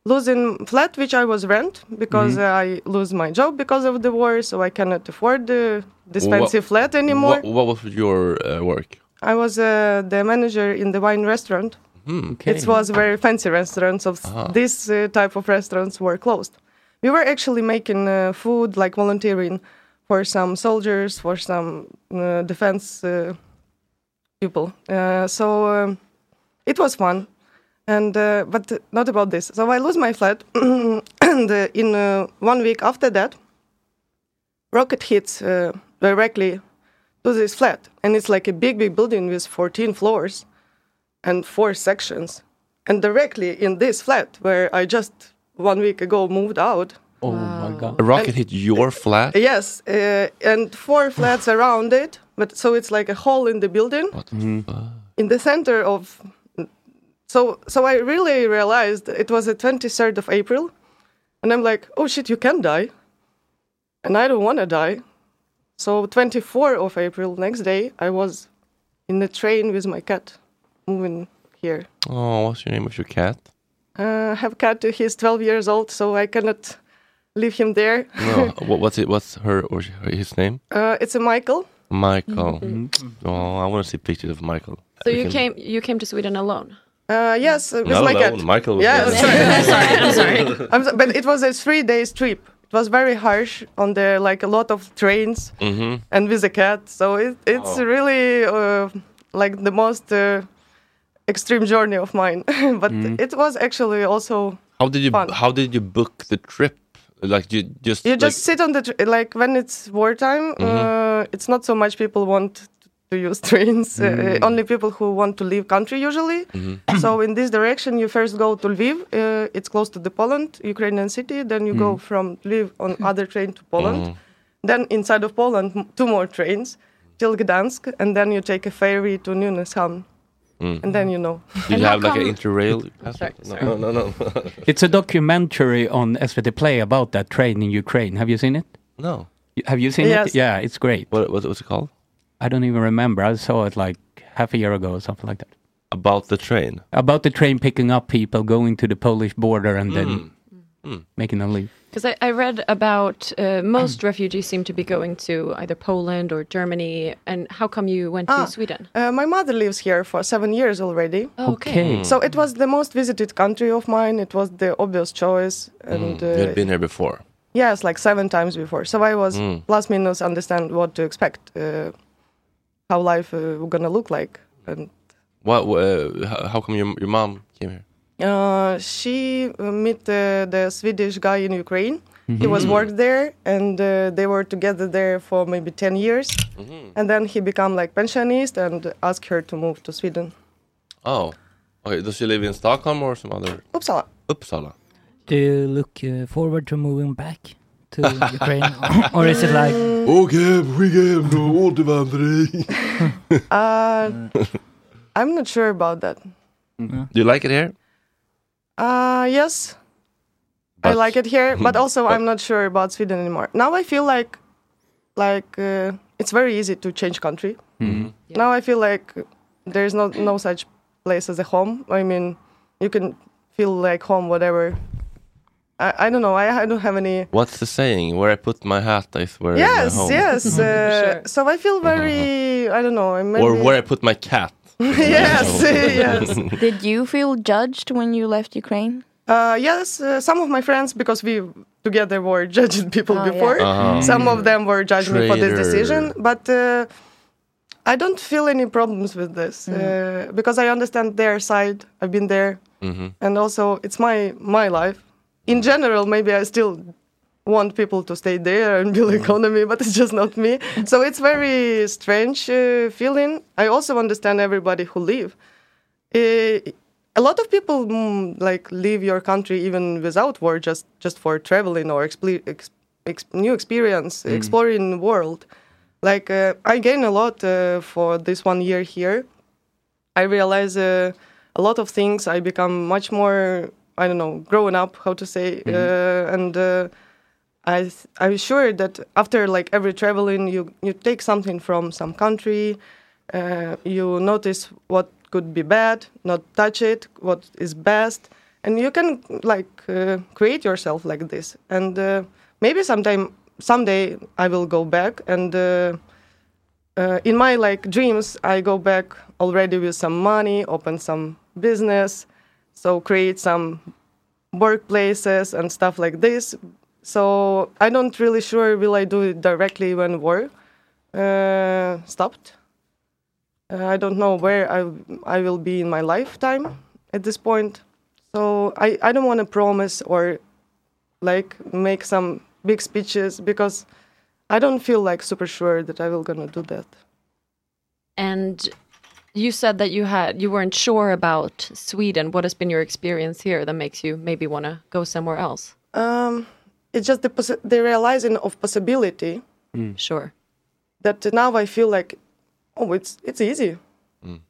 losing flat which I was rent because uh,
Mhm.
I lose my job because of the war, so I cannot afford the
Wha-
expensive flat anymore.
What, what was your uh, work?
I was uh, the manager in the wine restaurant.
Hmm.
It was very fancy restaurants. So s-
Ah.
this uh, type of restaurants were closed. We were actually making uh, food, like volunteering for some soldiers, for some uh, defense uh, people. Uh, so um, it was fun, and uh, but not about this. So I lose my flat, and uh, in uh, one week after that, rocket hits uh, directly to this flat, and it's like a big, big building with 14 floors and four sections. And directly in this flat where I just one week ago moved out.
Oh my god.
A rocket hit your flat?
Yes, uh, and four flats around it. But so it's like a hole in the building in the center of. So so I really realized it was the 23rd of April, and I'm like, oh shit, you can die, and I don't want to die. So 24 of April next day, I was in the train with my cat, moving here.
Oh, what's your name of your cat?
Uh, have cat. He's 12 years old, so I cannot leave him there.
No, what, what's it? What's her or sh- her- his name?
Uh, it's a Michael.
Michael.
Mhm.
Oh, I want to see pictures of Michael.
Mm-hmm. So
We
you came
can-
you came to Sweden alone.
Uh, yes, uh, with
Not
my
alone,
cat.
Michael was
Yeah,
there.
I'm sorry.
I'm sorry. I'm
sorry. I'm so- but it was a three days trip. It was very harsh on the like a lot of trains
Mhm.
and with a cat. So it, it's
Oh.
really uh, like the most uh, extreme journey of mine. but
Mhm.
it was actually also
How did you
fun.
How did you book the trip? Like you just
You
like- Mm-hmm.
just sit on the tr- like when it's wartime. Uh, it's not so much people want to use trains.
Mm.
Uh, only people who want to leave country usually.
Mhm.
so in this direction, you first go to Lviv. Uh, it's close to the Poland, Ukrainian city. Then you go
Mm.
from Lviv on other train to Poland.
Mm.
Then inside of Poland, m- two more trains till Gdansk, and then you take a ferry to Nynäshamn.
Mm.
and then you know.
Do
And
you
how
have like an
come-
interrail? passport?
sorry.
No, no, no. no.
It's a documentary on SVT Play about that train in Ukraine. Have you seen it?
No.
You- Have you seen
Yes.
it? Yeah, it's great.
What, what what's it called?
I don't even remember. I saw it like half a year ago or something like that.
About the train.
About the train picking up people going to the Polish border and
Mm.
then
Mm.
making them leave.
Because I, I read about uh, most
Mm.
refugees seem to be going to either Poland or Germany. And how come you went
Ah,
to Sweden?
Uh, my mother lives here for seven years already.
Okay. Okay.
So it was the most visited country of mine. It was the obvious choice, and
Mm. You'd
uh,
been here before.
yes, like seven times before. So I was
Mm.
plus minus understand what to expect, uh, how life uh, gonna look like, and
What? Uh, how, how come your your mom came here?
Uh, she uh, met uh, the Swedish guy in Ukraine. He was
Mhm.
worked there, and uh, they were together there for maybe ten years.
Mm-hmm.
And then he became like pensionist and asked her to move to Sweden,
Oh. Okay. Does she live in Stockholm or some other?
Uppsala.
Uppsala.
Do you look uh, forward to moving back to Ukraine? or, or is it like...
Åk hem, skicka hem då, återvandring!
Uh, I'm not sure about that.
Mm-hmm. Do you like it here?
Uh, yes, I
But-
like it here, but also
But-
I'm not sure about Sweden anymore. Now I feel like, like uh, it's very easy to change country. Now I feel like there's no no such place as a home. I mean, you can feel like home whatever. I, I don't know. I, I don't have any.
What's the saying? Where I put my hat is where
yes,
my home.
yes. Uh, So I feel very. I don't know. Maybe,
Or where I put my cat.
yes, yes.
Did you feel judged when you left Ukraine?
Uh, yes, uh, some of my friends because we together were judging people
Oh, yeah.
before.
Uh-huh.
Some of them were judging me for this
Traitor.
decision, but uh, I don't feel any problems with
Mm.
this uh, because I understand their side. I've been there.
Mhm.
Mm-hmm.
and also it's my my life in general maybe i still want people to stay there and build economy but it's just not me so it's very strange uh, feeling i also understand everybody who leave Eh, a lot of people mm, like leave your country even without war just just for traveling or expl- ex- ex- new experience
Mm.
exploring the world like uh, i gain a lot uh, for this one year here I realize uh, a lot of things. I become much more, I don't know, grown up, how to say. Uh, and uh, I th- I'm sure that after like every traveling, you you take something from some country. Uh, you notice what could be bad, not touch it. What is best, and you can like uh, create yourself like this. And uh, maybe sometime someday I will go back and. Uh, uh, in my like dreams i go back already with some money open some business so create some workplaces and stuff like this so i don't really sure will i do it directly when war uh, stopped uh, i don't know where I, I will be in my lifetime at this point so i, I don't want to promise or like make some big speeches because I don't feel like super sure that I will gonna do that.
And you said that you had you weren't sure about Sweden. What has been your experience here that makes you maybe want to go somewhere else?
Um, it's just the possi- the realizing of possibility
Mm.
Sure.
that now I feel like, oh, it's it's easy.
Mm.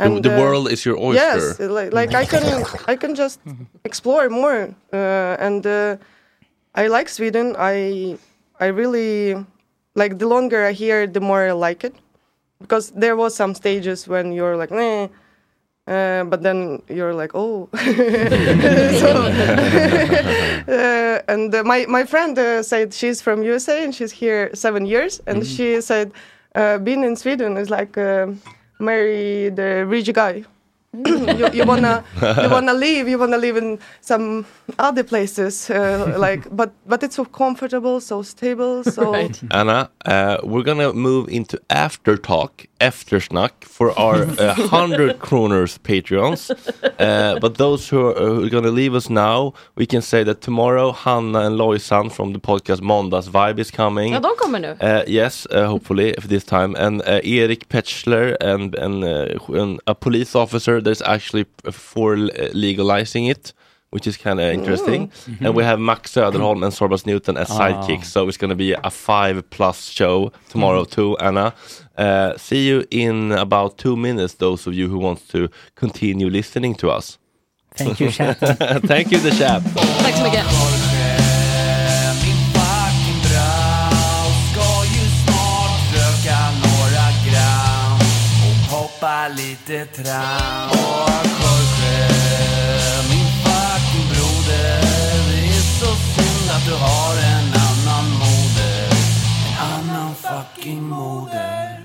uh,
The, the world is your oyster. Mm.
Yes, like, like I can I can just explore more, uh, and uh, I like Sweden. I I really like the longer I hear, the more I like it, because there was some stages when you're like, nah, uh, but then you're like, oh. so, uh, and uh, my my friend uh, said she's from USA and she's here seven years, and she said uh, being in Sweden is like. Uh, marry the rich guy. you, you wanna you wanna live you wanna live in some other places uh, like but but it's so comfortable so stable so
Anna, uh, we're gonna move into after talk, after snack for our uh, hundred kroners Patreons. Uh, but those who are, who are gonna leave us now, we can say that tomorrow Hanna and Lojsan from the podcast Måndags Vibe is coming.
Ja, de kommer nu.
Uh, yes, uh, hopefully for this time. And uh, Erik Petschler and, and, uh, who- and a police officer that is actually f- for l- legalizing it. which is kind of interesting.
Mm.
And we have Max Söderholm and Sorbas Newton as
Ah.
sidekicks. So it's going to be a five plus show tomorrow
Mm-hmm.
too, Anna. Uh, see you in about two minutes, those of you who want to continue listening to us.
Thank you, chat.
Thank you, the chap.
Tack så mycket.
Hoppa lite tram Och Jorge, min fucking broder Det är så synd att du har en annan moder En annan fucking moder